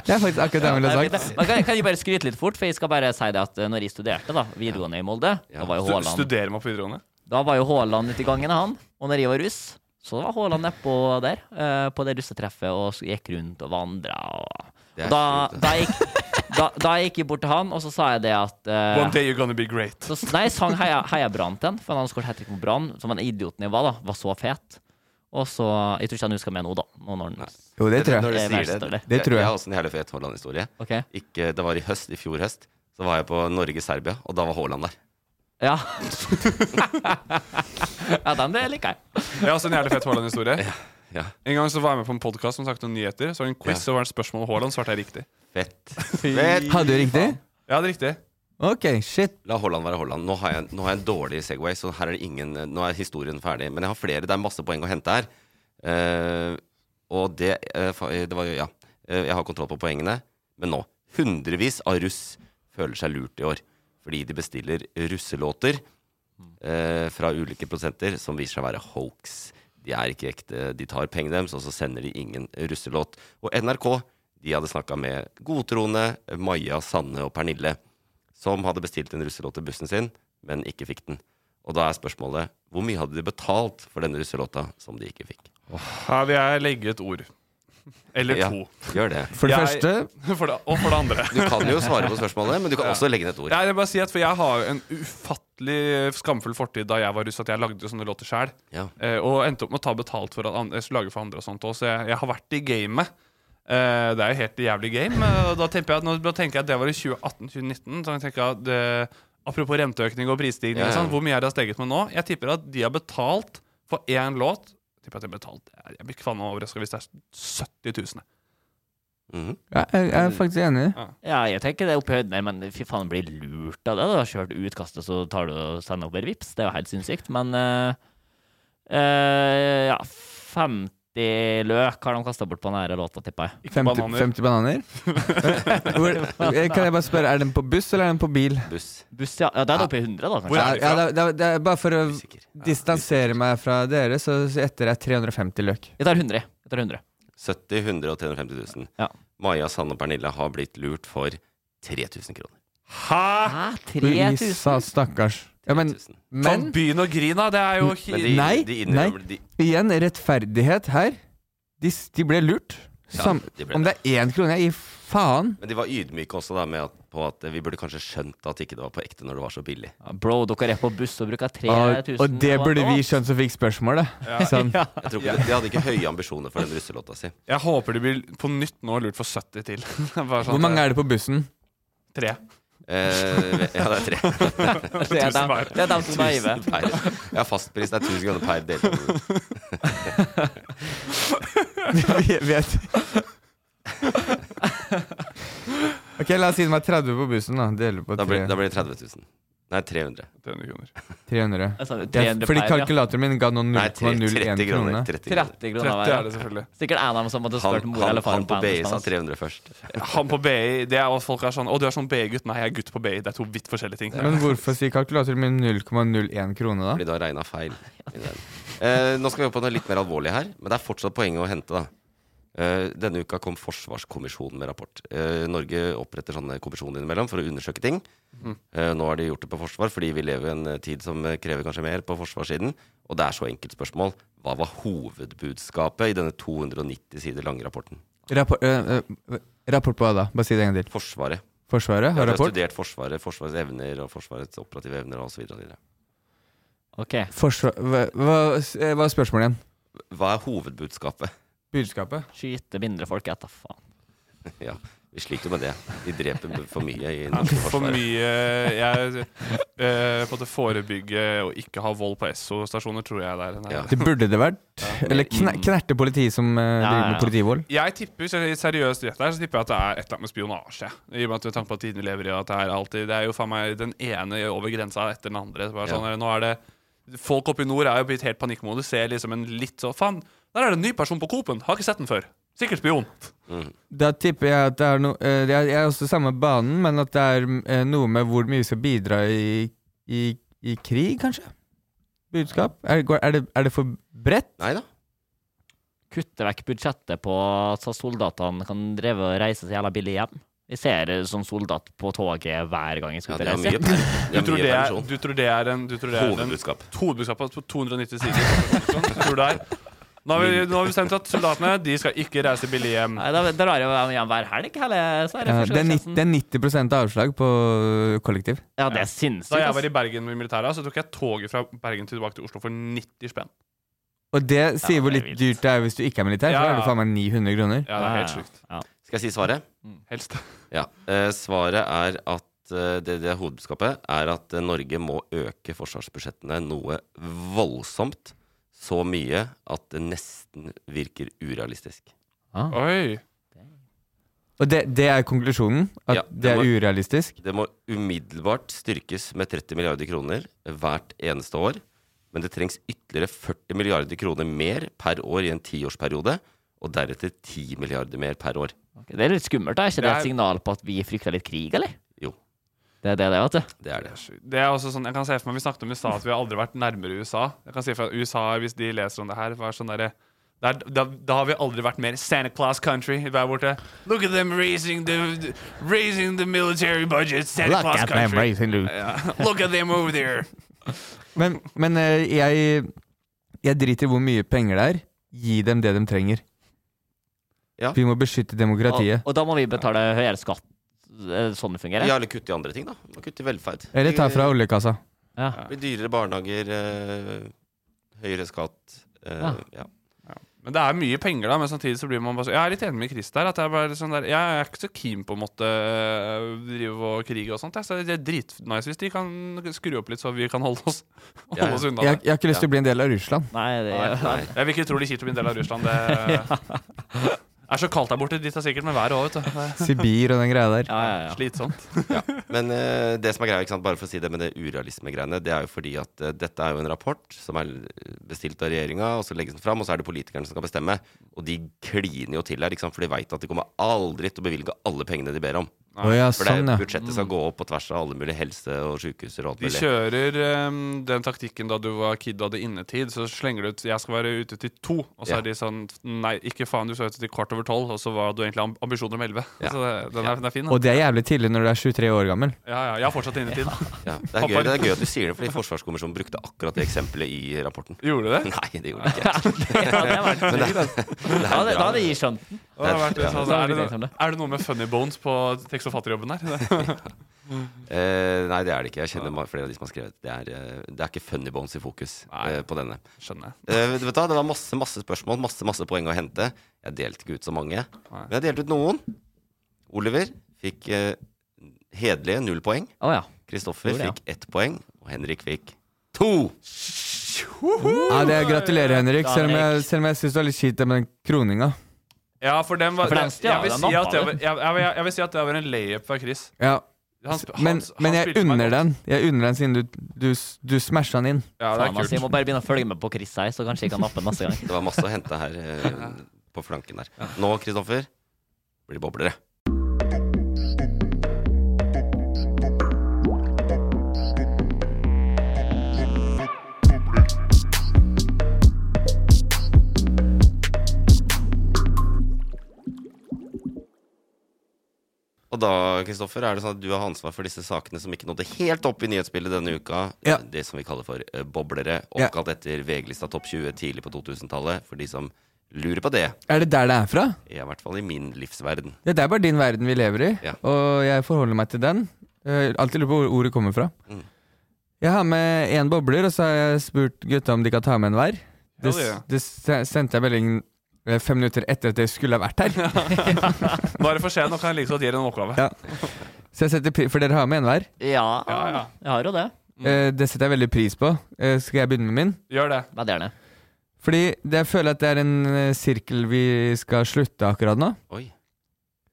S2: det er faktisk akkurat det han ville
S3: Jeg
S2: sagt.
S3: vet det. Men kan, kan jeg bare skryte litt fort, for jeg skal bare si det at eh, når jeg studerte da videregående i Molde, da var jo
S4: stu-
S3: Haaland
S4: studerer meg på videregående.
S3: Da var jo Haaland ute i gangen, han. Og når jeg var russ, så var Haaland nedpå der, eh, på det russetreffet, og så gikk rundt og vandra. Og,
S1: Det er
S3: og da,
S1: sjukt,
S3: da, gikk, da, da gikk jeg bort til han, og så sa jeg det at eh,
S4: One day you're gonna be great.
S3: så, nei, jeg sang Heia, heia Brann til han, for han hadde skåret hat trick mot Brann, som den idioten jeg var, da, var så fet. Og så Jeg tror ikke han husker meg nå, da. Nå når han
S2: Jo, det tror
S1: Når du
S2: jeg.
S3: Det er
S1: sier
S3: verst,
S1: det,
S3: eller?
S2: Det tror jeg.
S1: Jeg har også en jævlig fet Haaland-historie.
S3: Ok.
S1: Ikke- Det var i høst, i fjor høst. Så var jeg på Norge-Serbia, og da var Haaland der.
S3: Ja. ja, den det liker jeg.
S4: Jeg har også en jævlig fett Haaland-historie.
S1: Ja.
S4: En gang så var jeg med på en podkast som snakket om nyheter. Så var det en quiz, så var det et spørsmål om Haaland, svarte jeg riktig.
S1: Fett. Fett.
S2: Hadde du riktig?
S4: Ja, det er riktig.
S2: Ok, shit.
S1: La Haaland være Haaland. Nå har jeg, nå har jeg en dårlig Segway, så her er det ingen eh, Nå er historien ferdig. Men jeg har flere. Det er masse poeng å hente her. Eh, og det eh, fa- eh, Det var jo Ja. Eh, jeg har kontroll på poengene. Men nå. Hundrevis av russ føler seg lurt i år. Fordi de bestiller russelåter eh, fra ulike prosenter som viser seg å være hoax. De er ikke ekte. De tar pengene deres, og så sender de ingen russelåt. Og NRK de hadde snakka med godtroende Maja, Sanne og Pernille som hadde bestilt en russelåt til bussen sin, men ikke fikk den. Og da er spørsmålet hvor mye hadde de betalt for denne russelåta som de ikke fikk?
S4: Her vil jeg legge et ord. Eller
S1: Ja,
S4: to.
S1: gjør det.
S2: For det
S4: Jeg-
S2: første
S4: For det, og for det andre.
S1: Du kan jo svare på spørsmålet, men du kan også legge ned et ord.
S4: Nei, jeg vil bare si at For jeg har jo en ufattelig skamfull fortid da jeg var russ, at jeg lagde sånne låter sjæl.
S1: Ja.
S4: Eh, og endte opp med å ta betalt for at an- jeg skulle lage for andre og sånt også, så jeg, jeg har vært i gamet. Eh, det er jo helt jævlig game. eh, Og da tenker jeg at, nå- da tenker jeg at det var i 2018-2019. Så jeg tenker at eh, Apropos renteøkning og prisstigning,
S1: Ja, ja.
S4: og sånn, hvor mye er det har steget med nå? Jeg tipper at de har betalt for én låt. Jeg tipper at de har betalt Jeg blir kvalm og overraska hvis det er 70 000.
S1: Mhm.
S2: ja, jeg, jeg er faktisk enig.
S3: Ja, jeg tenker det er opp i høyden der, men fy faen, blir lurt av det. Du har ikke hørt utkastet, så tar du og sender over vips. Det er jo helt sinnssykt, men eh, eh, Ja, 50 løk har de kasta bort på denne låta, tipper jeg.
S2: 50
S4: bananer.
S2: 50 bananer? Hvor- eh, Kan jeg bare spørre, er den på buss eller er den på bil?
S1: Buss.
S3: Buss, ja. ja det er oppe i 100, da,
S4: Hvor
S2: Ja,
S3: kanskje.
S4: er de
S2: ja, det,
S4: fra?
S2: det, det er bare for å
S1: Usikker.
S2: distansere meg fra dere, så så etter er 350 løk.
S3: Jeg tar 100. Jeg tar 100.
S1: 70 100 og 350 000.
S3: Ja.
S1: Maja, Sanne og Pernille har blitt lurt for 3000 kroner.
S4: Hæ?!
S3: Hæ, 3000?
S2: Isa, stakkars. Ja, men,
S1: 3000.
S4: Sånn
S2: men Mm,
S4: begynn å grine, da! Det er jo
S1: Men
S4: hi-
S1: de,
S2: Nei,
S1: de innrømmer de,
S2: igjen, rettferdighet her. De, s- de ble lurt.
S1: Ja,
S2: Sam,
S1: de ble
S2: om det er én krone, jeg gir faen.
S1: Men de var ydmyke også da med at, på at vi burde kanskje skjønt at ikke det var på ekte når det var så billig.
S3: Ja, Bro, dere er på buss og bruker
S2: Og,
S3: 3000
S2: og det
S3: på en
S2: burde vi
S3: låt.
S2: skjønt som fikk spørsmålet. Sånn.
S1: Jeg tror ikke, De hadde ikke høye ambisjoner for den russelåta si.
S4: Jeg håper de blir på nytt nå lurt for 70 til. Bare sånn
S2: Hvor mange er det på bussen?
S4: Tre.
S1: Eh, ja, det er tre.
S3: Det er dem,
S4: hver.
S3: det er dem som er naive.
S1: per. Ja, fastpris det er 1000 kroner per deltaker.
S2: Vi vet Ok, la oss si det var 30 på bussen, da. Deler på
S1: Da blir,
S2: tre-
S1: da blir det 30 000. Nei, 300.
S4: 300 kroner.
S2: 300.
S3: Jeg sa det,
S2: Ja,
S3: 300
S2: fordi
S3: per, ja.
S2: kalkulatoren min ga nå
S1: Nei, tre-
S2: 0,01
S1: 30
S2: krone.
S1: kroner. 30 kroner.
S3: 30 kroner
S4: 30 er
S3: hver.
S4: det
S3: ja.
S4: selvfølgelig.
S3: Sikkert en av dem som hadde
S1: Han,
S3: spurt mor
S1: han,
S3: eller far
S1: han på BI sa
S3: hans.
S1: 300 først.
S4: Han på BI, det er at folk er sånn Å, du er sånn BI-gutt. Nei, jeg er gutt på BI. Det er to vidt forskjellige ting.
S2: Men hvorfor sier kalkulatoren min 0,01 krone, da?
S1: Fordi du har regna feil. i den. Eh, nå skal vi opp på noe litt mer alvorlig her, men det er fortsatt poenget å hente. da Eh, Denne uka kom Forsvarskommisjonen med rapport. Eh, Norge oppretter sånne kommisjoner innimellom for å undersøke ting. Eh, nå har de gjort det på forsvar, fordi vi lever i en eh, tid som eh, krever kanskje mer på forsvarssiden. Og det er så enkelt spørsmål. Hva var hovedbudskapet i denne 290 sider lange rapporten?
S2: Rapport, øh, øh, rapport på hva da? Bare si det en gang til.
S1: Forsvaret.
S2: Forsvaret
S1: Ja, de
S2: har
S1: har
S2: rapport.
S1: studert Forsvaret, Forsvarets evner og Forsvarets operative evner osv.
S3: Ok.
S2: Forsvar, hva, hva, s- eh, hva er spørsmålet igjen?
S1: Hva er hovedbudskapet?
S2: budskapet.
S3: Skyte mindre folk etter, faen.
S1: Ja, vi sliter jo med det. De dreper b- for mye i norske
S4: For
S1: forsvaret.
S4: mye jeg, eh, På det forebygge og ikke ha vold på Esso-stasjoner, tror jeg det er. Nei.
S1: Ja.
S2: Det burde det vært. Eller kne knerte politi som eh, driver
S3: Mm. ja.
S2: med politivold.
S4: Jeg tipper, hvis jeg seriøst gjett her, så tipper jeg at det er et eller annet med spionasje. I og med at tanken på at tiden vi lever i, at det er alltid Det er jo faen meg den ene over grensa etter den andre. Så Bare sånn, Nå er det Folk oppe i nord er jo blitt helt panikkmodus. Ser liksom en litt sånn Faen, der er det en ny person på Coop-en! Har ikke sett den før. Sikkert spion.
S2: Da tipper jeg at det er noe eh, Jeg jeg er også samme banen, men at det er eh, noe med hvor mye vi skal bidra i, i, i krig, kanskje? Budskap? Er, går- er, det, er det for bredt?
S1: Nei da.
S3: Kutte vekk budsjettet på så soldatene kan dreve og reise så jævla billig hjem. Vi ser eh, sånn soldat på toget hver gang jeg
S1: Ja,
S3: skal ut
S1: de
S3: og
S1: har mye,
S3: reise.
S1: per,
S4: Du
S1: de har
S4: tror,
S1: mye
S4: det er,
S1: permisjon.
S4: du tror det er en du tror det er en-
S1: Hovedbudskap.
S4: Hovedbudskapet på 290 sider. Sånn, tror du det er. Nå har vi, nå har vi bestemt at soldatene de skal ikke reise billig hjem.
S3: Nei, da da drar jeg jo hjem hver helg, eller så er det
S2: Ja,
S3: første
S2: Eh, det, er nitt-
S3: sjansen.
S2: det er 90 avslag på kollektiv.
S3: Ja, det er
S4: Da
S3: sinnssykt.
S4: jeg var
S3: ass.
S4: i Bergen med militæret, så tok jeg toget fra Bergen tilbake til Oslo for 90 spenn.
S2: Og det sier
S3: Ja,
S2: hvor
S3: det er
S2: litt
S3: vilt.
S2: dyrt det er hvis du ikke er militær.
S4: Ja,
S2: For da
S4: ja.
S2: er det faen meg 900 kroner.
S4: Ja, det er helt
S3: Ja, ja,
S4: sjukt.
S3: ja.
S1: Skal jeg si svaret?
S4: Helst.
S1: Ja. Eh, svaret er at eh, det, det hovedbudskapet er at eh, Norge må øke forsvarsbudsjettene noe voldsomt. Så mye at det nesten virker urealistisk.
S4: Oi.
S2: Og det, det er konklusjonen? At
S1: Ja,
S2: det er
S1: det
S2: urealistisk?
S1: Det må umiddelbart styrkes med 30 milliarder kroner hvert eneste år. Men det trengs ytterligere 40 milliarder kroner mer per år i en tiårsperiode. Og deretter 10 milliarder mer per år.
S3: Ok, Det er litt skummelt, da. Er ikke det
S4: Det er-
S3: et signal på at vi frykter litt krig, eller?
S1: Jo.
S3: Det er det, det, vet du.
S1: Det er det.
S4: Det er også sånn, jeg kan se for meg, Vi snakket om i stad at vi har aldri vært nærmere USA. Jeg kan si for at USA, Hvis de leser om det her var sånn derre- det er- da, da har vi aldri vært mer Santa Claus country der borte. Look at them raising the, raising the military budget. Santa Claus country. Ja. Look at them over there.
S2: Men, men eh, jeg, jeg driter i hvor mye penger det er. Gi dem det de trenger.
S1: Ja.
S2: Vi må beskytte
S3: Og,
S2: demokratiet.
S3: og da må vi betale høyere skatt. Er det sånn det fungerer?
S1: Ja, eller kutte i andre ting, da. Kutte i velferd.
S2: Eller ta fra oljekassa.
S3: Ja.
S1: Det blir dyrere barnehager, eh, høyere skatt. eh,
S3: Ja.
S1: ja.
S4: Men det er mye penger, da. Men samtidig så blir man bare så, Jeg er litt enig med Chris der. At jeg, er bare sånn der, jeg er ikke så keen på å måtte øh, drive og krige og sånt. Jeg, så det er dritnice hvis de kan skru opp litt, så vi kan holde oss, holde
S1: Ja, ja.
S4: oss unna.
S2: Jeg,
S4: det.
S2: jeg har ikke lyst til å bli en del av Russland.
S3: Nei, det er
S1: Nei.
S4: Jeg vil ikke tro det er kjipt å bli en del av Russland. Det eh, er så kaldt der borte. De tar sikkert med været òg, vet du. Det
S2: Sibir og den greia der.
S3: Ja, ja,
S4: er
S3: ja.
S4: Slitsomt.
S1: Men eh, det som er greia, ikke sant, bare for å si det med det urealismegreiene, det er jo fordi at eh, dette er jo en rapport som er bestilt av regjeringa, og så legges den fram, og så er det politikerne som skal bestemme. Og de kliner jo til her, ikke sant, for de veit at de kommer aldri til å bevilge alle pengene de ber om.
S2: Å ja,
S1: For det,
S2: sånn, ja.
S1: budsjettet skal gå opp på tvers av alle mulige helse- og sykehuser og alt
S4: De
S1: mulig.
S4: kjører øhm, den taktikken da du var kid og hadde innetid. Så slenger du ut 'jeg skal være ute til to', og så
S1: Ja.
S4: er de sånn 'nei, ikke faen, du skal ute til kvart over tolv', og så var du egentlig amb- ambisjoner om elleve.
S1: Ja.
S4: Så det, den, er, den er fin.
S2: Og det er jævlig tidlig når du er 23 år gammel.
S4: Ja, ja, jeg har fortsatt innetid. da.
S1: Ja, det, er gøy, det er gøy at du sier det, fordi Forsvarskommisjonen brukte akkurat det eksempelet i rapporten.
S4: Gjorde du det? altså.
S1: Nei, det gjorde de ikke.
S3: ja det var
S1: Men det,
S3: Da
S1: det er
S3: hadde da hadde
S1: bra.
S3: jeg skjønt den.
S4: Det har vært litt sånn,
S3: Ja.
S4: er, det noe, er det noe med funny bones på tekst- og fattigjobben her?
S1: Eh, nei, det er det ikke. Jeg kjenner ma- flere av de som har skrevet. Det er, eh, det er ikke funny bones i fokus
S4: Nei.
S1: eh, på denne.
S4: Skjønner jeg.
S1: Eh, vet du hva, Det var masse masse spørsmål, masse masse poeng å hente. Jeg delte ikke ut så mange. Men jeg delte ut noen. Oliver fikk eh, hederlige null poeng.
S3: Å ja.
S1: Kristoffer
S3: Gjorde det, ja.
S1: fikk ett poeng. Og Henrik fikk to.
S2: Ja, det er Gratulerer, Henrik. Selv om jeg,
S3: Henrik.
S2: selv om jeg syns det var litt kjipt det med den kroninga.
S4: Ja, for den var
S3: For den
S4: jeg-
S3: stjal
S4: jeg, vil
S3: den
S4: si
S3: opp,
S4: at det
S3: eller?
S4: var, jeg, jeg, jeg, jeg vil si at det var en layup fra Chris.
S2: Ja.
S4: Han sp-
S2: Altså,
S4: han-
S2: Men,
S4: han
S2: men jeg
S4: spilte meg
S2: unner
S4: godt.
S2: den Jeg unner den siden du, du, du smasha den inn.
S4: Ja,
S3: Faen,
S4: det er
S3: altså, jeg
S4: kult.
S3: må bare begynne å følge med på Chris her, så kanskje jeg kan nappe den neste gang.
S1: Det var masse å hente her eh, på flanken der. Nå, Kristoffer, blir det boblere. Og da, Kristoffer, er det sånn at du har ansvar for disse sakene som ikke nådde helt opp i nyhetsbildet denne uka.
S2: Ja.
S1: Det som vi kaller for eh, boblere,
S2: Ja.
S1: oppkalt etter VG-lista Topp 20 tidlig på 2000-tallet. For de som lurer på det,
S2: Er det der det er fra?
S1: i hvert fall i min livsverden.
S2: Ja, det er bare din verden vi lever i,
S1: Ja.
S2: og jeg forholder meg til den. Eh, Alltid lurer på hvor ordet kommer fra.
S1: Mm.
S2: Jeg har med én bobler, og så har jeg spurt gutta om de kan ta med en hver. Det,
S4: Ja, det gjør jeg.
S2: det se- sendte jeg melding eh, fem minutter etter at jeg skulle ha vært her.
S4: Nå er det for sent, nå kan jeg like godt gi deg en oppgave.
S2: Ja. Så jeg setter pri For dere har med en hver.
S3: Ja,
S4: Ja, ja.
S3: jeg har jo det.
S4: Mm.
S2: Eh, Det setter jeg veldig pris på. Eh, Skal jeg begynne med min?
S4: Gjør det.
S3: Veldig gjerne.
S2: Fordi det, jeg føler at det er en eh, sirkel vi skal slutte akkurat nå.
S1: Oi.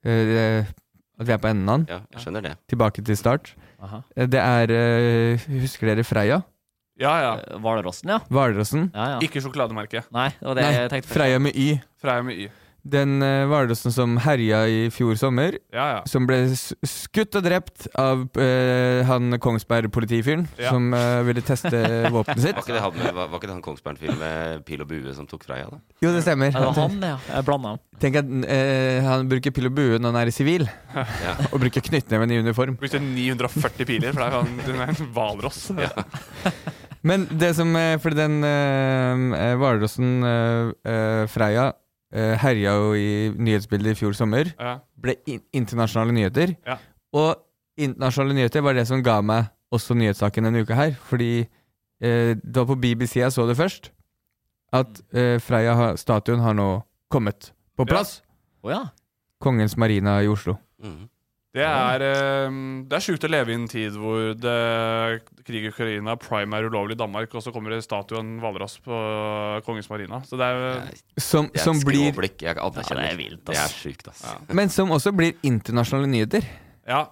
S2: Eh, det- At vi er på enden av den.
S1: Ja, jeg skjønner det.
S2: Tilbake til start.
S3: Aha.
S2: Eh, Det er eh, Husker dere Freia?
S4: Ja, ja.
S3: Eh, Hvalrossen, ja.
S2: Hvalrossen?
S3: Ja, ja.
S4: Ikke sjokolademerke.
S3: Nei, det var det
S2: Nei,
S3: jeg tenkte først.
S2: Freia med Y.
S4: Freia med Y.
S2: Den eh, hvalrossen som herja i fjor sommer.
S4: Ja, ja.
S2: Som ble s- skutt og drept av eh, han Kongsberg-politifyren
S4: Ja.
S2: som eh, ville teste våpenet
S1: Var
S2: sitt.
S1: ikke det han, var, var ikke det han Kongsberg-film med pil og bue som tok Freia, da?
S2: Jo, det stemmer.
S3: Ja, det var han, ja. Jeg blanda dem.
S2: Tenk at eh, han bruker pil og bue når han er i sivil,
S1: Ja.
S2: og bruker knyttneven i uniform.
S4: Brukte 940 piler, for det er jo en- den er en hvalross.
S2: Men det som eh, Fordi den eh, eh, hvalrossen eh, eh, Freia eh, herja jo i nyhetsbildet i fjor sommer.
S4: Ja.
S2: Ble in internasjonale nyheter.
S4: Ja.
S2: Og internasjonale nyheter var det som ga meg også nyhetssaken denne uka her. Fordi eh, det var på BBC jeg så det først, at eh, Freia-statuen har nå kommet på
S4: Ja.
S2: plass.
S3: Å ja.
S2: Kongens Marina i Oslo.
S1: Mhm.
S4: Det er, eh, det er sjukt å leve i en tid hvor det, krig i Ukraina, prime er ulovlig i Danmark, og så kommer det statuen hvalross på Kongens Marina. Så det er
S1: Det
S2: Som,
S1: er
S2: som
S1: et
S2: blir
S1: skråblikk jeg anerkjenner.
S3: Ja, det er vilt,
S1: Det
S3: ass.
S1: er sjukt, ass.
S4: Ja.
S2: Men som også blir internasjonale nyheter.
S4: Ja.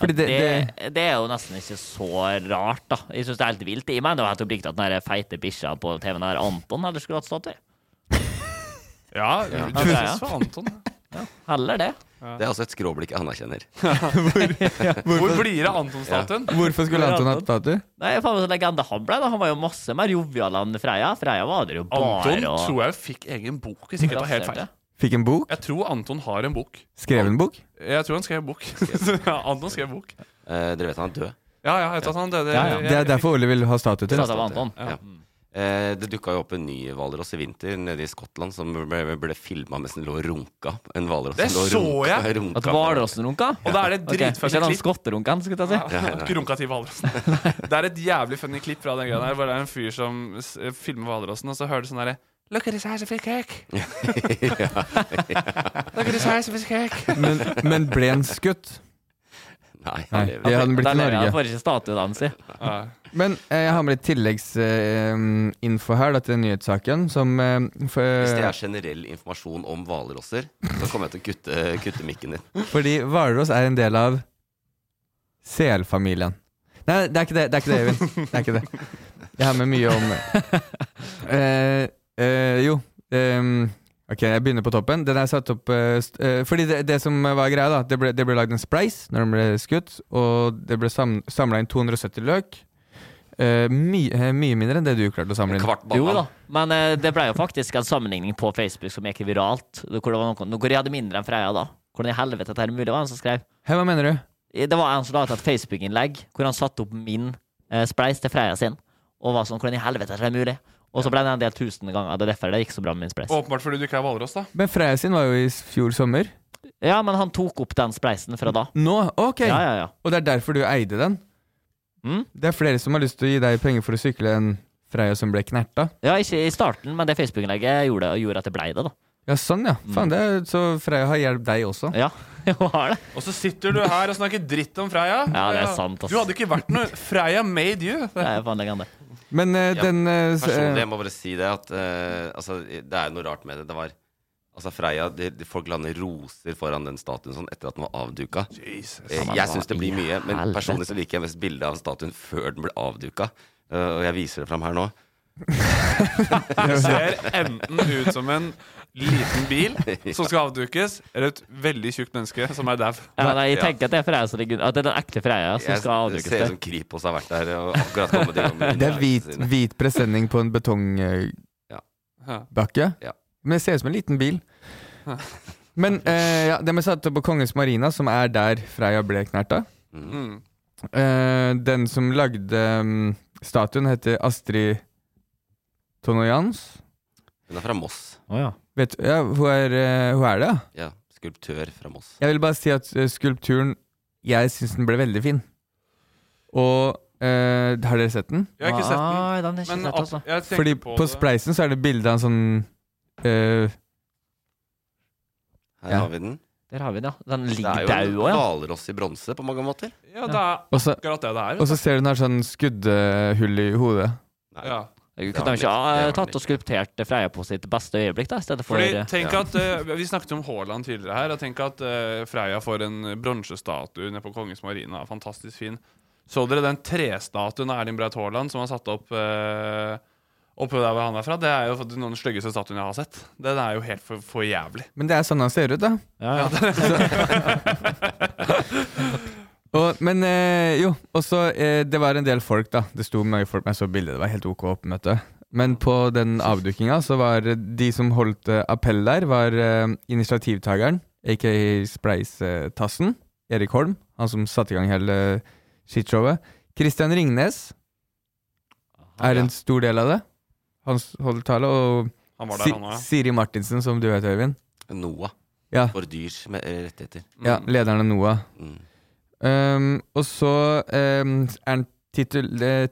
S2: Fordi det,
S3: det,
S2: det,
S3: det, er jo nesten ikke så rart, da. Jeg syns det er helt vilt. Jeg mener jo helt oppriktig at den der feite bikkja på TV-en her, Anton, heller skulle hatt statue.
S4: Ja,
S1: Ja.
S4: det er for Anton.
S3: Heller det.
S1: Det er også et skråblikk jeg anerkjenner.
S4: Hvor blir det av Anton-statuen?
S2: Hvorfor skulle Anton hatt statue?
S3: Nei, faen meg så legende han ble. da Han var jo masse mer jovial enn Freia. Freia var det jo bare
S4: Anton
S3: å
S4: tror jeg fikk egen bok, hvis ikke jeg tar helt feil.
S2: Fikk en bok?
S4: Jeg tror Anton har en bok.
S2: Skrev en bok?
S4: Jeg tror han skrev bok. ja, Anton skrev bok.
S1: Eh, dere vet han er død.
S4: Ja, ja, jeg sånn, vet at han døde.
S3: Ja, ja.
S2: Det er derfor Ole vil ha statue til.
S3: Så det var Anton.
S1: Ja. Eh, det dukka jo opp en ny hvalross i vinter nede i Skottland som ble, ble filma mens den lå og runka. En hvalross
S4: Det
S1: som lå og
S4: så
S1: runka,
S4: jeg!
S1: runka
S3: At
S1: på-
S3: hvalrossen runka?
S4: Og da er det et
S3: Ok,
S4: dritfett
S3: Ikke den
S4: klipp.
S3: skotterunken, skulle jeg si.
S4: Ja, Runka til hvalrossen. Det er et jævlig funny klipp fra den greia der, hvor det er en fyr som s- eh, filmer hvalrossen, og så hører du sånn derre Look at his eyes of a cake. Look at his eyes of a cake.
S2: Men, men ble han skutt?
S1: Nei,
S2: Nei.
S1: han lever.
S2: Det hadde blitt i
S3: Der lever jeg,
S2: Norge.
S3: får ikke statuen hans i.
S4: Ja.
S2: Men eh, jeg har med litt tilleggsinfo her da, til nyhetssaken, som eh,
S1: Hvis det
S2: for,
S1: er generell informasjon om hvalrosser, så kommer jeg til å kutte, kutte mikken din.
S2: Fordi Hvalross er en del av selfamilien. Nei, det er ikke det, det, er ikke det Øyvind. Det er ikke det. Jeg har med mye om Eh, eh, Jo. ehm, ok, jeg begynner på toppen. Den er satt opp eh, st eh, Fordi det, det som var greia, da Det ble, det ble lagd en spleis når den ble skutt, og det ble sam samla inn 270 løk. Eh, my eh, mye mindre enn det du klarte å samle inn.
S1: Kvart
S3: Jo
S1: banan.
S3: da, men eh, det ble jo faktisk en sammenligning på Facebook som gikk viralt. Hvor det var noen, hvor jeg hadde mindre enn Freia da. Hvordan i helvete dette er mulig, var det en som skrev.
S2: Hei, hva mener du?
S3: Det var en som la ut et Facebook-innlegg hvor han satte opp min eh, spleis til Freia sin. Og var sånn Hvordan i helvete er det mulig? Og så ble det en del tusen ganger. Det er derfor det gikk så bra med min spleis.
S4: Åpenbart fordi du ikke er hvalross, da.
S2: Men Freia sin var jo i s- fjor sommer.
S3: Ja, men han tok opp den spleisen fra da.
S2: Nå? Ok!
S3: Ja, ja, ja.
S2: Og det er derfor du eide den?
S3: Mm.
S2: Det er flere som har lyst til å gi deg penger for å sykle en Freia som ble knerta?
S3: Ja, ikke i starten, men det Facebook-innlegget gjorde, gjorde at det blei det, da.
S2: Ja, sånn ja.
S1: Mm.
S2: Faen, det er, så Freia har hjulpet deg også.
S3: Ja, jo, har det.
S4: Og så sitter du her og snakker dritt om Freia.
S3: Ja, det er sant, ass.
S4: Du hadde ikke vært noe Freia made you.
S3: Det er faen legende.
S2: Men eh,
S1: Ja,
S2: den eh, s-
S1: Personlig,
S2: eh,
S1: jeg må bare si det at eh, altså, det er noe rart med det. Det var Altså Freia, de, de folk lander roser foran den statuen sånn etter at den var avduka. Eh,
S3: Ja, men
S1: jeg
S3: hva
S1: syns det blir
S3: i
S1: mye, men
S3: helvete?
S1: personlig så liker jeg mest bildet av statuen før den ble avduka. Eh, og jeg viser det fram her nå.
S4: Det ser enten ut som en liten bil som skal avdukes, eller et veldig tjukt menneske som er dau.
S3: Ja, nei, jeg
S1: Ja.
S3: tenker at det er Freia som ligger At det er den ekte Freia som
S1: Jeg
S3: skal
S1: ser
S3: avdukes.
S1: ut som
S3: til.
S1: Kripos har vært der og akkurat kommet i gang. med
S2: eh, det er hvit,
S1: sine.
S2: hvit presenning på en betongbakke.
S4: Ja.
S1: Ja.
S2: Men det ser ut som en liten bil. Men eh, ja, den ble satt opp på Kongens Marina, som er der Freia ble knerta.
S1: Mm.
S4: Mm.
S2: Eh, den som lagde mm, statuen, heter Astrid Tonoyans.
S1: Hun er fra Moss.
S3: Å, ja.
S2: Vet, ja, hun, er, eh, hun er det, ja.
S1: Ja, skulptør fra Moss.
S2: Jeg vil bare si at eh, skulpturen Jeg syns den ble veldig fin. Og eh, Har dere sett den?
S4: Jeg har ikke sett den.
S3: Nei, den Ah, er ikke
S4: Men
S3: sett, altså.
S4: at- jeg tenkte
S2: Fordi
S4: på
S2: på,
S4: det.
S2: spleisen så er det bilde av en sånn eh,
S1: Her
S2: Ja.
S1: har vi den.
S3: Der har vi den, ja. Den
S1: Det
S3: ligger
S1: er
S3: daud
S1: jo
S3: òg,
S1: en
S3: ja.
S1: hvalross i bronse på mange måter.
S4: Ja, det er
S2: Og så-
S4: akkurat det det er.
S2: og
S4: vet
S2: så ser du den har sånn skuddhull i hodet.
S4: du. Ja.
S3: Jeg
S1: Det har
S3: Kunne de
S1: den
S3: ikke ha
S1: ikke.
S3: eh, tatt og skulptert Freia på sitt beste øyeblikk, da, i stedet for
S4: Fordi,
S3: eh,
S4: tenk
S1: ja.
S4: at eh, Vi snakket om Haaland tidligere her. Og tenk at eh, Freia får en bronsestatue nede på Kongens Marina. Fantastisk fin. Så dere den trestatuen av Erling Braut Haaland som er satt opp eh, oppe der hvor han er fra? Det er jo faktisk noen av de styggeste statuene jeg har sett. Den er jo helt for, for jævlig.
S2: Men det er sånn han ser ut, da.
S3: ja, ja.
S2: Og, men eh, jo, og så eh, Det var en del folk, da. Det sto mye folk, men jeg så bildet. Det var helt ok oppmøte. Men på den avdukinga så var eh, de som holdt eh, appell der, var eh, initiativtakeren, aka Spleis-tassen, Erik Holm, han som satte i gang hele eh, shitshowet. Christian Ringnes er en stor del av det. Han s- holdt tale. Og
S4: Han var
S2: Si-
S4: der, han òg.
S2: Siri Martinsen, som du vet, Øyvind.
S1: Noah.
S2: Ja.
S1: For dyrs med- eh, rettigheter.
S4: Mm.
S2: Ja, lederen av NOAH.
S1: Mm.
S2: Um, og så um, er den titul- eh,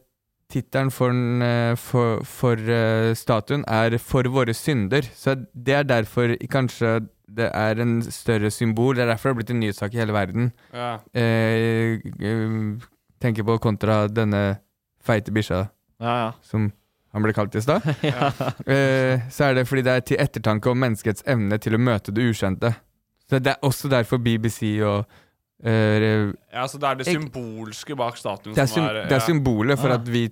S2: tittelen for, den, eh, for, for eh, statuen er 'For våre synder'. Så det er derfor kanskje det er en større symbol. Det er derfor det har blitt en nyhetssak i hele verden.
S4: Ja.
S2: Eh, eh, tenker på kontra denne feite bikkja
S3: ja, ja.
S2: som han ble kalt i stad. Eh, så er det fordi det er til ettertanke om menneskets evne til å møte det ukjente. Så det er også derfor BBC og eh,
S4: ja, så det er det
S2: Jeg-
S4: symbolske bak statuen
S2: det er,
S4: som
S2: sym
S4: er
S2: det er
S4: ja.
S2: symbolet for
S3: Ah.
S2: at vi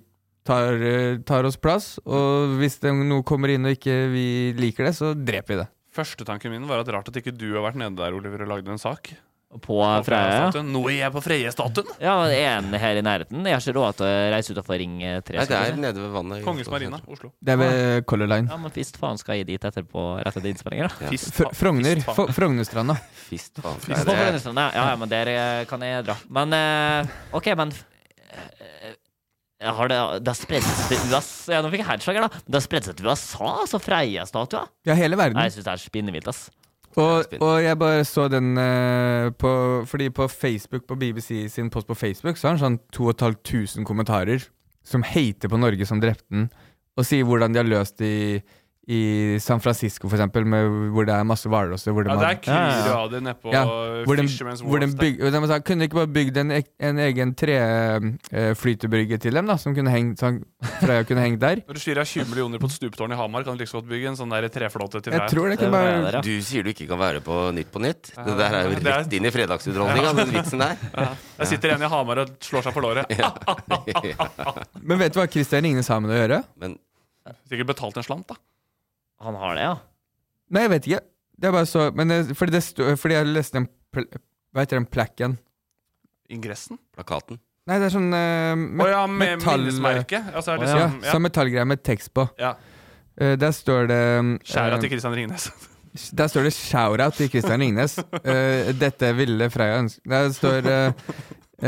S2: tar, eh, tar oss plass, og hvis det noe kommer inn og ikke vi liker det, så dreper vi det.
S4: Førstetanken min var at rart at ikke du har vært nede der Oliver, og lagd en sak.
S3: På
S4: på
S3: Freia, ja.
S4: Freia-statuen. Nå er jeg på Freia-statuen!
S3: Ja, men Er den her i nærheten? Jeg har ikke råd til å reise utafor Ring eh, 3.
S1: Nei, det er nede ved vannet.
S4: Kongens Marina, Oslo.
S2: Det er
S3: Ah.
S2: ved Color Line.
S3: Ja, men hvis faen skal jeg dit etterpå, rett etter innspillinga, da?
S4: Fist,
S2: Fr Frogner.
S4: fist-
S2: F Frognerstranda.
S1: Fist, faen.
S3: På
S1: Det er-
S3: Brønnøysund, sånn, Ja, ja, ja, men der eh, kan jeg dra. Men eh, OK, men eh, har det, det har spredt seg til USA ja, Nå fikk jeg headslager, da. Det har spredt seg til USA, altså Freia-statua.
S2: Ja, hele
S3: Nei,
S2: verden.
S3: Jeg syns det er spinnevilt, ass.
S2: Og, og jeg bare så den eh, på Fordi på Facebook, på BBC sin post på Facebook, så har han sånn 2500 kommentarer som hater på Norge som drepte den, og sier hvordan de har løst det i, i San Francisco, for eksempel, med, hvor det er masse hvalrosser. hvor de
S4: Ja, det
S2: har-
S4: er Kryradi nedpå
S2: Ja, hvor den,
S4: Fisherman's
S2: hvor den
S4: Wharf der.
S2: byg, de sa, Kunne de ikke bare bygd en, ek- en egen treflytebrygge til dem, da, som kunne hengt, sånn, Freia kunne hengt der?
S4: Når du sier jeg har 20 millioner på et stuptårn i Hamar, kan du like så godt bygge en sånn der treflåte til
S2: Jeg
S4: deg.
S2: tror det
S3: Det
S2: kunne
S3: var
S2: bare
S3: det der, ja.
S1: Du sier du ikke kan være på Nytt på nytt. Det der er jo
S4: Det er-
S1: rett inn i fredagsunderholdninga, den vitsen der.
S4: Der sitter en i Hamar og slår seg på låret.
S2: Men vet du hva Christian Ringnes har med det å gjøre?
S1: Men
S4: Sikkert betalt en slant, da.
S3: Han har det, ja.
S2: Nei, jeg vet ikke. Det er bare så men, eh, fordi, det sto, fordi jeg leste den pl Hva heter den plakken?
S4: Ingressen.
S1: plakaten
S2: Nei, det er sånn eh,
S4: Å
S2: met
S4: ja, med
S2: metall-
S4: minnesmerke. Ja, så er det
S2: ja,
S4: liksom, ja.
S2: sånn metallgreie med tekst på.
S4: Ja.
S2: Eh, der står det
S4: Skjæra
S2: eh,
S4: til Christian Ringnes.
S2: Der står det 'shout-out' til Christian Ringnes. Eh, dette ville Freia ønske Der står eh,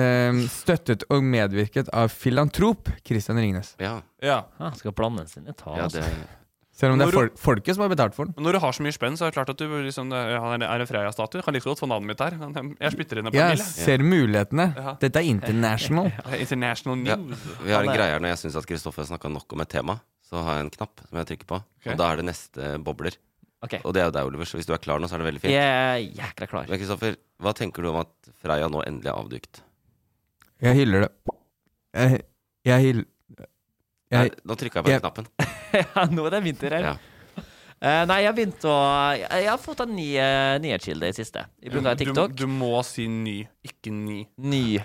S2: eh, 'støttet og medvirket av filantrop Christian Ringnes'.
S1: Ja,
S4: Ja.
S3: Han skal blande seg inn i ta,
S1: ja
S3: altså.
S1: det
S2: Selv om det er fol folket som har betalt for den.
S4: Men når du har så mye spenn, så er det klart at du liksom, ja, han er en Freia-statue. Kan like så godt få navnet mitt der. Han- Jeg spytter inne på en
S2: Jeg
S4: mil. jeg.
S2: ser mulighetene.
S4: Ja.
S2: Dette er international.
S4: Det er International
S1: Ja.
S4: news.
S1: Vi har en greie her når jeg syns at Kristoffer har snakka nok om et tema. Så har jeg en knapp som jeg trykker på,
S4: Ok.
S1: og da er det neste bobler.
S3: OK.
S1: Og det er jo deg, Oliver, så hvis du er klar nå, så er det veldig fint.
S3: Jeg er jækla klar.
S1: Men Kristoffer, hva tenker du om at Freia nå endelig er avdukt?
S2: Jeg hyller det. Jeg, jeg hyller
S1: Nei,
S2: jeg,
S1: nå trykka jeg på
S2: jeg-
S1: den knappen.
S3: Ja, nå er det vinter her.
S1: Ja.
S3: Eh, nei, jeg har begynt å Jeg, jeg har fått en ny eh, nyhetskilde i det siste. Jeg bruker TikTok.
S4: Du, du må si ny, ikke ni.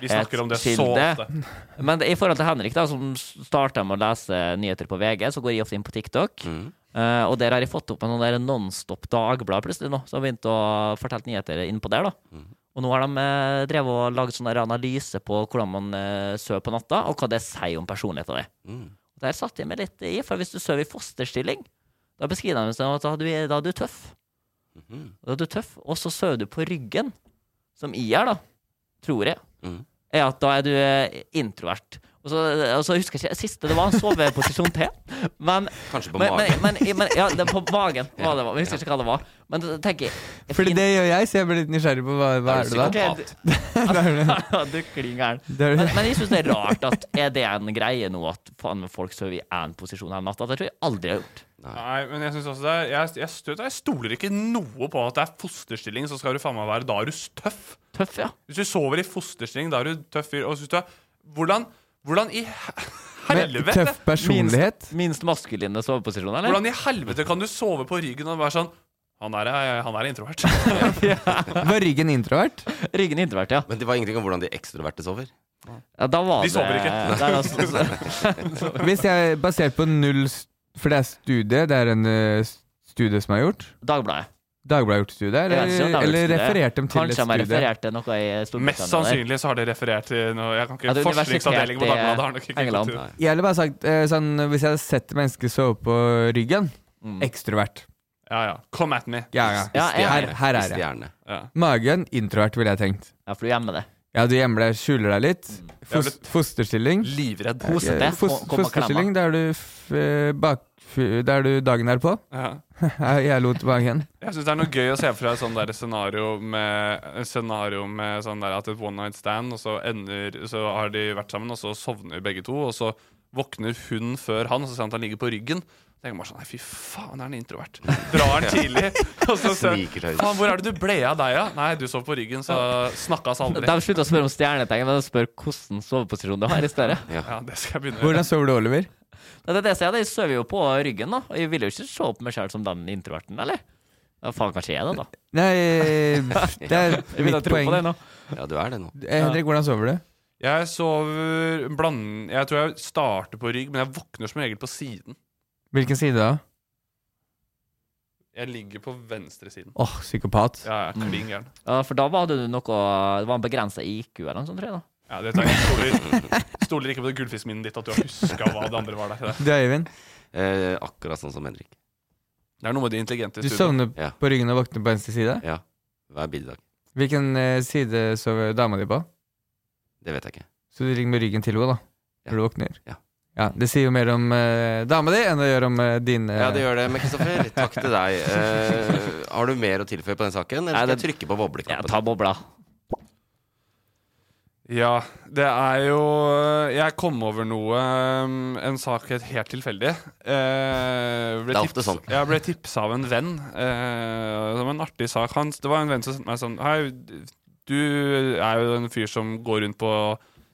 S4: Vi snakker om det så
S3: Nyhetskilde.
S4: ofte.
S3: Men i forhold til Henrik, da, som starta med å lese nyheter på VG, så går jeg ofte inn på TikTok.
S1: Mm.
S3: Eh, og der har jeg fått opp en sånn der nonstop dagblad plutselig nå, som har begynt å fortelle nyheter innpå der. da. Og nå har de eh, drevet og lagd sånn der analyse på hvordan man eh, sover på natta, og hva det sier om personligheten din.
S1: Mm.
S3: Og Der satte jeg meg litt i, for hvis du sover i fosterstilling, da beskriver de det som at da er du, da er du tøff.
S1: Mhm.
S3: Da er du tøff, og så sover du på ryggen, som jeg er, da, tror jeg,
S1: Mhm.
S3: er at da er du eh, introvert. Og Og så, og så husker jeg ikke Siste det var en soveposisjon til. Men,
S1: Kanskje på
S3: men,
S1: magen.
S3: Men, men, men, ja, det, på magen var det. Men jeg husker ikke hva det var. Men da tenker jeg, jeg
S2: Fordi det gjør jeg, så jeg blir litt nysgjerrig på hva, hva er det da?
S3: Ok, du- Altså, du klin gæren.
S2: Det er det.
S3: Men, men jeg syns det er rart at er det en greie nå at faen meg folk sover i én posisjon hele natta? Det tror jeg aldri jeg har gjort.
S4: Nei, men jeg synes også det er Jeg, jeg, støter, jeg stoler ikke noe på at det er fosterstilling, så skal du faen meg være Da er du tøff.
S3: Tøff, ja.
S4: Hvis du sover i fosterstilling, da er du tøff fyr. Og synes du er Hvordan, hvordan i he-
S2: Men
S4: helvete
S2: tøff personlighet?
S3: Minst maskuline soveposisjon, eller?
S4: Hvordan i helvete kan du sove på ryggen og være sånn Han er, eh, han er introvert.
S2: Var ryggen introvert?
S3: Ryggen introvert, ja.
S1: Men det var ingenting om hvordan de ekstroverte sover.
S3: ja da var
S4: De sover
S3: det-
S4: ikke.
S3: Der, altså,
S2: Hvis jeg basert på null s- For det er studie, det er en eh, studie som er gjort.
S3: Dagbladet.
S2: Dagbladet har gjort studie,
S3: Jeg vet ikke
S2: eller,
S3: om det er
S2: eller
S3: studie.
S2: referert dem til
S3: Kanskje de har
S2: et studie.
S3: referert til noe i Storbritannia.
S4: Mest sannsynlig så har de referert til noe Jeg kan
S3: Ja, det
S4: ikke
S3: er
S4: Forskningsavdelingen
S3: universitetet i
S4: på Dagbladet har nok ikke
S3: England.
S4: gått ut.
S2: Jeg ville bare sagt eh, sånn, Hvis jeg hadde sett mennesker sove på ryggen
S3: Mm.
S2: Ekstrovert.
S4: Ja, ja. Come at me.
S2: Ja, ja.
S3: Ja, jeg-
S2: Her, her er jeg.
S1: Stjerne.
S4: Ja.
S2: Magen introvert, ville jeg tenkt.
S3: Ja, for du gjemmer det.
S2: Ja, du gjemmer deg, skjuler deg litt.
S3: Mm.
S2: Fos, fosterstilling. Eh,
S4: Livredd.
S3: Posete.
S2: Fos,
S3: kom- kom og
S2: fosterstilling, der du, f, eh, bak, f- der du dagen er på.
S4: Ja.
S2: Jeg lot magen.
S4: Jeg syns det er noe gøy å se for seg et sånt der scenario med, et scenario med sånn der at et one night stand, og så ender Så har de vært sammen, og så sovner begge to, og så våkner hun før han, og så ser han at han ligger på ryggen. Så tenker jeg bare sånn Nei, fy faen, er han introvert? Drar han tidlig? Og så ser
S1: Sniker seg ut.
S4: Faen, hvor er det du ble av deg, da? Nei, du sov på ryggen, så snakkes aldri.
S3: De slutter å spørre om stjernetegn, men de spør hvordan soveposisjon du har i stedet.
S4: Ja, det skal jeg begynne med.
S2: Hvordan sover du, Oliver?
S3: Det er det jeg sier, jeg sover jo på ryggen, da. Og jeg vil jo ikke se på meg selv som den introverten, eller? Ja, faen, kanskje jeg er det, da.
S2: Nei, det er
S3: Jeg vil da
S2: mitt
S3: tro
S2: poeng.
S3: på det nå.
S1: Ja, du er det nå.
S2: Eh, Henrik, hvordan sover du?
S4: Jeg sover bland... Jeg tror jeg starter på rygg, men jeg våkner som regel på siden.
S2: Hvilken side da?
S4: Jeg ligger på venstresiden.
S2: Åh, psykopat.
S4: Ja, jeg er klin gæren.
S3: Ja, for da var det noe Det var en begrensa IQ eller noe sånt, tror jeg. da
S4: Ja, det tar jeg stoler, stoler ikke på det gullfiskminnet ditt, at du har huska hva det andre var der.
S2: Du, Øyvind.
S1: Eh, akkurat sånn som Henrik.
S4: Det er noe med de intelligente
S2: Du
S4: i studio.
S2: sovner
S1: Ja.
S2: på ryggen og våkner på venstre side.
S1: Ja. Hver bidrag.
S2: Hvilken eh, side sover dama di på?
S1: Det vet jeg ikke.
S2: Så du ligger med ryggen til henne, da.
S1: Ja.
S2: Når du våkner.
S1: Ja.
S2: Ja, Det sier jo mer om eh, dama di enn det gjør om eh, din eh,
S1: Ja, det gjør det. Men Kristoffer, takk til deg. Eh, har du mer å tilføye på den saken, eller
S3: Nei,
S1: skal jeg
S3: det-
S1: trykke på
S3: Ja,
S1: bobleknappen?
S3: ta bobla.
S4: Ja, det er jo eh, Jeg kom over noe um, En sak helt- helt tilfeldig. Eh, ble
S1: Det er ofte
S4: tips-
S1: sånn.
S4: Jeg ble tipsa av en venn. Eh, det var en artig sak. Han, det var en venn som sendte meg sånn Hei, du er jo en fyr som går rundt på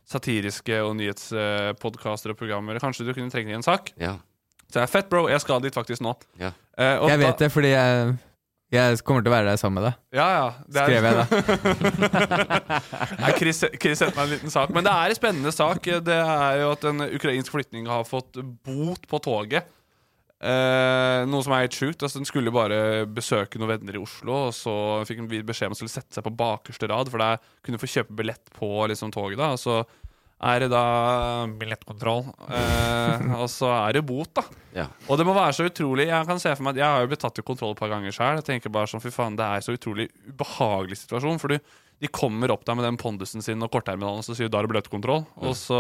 S4: satiriske og nyhetspodkaster og programmer. Kanskje du kunne trenge en sak?
S1: Ja.
S4: Så jeg er fett, bro. Jeg skal dit faktisk nå.
S1: Ja.
S4: Eh, og
S2: Jeg
S4: da-
S2: vet det fordi jeg, jeg kommer til å være der sammen med deg.
S4: Ja, ja. Det er-
S2: Skrev jeg da.
S4: Nei, Chris, Chris sendte meg en liten sak. Men det er en spennende sak. Det er jo at en ukrainsk flyktning har fått bot på toget. Eh, noe som er helt sjukt. Altså, den skulle bare besøke noen venner i Oslo, og så fikk den beskjed om å skulle sette seg på bakerste rad, for der kunne du få kjøpe billett på liksom, toget. da Og så er det da billettkontroll, eh, og så er det bot, da.
S1: Ja.
S4: Og det må være så utrolig Jeg kan se for meg at jeg har jo blitt tatt i kontroll et par ganger sjøl. Jeg tenker bare sånn, fy faen, det er så utrolig ubehagelig situasjon. For du, de kommer opp der med den pondusen sin og kortterminalen og så sier du, da er det billettkontroll. Og så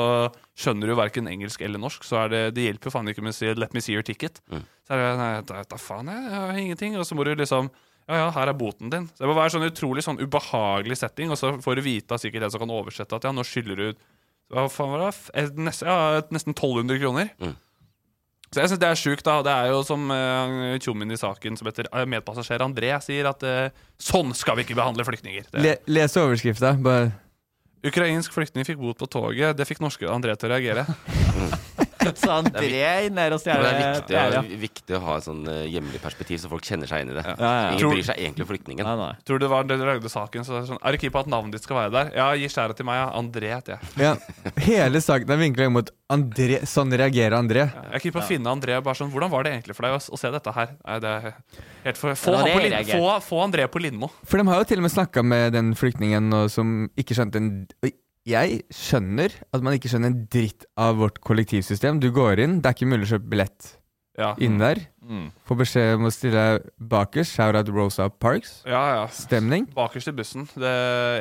S4: skjønner du verken engelsk eller norsk, så er det, det hjelper jo faen ikke med å si 'let me see your ticket'. Så er det nei, da, da faen, jeg, jeg har ingenting. Og så må du liksom ja, ja, her er boten din. Så Det må være sånn utrolig sånn ubehagelig setting, og så får du vite av sikkert den som kan oversette at ja, nå skylder du hva faen var det? F- eh, Nesten, ja, nesten 1200 kroner. Så jeg synes det er sjukt, da. Det er jo som eh, tjommen i saken som heter eh, medpassasjer André sier, at eh, sånn skal vi ikke behandle flyktninger. Det.
S2: Le, les overskrifta. Bare
S4: Ukrainsk flyktning fikk bot på toget. Det fikk norske André til å reagere.
S3: Så han drev ned og
S1: Men
S3: stjal
S1: det er viktig,
S3: Ja, ja.
S1: viktig å ha et sånn eh, hjemlig perspektiv, så folk kjenner seg inn i det.
S3: ja, ja.
S1: Ingen bryr seg egentlig om flyktningen.
S3: Nei, nei.
S4: Tror du det var det du lagde saken? Så er, det sånn, er du keen på at navnet ditt skal være der? Ja, gi skjæra til meg. Ja. André heter jeg.
S2: Ja. Hele saken er vinkla mot André. Sånn reagerer André.
S4: Jeg er keen på å finne André. Bare sånn, hvordan var det egentlig for deg å, s- å se dette her? Nei, det er helt for... få,
S3: Ja,
S4: han
S3: det
S4: på
S3: er
S4: Lin...
S3: jeg
S4: få, få André på Lindmo.
S2: For de har jo til og med snakka med den flyktningen nå som ikke skjønte en Oi, Jeg skjønner at man ikke skjønner en dritt av vårt kollektivsystem. Du går inn, det er ikke mulig å kjøpe billett
S4: Ja.
S2: inn der.
S3: Mm.
S2: Får beskjed om å stille bakerst. Shout-out Rosa Parks.
S4: Ja, ja.
S2: Stemning.
S4: Bakerst i bussen. Det,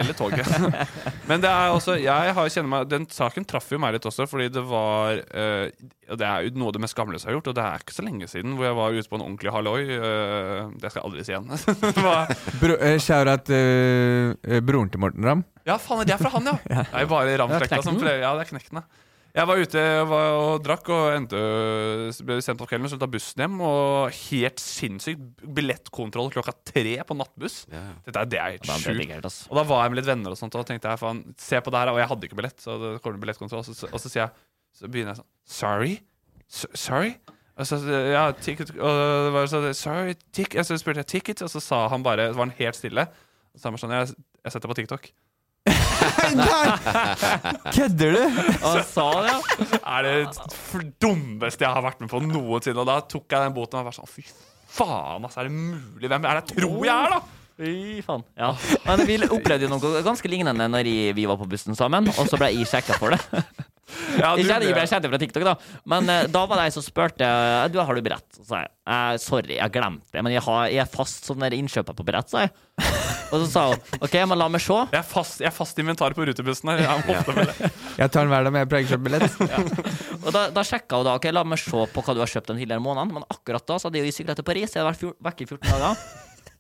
S4: eller toget. Men det er også Jeg har kjenner meg Den saken traff jo meg litt også, fordi det var eh, og Det er jo noe av det mest skamløse jeg har gjort, og det er ikke så lenge siden hvor jeg var ute på en ordentlig halloi. eh, det skal jeg aldri si igjen. det var,
S2: Bro, eh, Shout-out eh, eh, broren til Morten Ramm.
S4: ja, faen, det er fra han, ja! Det er jo bare Ramslekta som flere Ja, det er Knekten, ja. Jeg var ute og, var, og drakk og endte, ble sendt på kvelden og skulle ta bussen hjem. Og helt sinnssykt billettkontroll klokka tre på nattbuss. Dette er, det er helt
S3: Da ble det
S4: sjukt.
S3: gærent, ass.
S4: Og da var jeg med litt venner og sånt, og tenkte jeg, faen, se på det her, og jeg hadde ikke billett, så det kommer en billettkontroll, og så, og så sier jeg, så begynner jeg sånn, sorry, S sorry, og så, ja, ticket, og det var så, sorry, tick, og så spurte jeg ticket, og så sa han bare, så var han helt stille, og så sa han bare sånn, jeg, jeg setter på TikTok.
S2: Kødder du?!
S3: Og sa det, ja.
S4: Er det f- dummeste jeg har vært med på noensinne, og da tok jeg den boten og var sånn, fy faen, altså, er det mulig, hvem er det jeg tror jeg er da?
S3: Fy faen. Ja. Men vi opplevde jo noe ganske lignende når jeg- vi var på bussen sammen, og så ble jeg sjekka for det.
S4: Ja,
S3: Jeg
S4: du-
S3: kjenner- jeg ble kjent fra TikTok, da. Men eh, da var det ei som spurte eh, Du, har du brett. Så sa jeg eh, sorry, jeg glemte det, men jeg, har, jeg er fast som den innkjøper på brett, sa jeg. Og så sa hun OK, men la meg se.
S4: Jeg er fast, jeg er fast inventar på rutebussen her, jeg må ofte med det.
S2: Jeg tar den hver dag, men jeg pleier ikke å kjøpe billett.
S3: Og da, da sjekka hun da. Ok, la meg se på hva du har kjøpt den tidligere måneden. Men akkurat da så hadde jeg jo sykla til Paris. Jeg hadde vært fjor- vekk i 14 dager.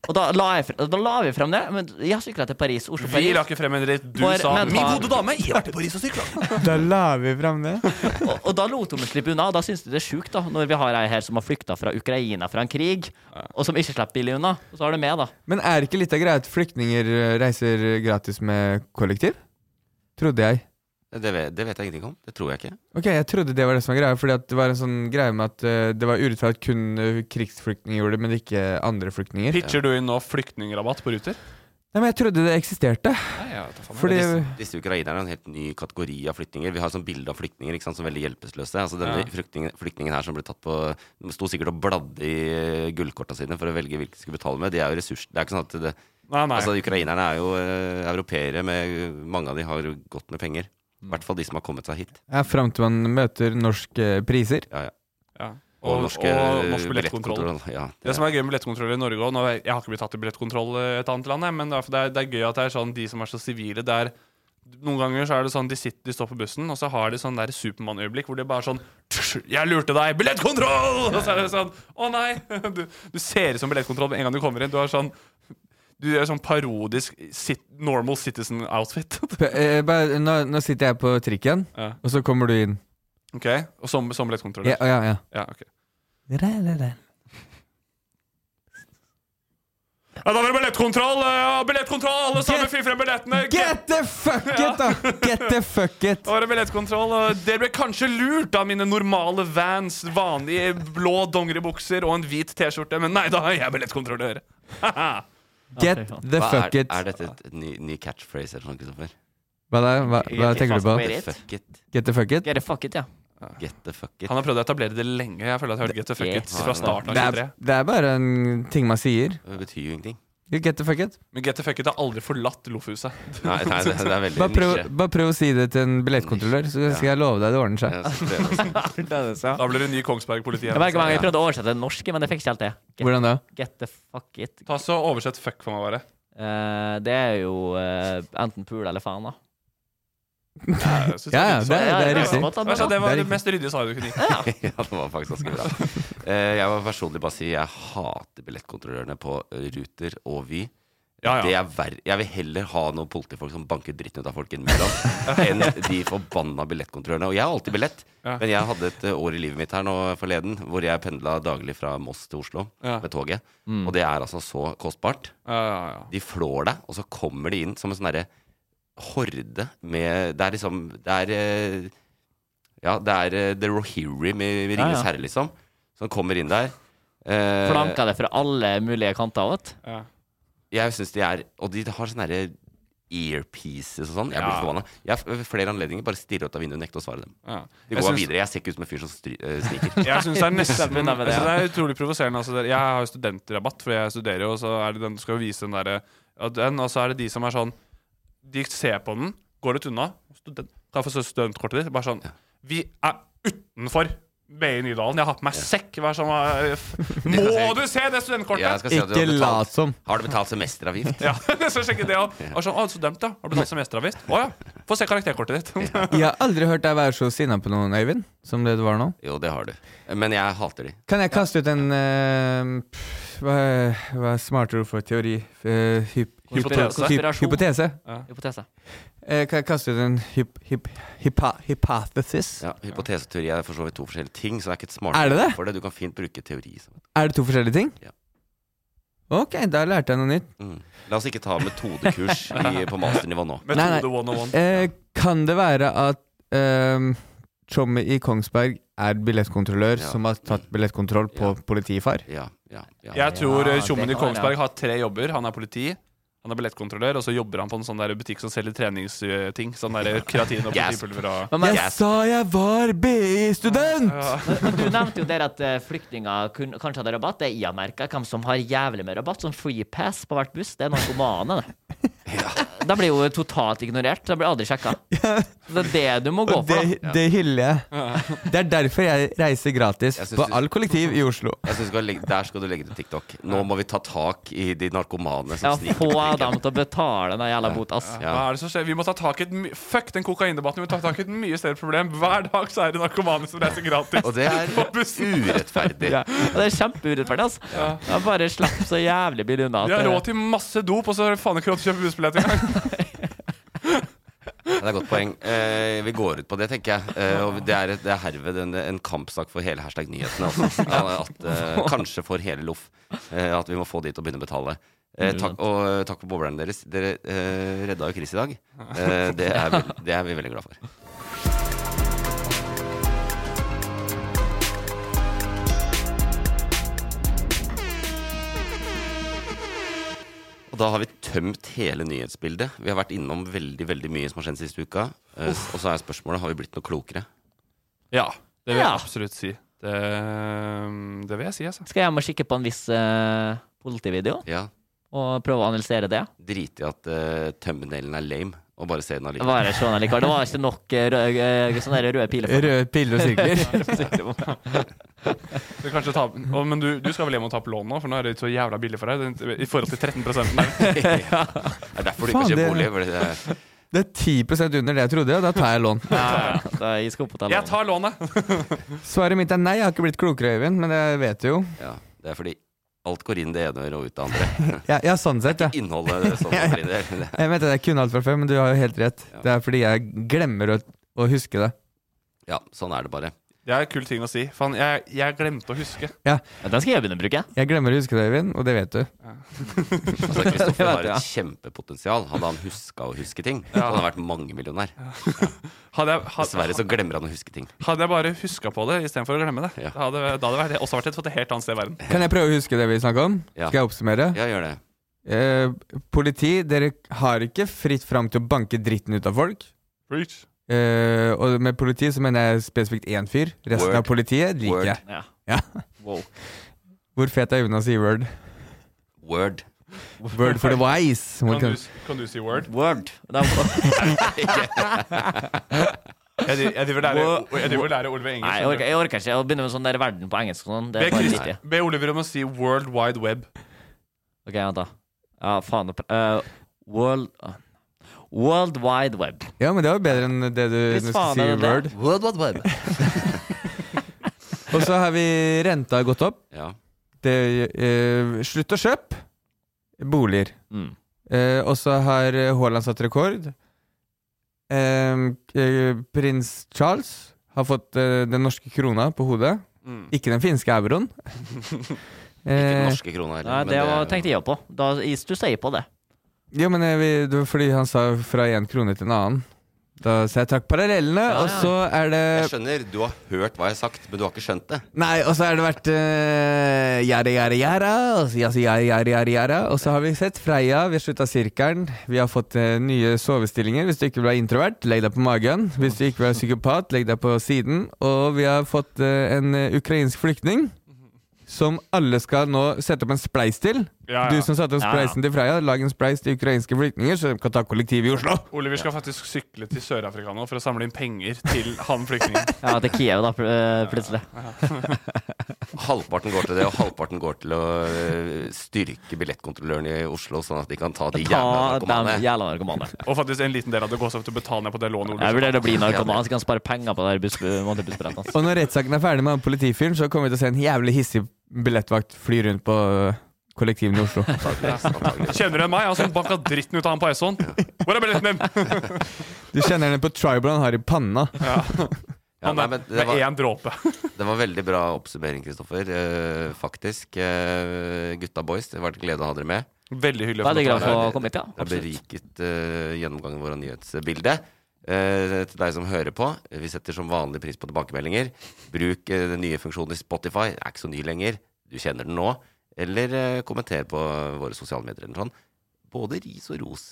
S3: Og da la, jeg, fre- da la vi frem det. Men jeg har sykla til Paris.
S4: Vi
S3: Oslo-Paris.
S4: la ikke frem en dritt, du
S3: For-
S4: sa
S3: men-
S4: den.
S3: Min gode
S4: dame, jeg har vært i Paris og sykla.
S2: Da la vi fram det.
S3: Og, og da lot hun meg slippe unna. Og da syns de det er sjukt, da. Når vi har ei her som har flykta fra Ukraina fra en krig, og som ikke slipper billig unna. Og så har det med, da.
S2: Men er det ikke litt av greia at flyktninger eh, reiser gratis med kollektiv? Trodde jeg.
S1: Det vet, det vet jeg ingenting om. Det tror jeg ikke.
S2: Ok, Jeg trodde det var det som var greia, fordi at det var en sånn greie med at eh, det var urettferdig at kun eh, krigsflyktninger gjorde det, men ikke andre flyktninger.
S4: Pitcher du inn nå flyktningrabatt på ruter?
S2: Nei, men Jeg trodde det eksisterte.
S4: Nei, jeg vet da faen.
S2: Fordi
S1: Disse, disse ukrainerne er en helt ny kategori av flyktninger. Vi har sånn bilde av flyktninger ikke sant, som veldig hjelpeløse. Altså Denne flyktningen, flyktningen her som ble tatt på de Sto sikkert og bladde i eh, gullkorta sine for å velge hvilke de skulle betale med. De er jo ressurs... Det er ikke sånn at det,
S4: Nei, nei.
S1: Altså, ukrainerne er jo eh, europeere. Med, mange av de har jo godt med penger. I hvert fall de som har kommet seg hit.
S2: ja, Fram til man møter norske priser.
S1: Ja, ja.
S4: ja.
S1: Og, norske,
S4: og
S1: eh,
S4: norsk billettkontroll.
S1: Ja, det,
S4: Det som er gøy med billettkontroll i Norge også, nå, Jeg har ikke blitt tatt i billettkontroll i et annet land, jeg, men det er, det, er, det er gøy at det er sånn de som er så sivile det er, Noen ganger så er det sånn de sitter, de står på bussen, og så har de sånn der Supermann-øyeblikk hvor de bare er sånn «Tsk, 'Jeg lurte deg! Billettkontroll!' Og så er det sånn 'Å nei!' Du, du ser ut som billettkontroll med en gang du kommer inn. Du har sånn Du gjør sånn parodisk sit, normal citizen-outfit.
S2: P eh, bare, nå, nå sitter jeg på trikken,
S4: Ja.
S2: og så kommer du inn.
S4: Ok, Og som, som billettkontroll.
S2: Ja, ja, ja.
S4: Ja, ok.
S2: Nei,
S4: Ja, da var det billettkontroll! eh, Ja, billettkontroll! Alle sammen, fyr frem billettene!
S2: Get the fuck it, da! Get the fuck it!
S4: Da var det billettkontroll, og dere ble kanskje lurt av mine normale vans, vanlige blå dongeribukser og en hvit T-skjorte, men nei, da har jeg billettkontrollør.
S2: Get the
S1: hva
S2: fuck
S1: er,
S2: it.
S1: er dette et ny, ny catchphrase eller noe, Kristoffer?
S2: Hva, da? hva, hva tenker du på?
S3: Get it.
S1: Fuck it.
S2: Get the fuck it?
S3: Get the fuck it, ja.
S1: Get the fuck it.
S4: Han har prøvd å etablere det lenge. Jeg føler at jeg hørte Get the fuck it fra starten av
S2: Det er,
S4: 23.
S2: det er bare en ting man sier.
S1: Det betyr jo ingenting.
S2: Get the fuck it.
S4: Men Get the fuck it har aldri forlatt Loffhuset.
S1: Nei, nei det, det er veldig
S2: Bare prøv,
S1: nisje.
S2: bare prøv å si det til en billettkontrollør, så skal jeg love deg det ordner seg.
S1: Ja, så prøver jeg å si.
S4: Da blir det ny Kongsberg-politi.
S3: Jeg, merker mange,
S4: igjen.
S3: jeg prøvde å oversette det norske, men jeg fikk ikke helt det. Get,
S2: Hvordan da?
S3: get the fuck it.
S4: Ta så oversett fuck for meg, bare.
S3: Eh, det er jo eh, enten pul eller faen, da.
S4: Jeg synes
S2: Ja, ja,
S4: det,
S2: det,
S4: er
S2: er- det er
S3: Ja,
S2: riktig.
S3: ja, ja.
S4: Altså, det
S2: Det
S4: var
S2: er
S4: det
S2: riktig.
S4: mest ryddige svaret du kunne gi.
S1: ja, det var faktisk ganske bra. Eh, jeg må personlig bare si jeg hater billettkontrollørene på eh, Ruter og Vy.
S4: Ja,
S1: Det
S4: ja.
S1: er verre. Jeg vil heller ha noen politifolk som banker dritten ut av folk innimellom, enn de forbanna billettkontrollørene. Og jeg har alltid billett,
S4: Ja.
S1: men jeg hadde et eh, år i livet mitt her nå forleden hvor jeg pendla daglig fra Moss til Oslo
S4: Ja. Mm.
S1: med toget. Og det er altså så kostbart.
S4: Ja, ja, ja.
S1: De flår deg, og så kommer de inn som en sånn derre horde med Det er liksom Det er eh, Ja, det er eh, The Rohirrim i i
S3: Ja,
S1: Ringenes
S3: ja.
S1: herre, liksom. Som kommer inn der. Eh,
S3: Flanka det fra alle mulige kanter. Vet.
S4: ja.
S1: Eh, jeg syns de er Og de har sånne derre earpieces og sånn. Jeg blir
S4: Ja.
S1: forbanna. Jeg har ved flere anledninger bare stirret ut av vinduet og nekta å svare dem.
S4: ja.
S1: Vi går videre. Jeg ser ikke ut som en fyr som stry, eh, sniker.
S4: Jeg syns det er nesten
S3: Stemmer, stemmer
S4: jeg
S3: det,
S4: synes det er utrolig provoserende. Altså, det- jeg har jo studentrabatt, for jeg studerer jo, og så er det den du skal jo vise den derre ja, den, Og så er det de som er sånn De ser på den, går litt unna. Student, kan jeg få studentkortet ditt? Bare sånn Vi er utenfor BI Nydalen. Jeg har på meg sekk. Hva er sånn, eh, f- Må
S1: Jeg
S4: du se det
S1: Jeg
S4: studentkortet?!
S1: skal si at du har
S2: Ikke
S1: betalt-
S2: lat som.
S1: Har du betalt semesteravgift?
S4: Ja, jeg skal sjekke det opp. Og sånn, å, så dømt, ja. Har du tatt semesteravgift? Å ja. Få se karakterkortet ditt.
S2: Jeg har aldri hørt deg være så sinna på noen, Øyvind, som det du var nå.
S1: Jo, det har du. Men jeg hater de.
S2: Kan jeg kaste ut en eh, pff, hva, er- hva er smartere ord for teori? Eh, hyp, hyp,
S3: Konspirasjon.
S2: hyp, hypotese.
S3: Hypotese.
S2: Eh, kan jeg kaste ut en hyp, hyp, hypa, hypothesis?
S1: Ja, Hypoteseteori er for så vidt to forskjellige ting, så det er ikke et smart
S2: Er det det?
S1: ord for det. Du kan fint bruke teori. som-
S2: Er det to forskjellige ting?
S1: Ja.
S2: Ok, da lærte jeg noe nytt.
S1: Mm. La oss ikke ta metodekurs i, på masternivå nå.
S2: Nei, nei.
S4: Metode 101.
S2: Eh, kan det være at ehm, Tjommi i Kongsberg er billettkontrollør
S1: Ja.
S2: som har tatt billettkontroll på
S1: Ja.
S2: politifar?
S1: Ja, ja, ja.
S4: Jeg tror eh,
S3: det
S4: tjommen i
S3: kan være.
S4: Kongsberg har tre jobber. Han er politi, han er billettkontrollør, og så jobber han på en sånn der butikk som selger treningsting. Sånn der keratin og
S1: Gasp.
S4: politipulver og
S2: Jeg
S1: Yes.
S2: sa jeg var BI-student!
S3: Men Du nevnte jo der at eh, flyktninger kun, kanskje hadde rabatt. Det er i Amerika hvem som har jævlig med rabatt. Sånn free pass på hvert buss. Det er narkomane, det. Da blir jo totalt ignorert. Da blir aldri sjekka. Det er det du må gå
S2: Og
S3: for.
S2: det,
S3: da.
S2: det hyller jeg. Det er derfor jeg reiser gratis
S1: Jeg synes
S2: på
S1: du-
S2: all kollektiv i Oslo.
S1: Jeg synes du skal legge, Der skal du legge til TikTok. Nå må vi ta tak i de narkomane som
S3: Ja,
S1: sniker.
S3: få dem til å betale den jævla bot, ass.
S1: Ja.
S4: Hva er det som skjer? Vi må ta tak i et my Fuck den kokaindebatten. Vi må ta tak i et mye større problem. Hver dag så er det narkomane som reiser gratis.
S1: Og det er
S4: på bussen.
S1: urettferdig.
S3: Ja. Og det er kjempeurettferdig, ass. Ja. Bare slapp så jævlig billig unna. at
S4: De har
S3: det-
S4: råd til masse dop, og så har de faen ikke råd til å kjøpe bussbillett engang.
S1: Ja, Det er et godt poeng. Eh, vi går ut på det, tenker jeg. Eh, og det er, det er herved en, en kampsak for hele hashtag nyhetene. Altså. Ja, At, eh, kanskje for hele loff. Eh, at vi må få de til å begynne å betale. Eh, takk, og eh, takk for boblerne deres. Dere eh, redda jo Chris i dag. Eh, det, er vi, det er vi veldig glad for. Og da har vi tømt hele nyhetsbildet. Vi har vært innom veldig veldig mye som har skjedd siste uka. Eh, og så er spørsmålet har vi blitt noe klokere.
S4: Ja, det vil jeg
S3: Ja.
S4: absolutt si. Det, det vil jeg si, altså.
S3: Skal jeg hjem og kikke på en viss eh, politivideo
S1: Ja,
S3: og prøve å analysere det?
S1: Drit i at uh, thumbnailen er lame, og bare se den allikevel.
S3: Var det, sånn, allikevel? det var ikke nok eh, rød, eh, sånne der røde piler. for-
S2: Røde piler og sirkler.
S4: Du kan kanskje ta, å, men du, du skal vel hjem og ta opp lån nå, for nå er det så jævla billig for deg. Det- I forhold til 13 der.
S1: ja. Det er derfor du ikke
S2: Faen,
S1: har kjøpt
S2: det-
S1: bolig. Fordi det er
S2: Det er 10 under det jeg trodde, og da tar jeg lån.
S3: Ja, ja. Da jeg skal opp og ta
S4: Jeg
S3: lån.
S4: tar lånet!
S2: Svaret mitt er nei, jeg har ikke blitt klokere, Øyvind, men det vet du jo.
S1: Ja, det er fordi alt går inn det ene øret og ut det andre.
S2: Ja, ja sånn sett, ja.
S1: Innholdet det som går inn det. det er-
S2: Jeg mente at jeg kunne alt fra før, men du har jo helt rett.
S1: Ja.
S2: Det er fordi jeg glemmer å, å huske det.
S1: Ja, sånn er det bare.
S4: Det er en kul ting å si. Faen, jeg, jeg glemte å huske.
S3: Ja, Den skal jeg begynne å bruke.
S2: Jeg glemmer å huske det, Øyvind, og det vet du.
S1: Altså, Kristoffer
S3: vet
S1: har
S3: jeg.
S1: et kjempepotensial. Hadde han huska å huske ting, så hadde han vært mangemillionær.
S4: Hadde jeg, ha-
S1: Dessverre så glemmer han å huske ting.
S4: hadde jeg bare huska på det istedenfor å glemme det,
S1: Ja.
S4: da hadde, da hadde vært, også vært et, fått et helt annet sted i verden.
S2: Kan jeg prøve å huske det vi snakka om?
S1: Ja.
S2: Skal jeg oppsummere?
S1: Ja, gjør det.
S2: Eh, politi, dere har ikke fritt fram til å banke dritten ut av folk.
S4: Preach.
S2: Eh, og med politi så mener jeg spesifikt én fyr. Resten
S1: Word.
S2: av politiet liker
S1: Word.
S2: jeg.
S3: Ja.
S2: Ja.
S3: Wow.
S2: Hvor fet er Jonas i Word?
S1: Word.
S2: Word for the wise.
S4: Kan du, kan du si word?
S3: Word. Da, nei,
S4: Jeg, dri- jeg driver lære, jeg driver lære Oliver engelsk.
S3: jeg orker, jeg orker ikke å begynne med sånn der verden på engelsk. og Sånn. Det
S4: Be,
S3: er bare
S4: Chris,
S3: litt i.
S4: be Oliver om å si World Wide Web.
S3: Ok, vent da. Ja, faen. det- eh, world ah. World Wide Web.
S2: Ja, men det var bedre enn det du
S3: Hvis
S2: nå
S3: faen
S2: skal si
S3: er
S2: i
S3: det det.
S2: Word.
S1: Word, word, word.
S2: Og så har vi renta gått opp.
S1: Ja.
S2: Det, eh, slutt å kjøpe boliger.
S3: Mm.
S2: Eh, og så har eh, Haaland satt rekord. Eh, eh, prins Charles har fått eh, den norske krona på hodet. Ikke den finske euroen.
S1: Mm. Ikke den
S2: Eh,
S1: norske krona heller.
S3: Nei,
S1: men
S3: det var, tenkte jeg på. Da stussa jeg på det.
S2: Ja, men jeg, vil- det var fordi han sa fra én krone til en annen. Da, så jeg trakk parallellene, og så
S1: Jeg
S2: er det
S1: skjønner, du har hørt hva jeg har sagt, men du har ikke skjønt det.
S2: Nei, og så har det vært uh, Gjerde, gjerde, gjerde. og så- ja, så gjerde, gjerde, gjerde, gjerde. Og så har vi sett Freia, vi har slutta sirkelen. Vi har fått eh, nye sovestillinger. Hvis du ikke vil være introvert, legg deg på magen. Hvis du ikke vil være psykopat, legg deg på siden. Og vi har fått eh, en eh, ukrainsk flyktning som alle skal nå sette opp en spleis til.
S4: Ja, ja.
S2: Du som satte opp
S3: Ja,
S2: spleisen til Freia, lag en spleis til ukrainske flyktninger, så de kan ta kollektiv i Oslo.
S4: Oliver skal faktisk sykle til Sør-Afrika nå for å samle inn penger til han flyktningen.
S3: Ja, til Kiev, da, pl- eh, plutselig.
S1: Halvparten går til det, og halvparten går til å øh, styrke billettkontrolløren i Oslo, sånn at de kan ta de jævla
S3: Ta
S1: narkomane.
S3: dem jævla narkomane.
S4: Og faktisk en liten del av det går seg til å betale ned på det lånet.
S3: Jeg
S4: Oliver.
S3: vurderer å bli narkoman, så kan jeg spare penger på det her buss- månedsbussbrettet hans.
S2: Og når rettssaken er ferdig med han politifyren, så kommer vi til å se en jævlig hissig billettvakt fly rundt på øh, kollektivene i Oslo.
S1: Antageligvis, antageligvis.
S4: Kjenner du igjen meg? Han som banka dritten ut av han på Esson. Hvor er billetten din?
S2: Du kjenner henne på tribal han har i panna.
S1: Ja,
S4: Han
S1: nei,
S4: er
S1: men det,
S4: med
S1: var,
S4: én dråpe.
S1: det var veldig bra oppsummering, Kristoffer. Eh, faktisk. eh, gutta boys, det var en glede å ha dere med.
S4: Veldig hyggelig. å få
S3: Veldig
S4: lov
S3: glad
S4: til å være
S3: for
S4: her.
S3: å komme hit, ja.
S1: Det har
S3: Absolutt.
S1: beriket eh, gjennomgangen vår av nyhetsbildet. Eh, til deg som hører på, vi setter som vanlig pris på tilbakemeldinger. Bruk eh, den nye funksjonen i Spotify. Den er ikke så ny lenger. Du kjenner den nå. Eller eh, kommenter på våre sosiale medier eller sånn. Både ris og ros.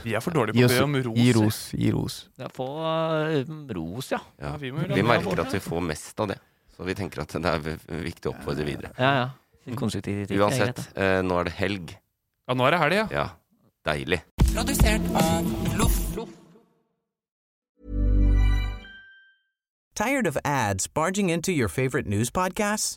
S4: Vi er for dårlige
S2: Gi
S4: på å
S2: oss-
S4: be om ros.
S2: Gi ros. Gi ros.
S3: Ja, få eh, ros, ja.
S1: Ja.
S4: Ja,
S1: vi,
S4: vi må jo lande
S1: merker
S4: våre.
S1: at vi får mest av det. Så vi tenker at det er v- viktig å oppfordre videre.
S3: Ja, ja. Konstruktiv kritikk. er greit,
S1: Uansett,
S3: da.
S1: eh, nå er det helg.
S4: Ja, nå er det helg, ja.
S1: Ja, deilig.
S8: Tired of ads barging into your favorite news podcasts?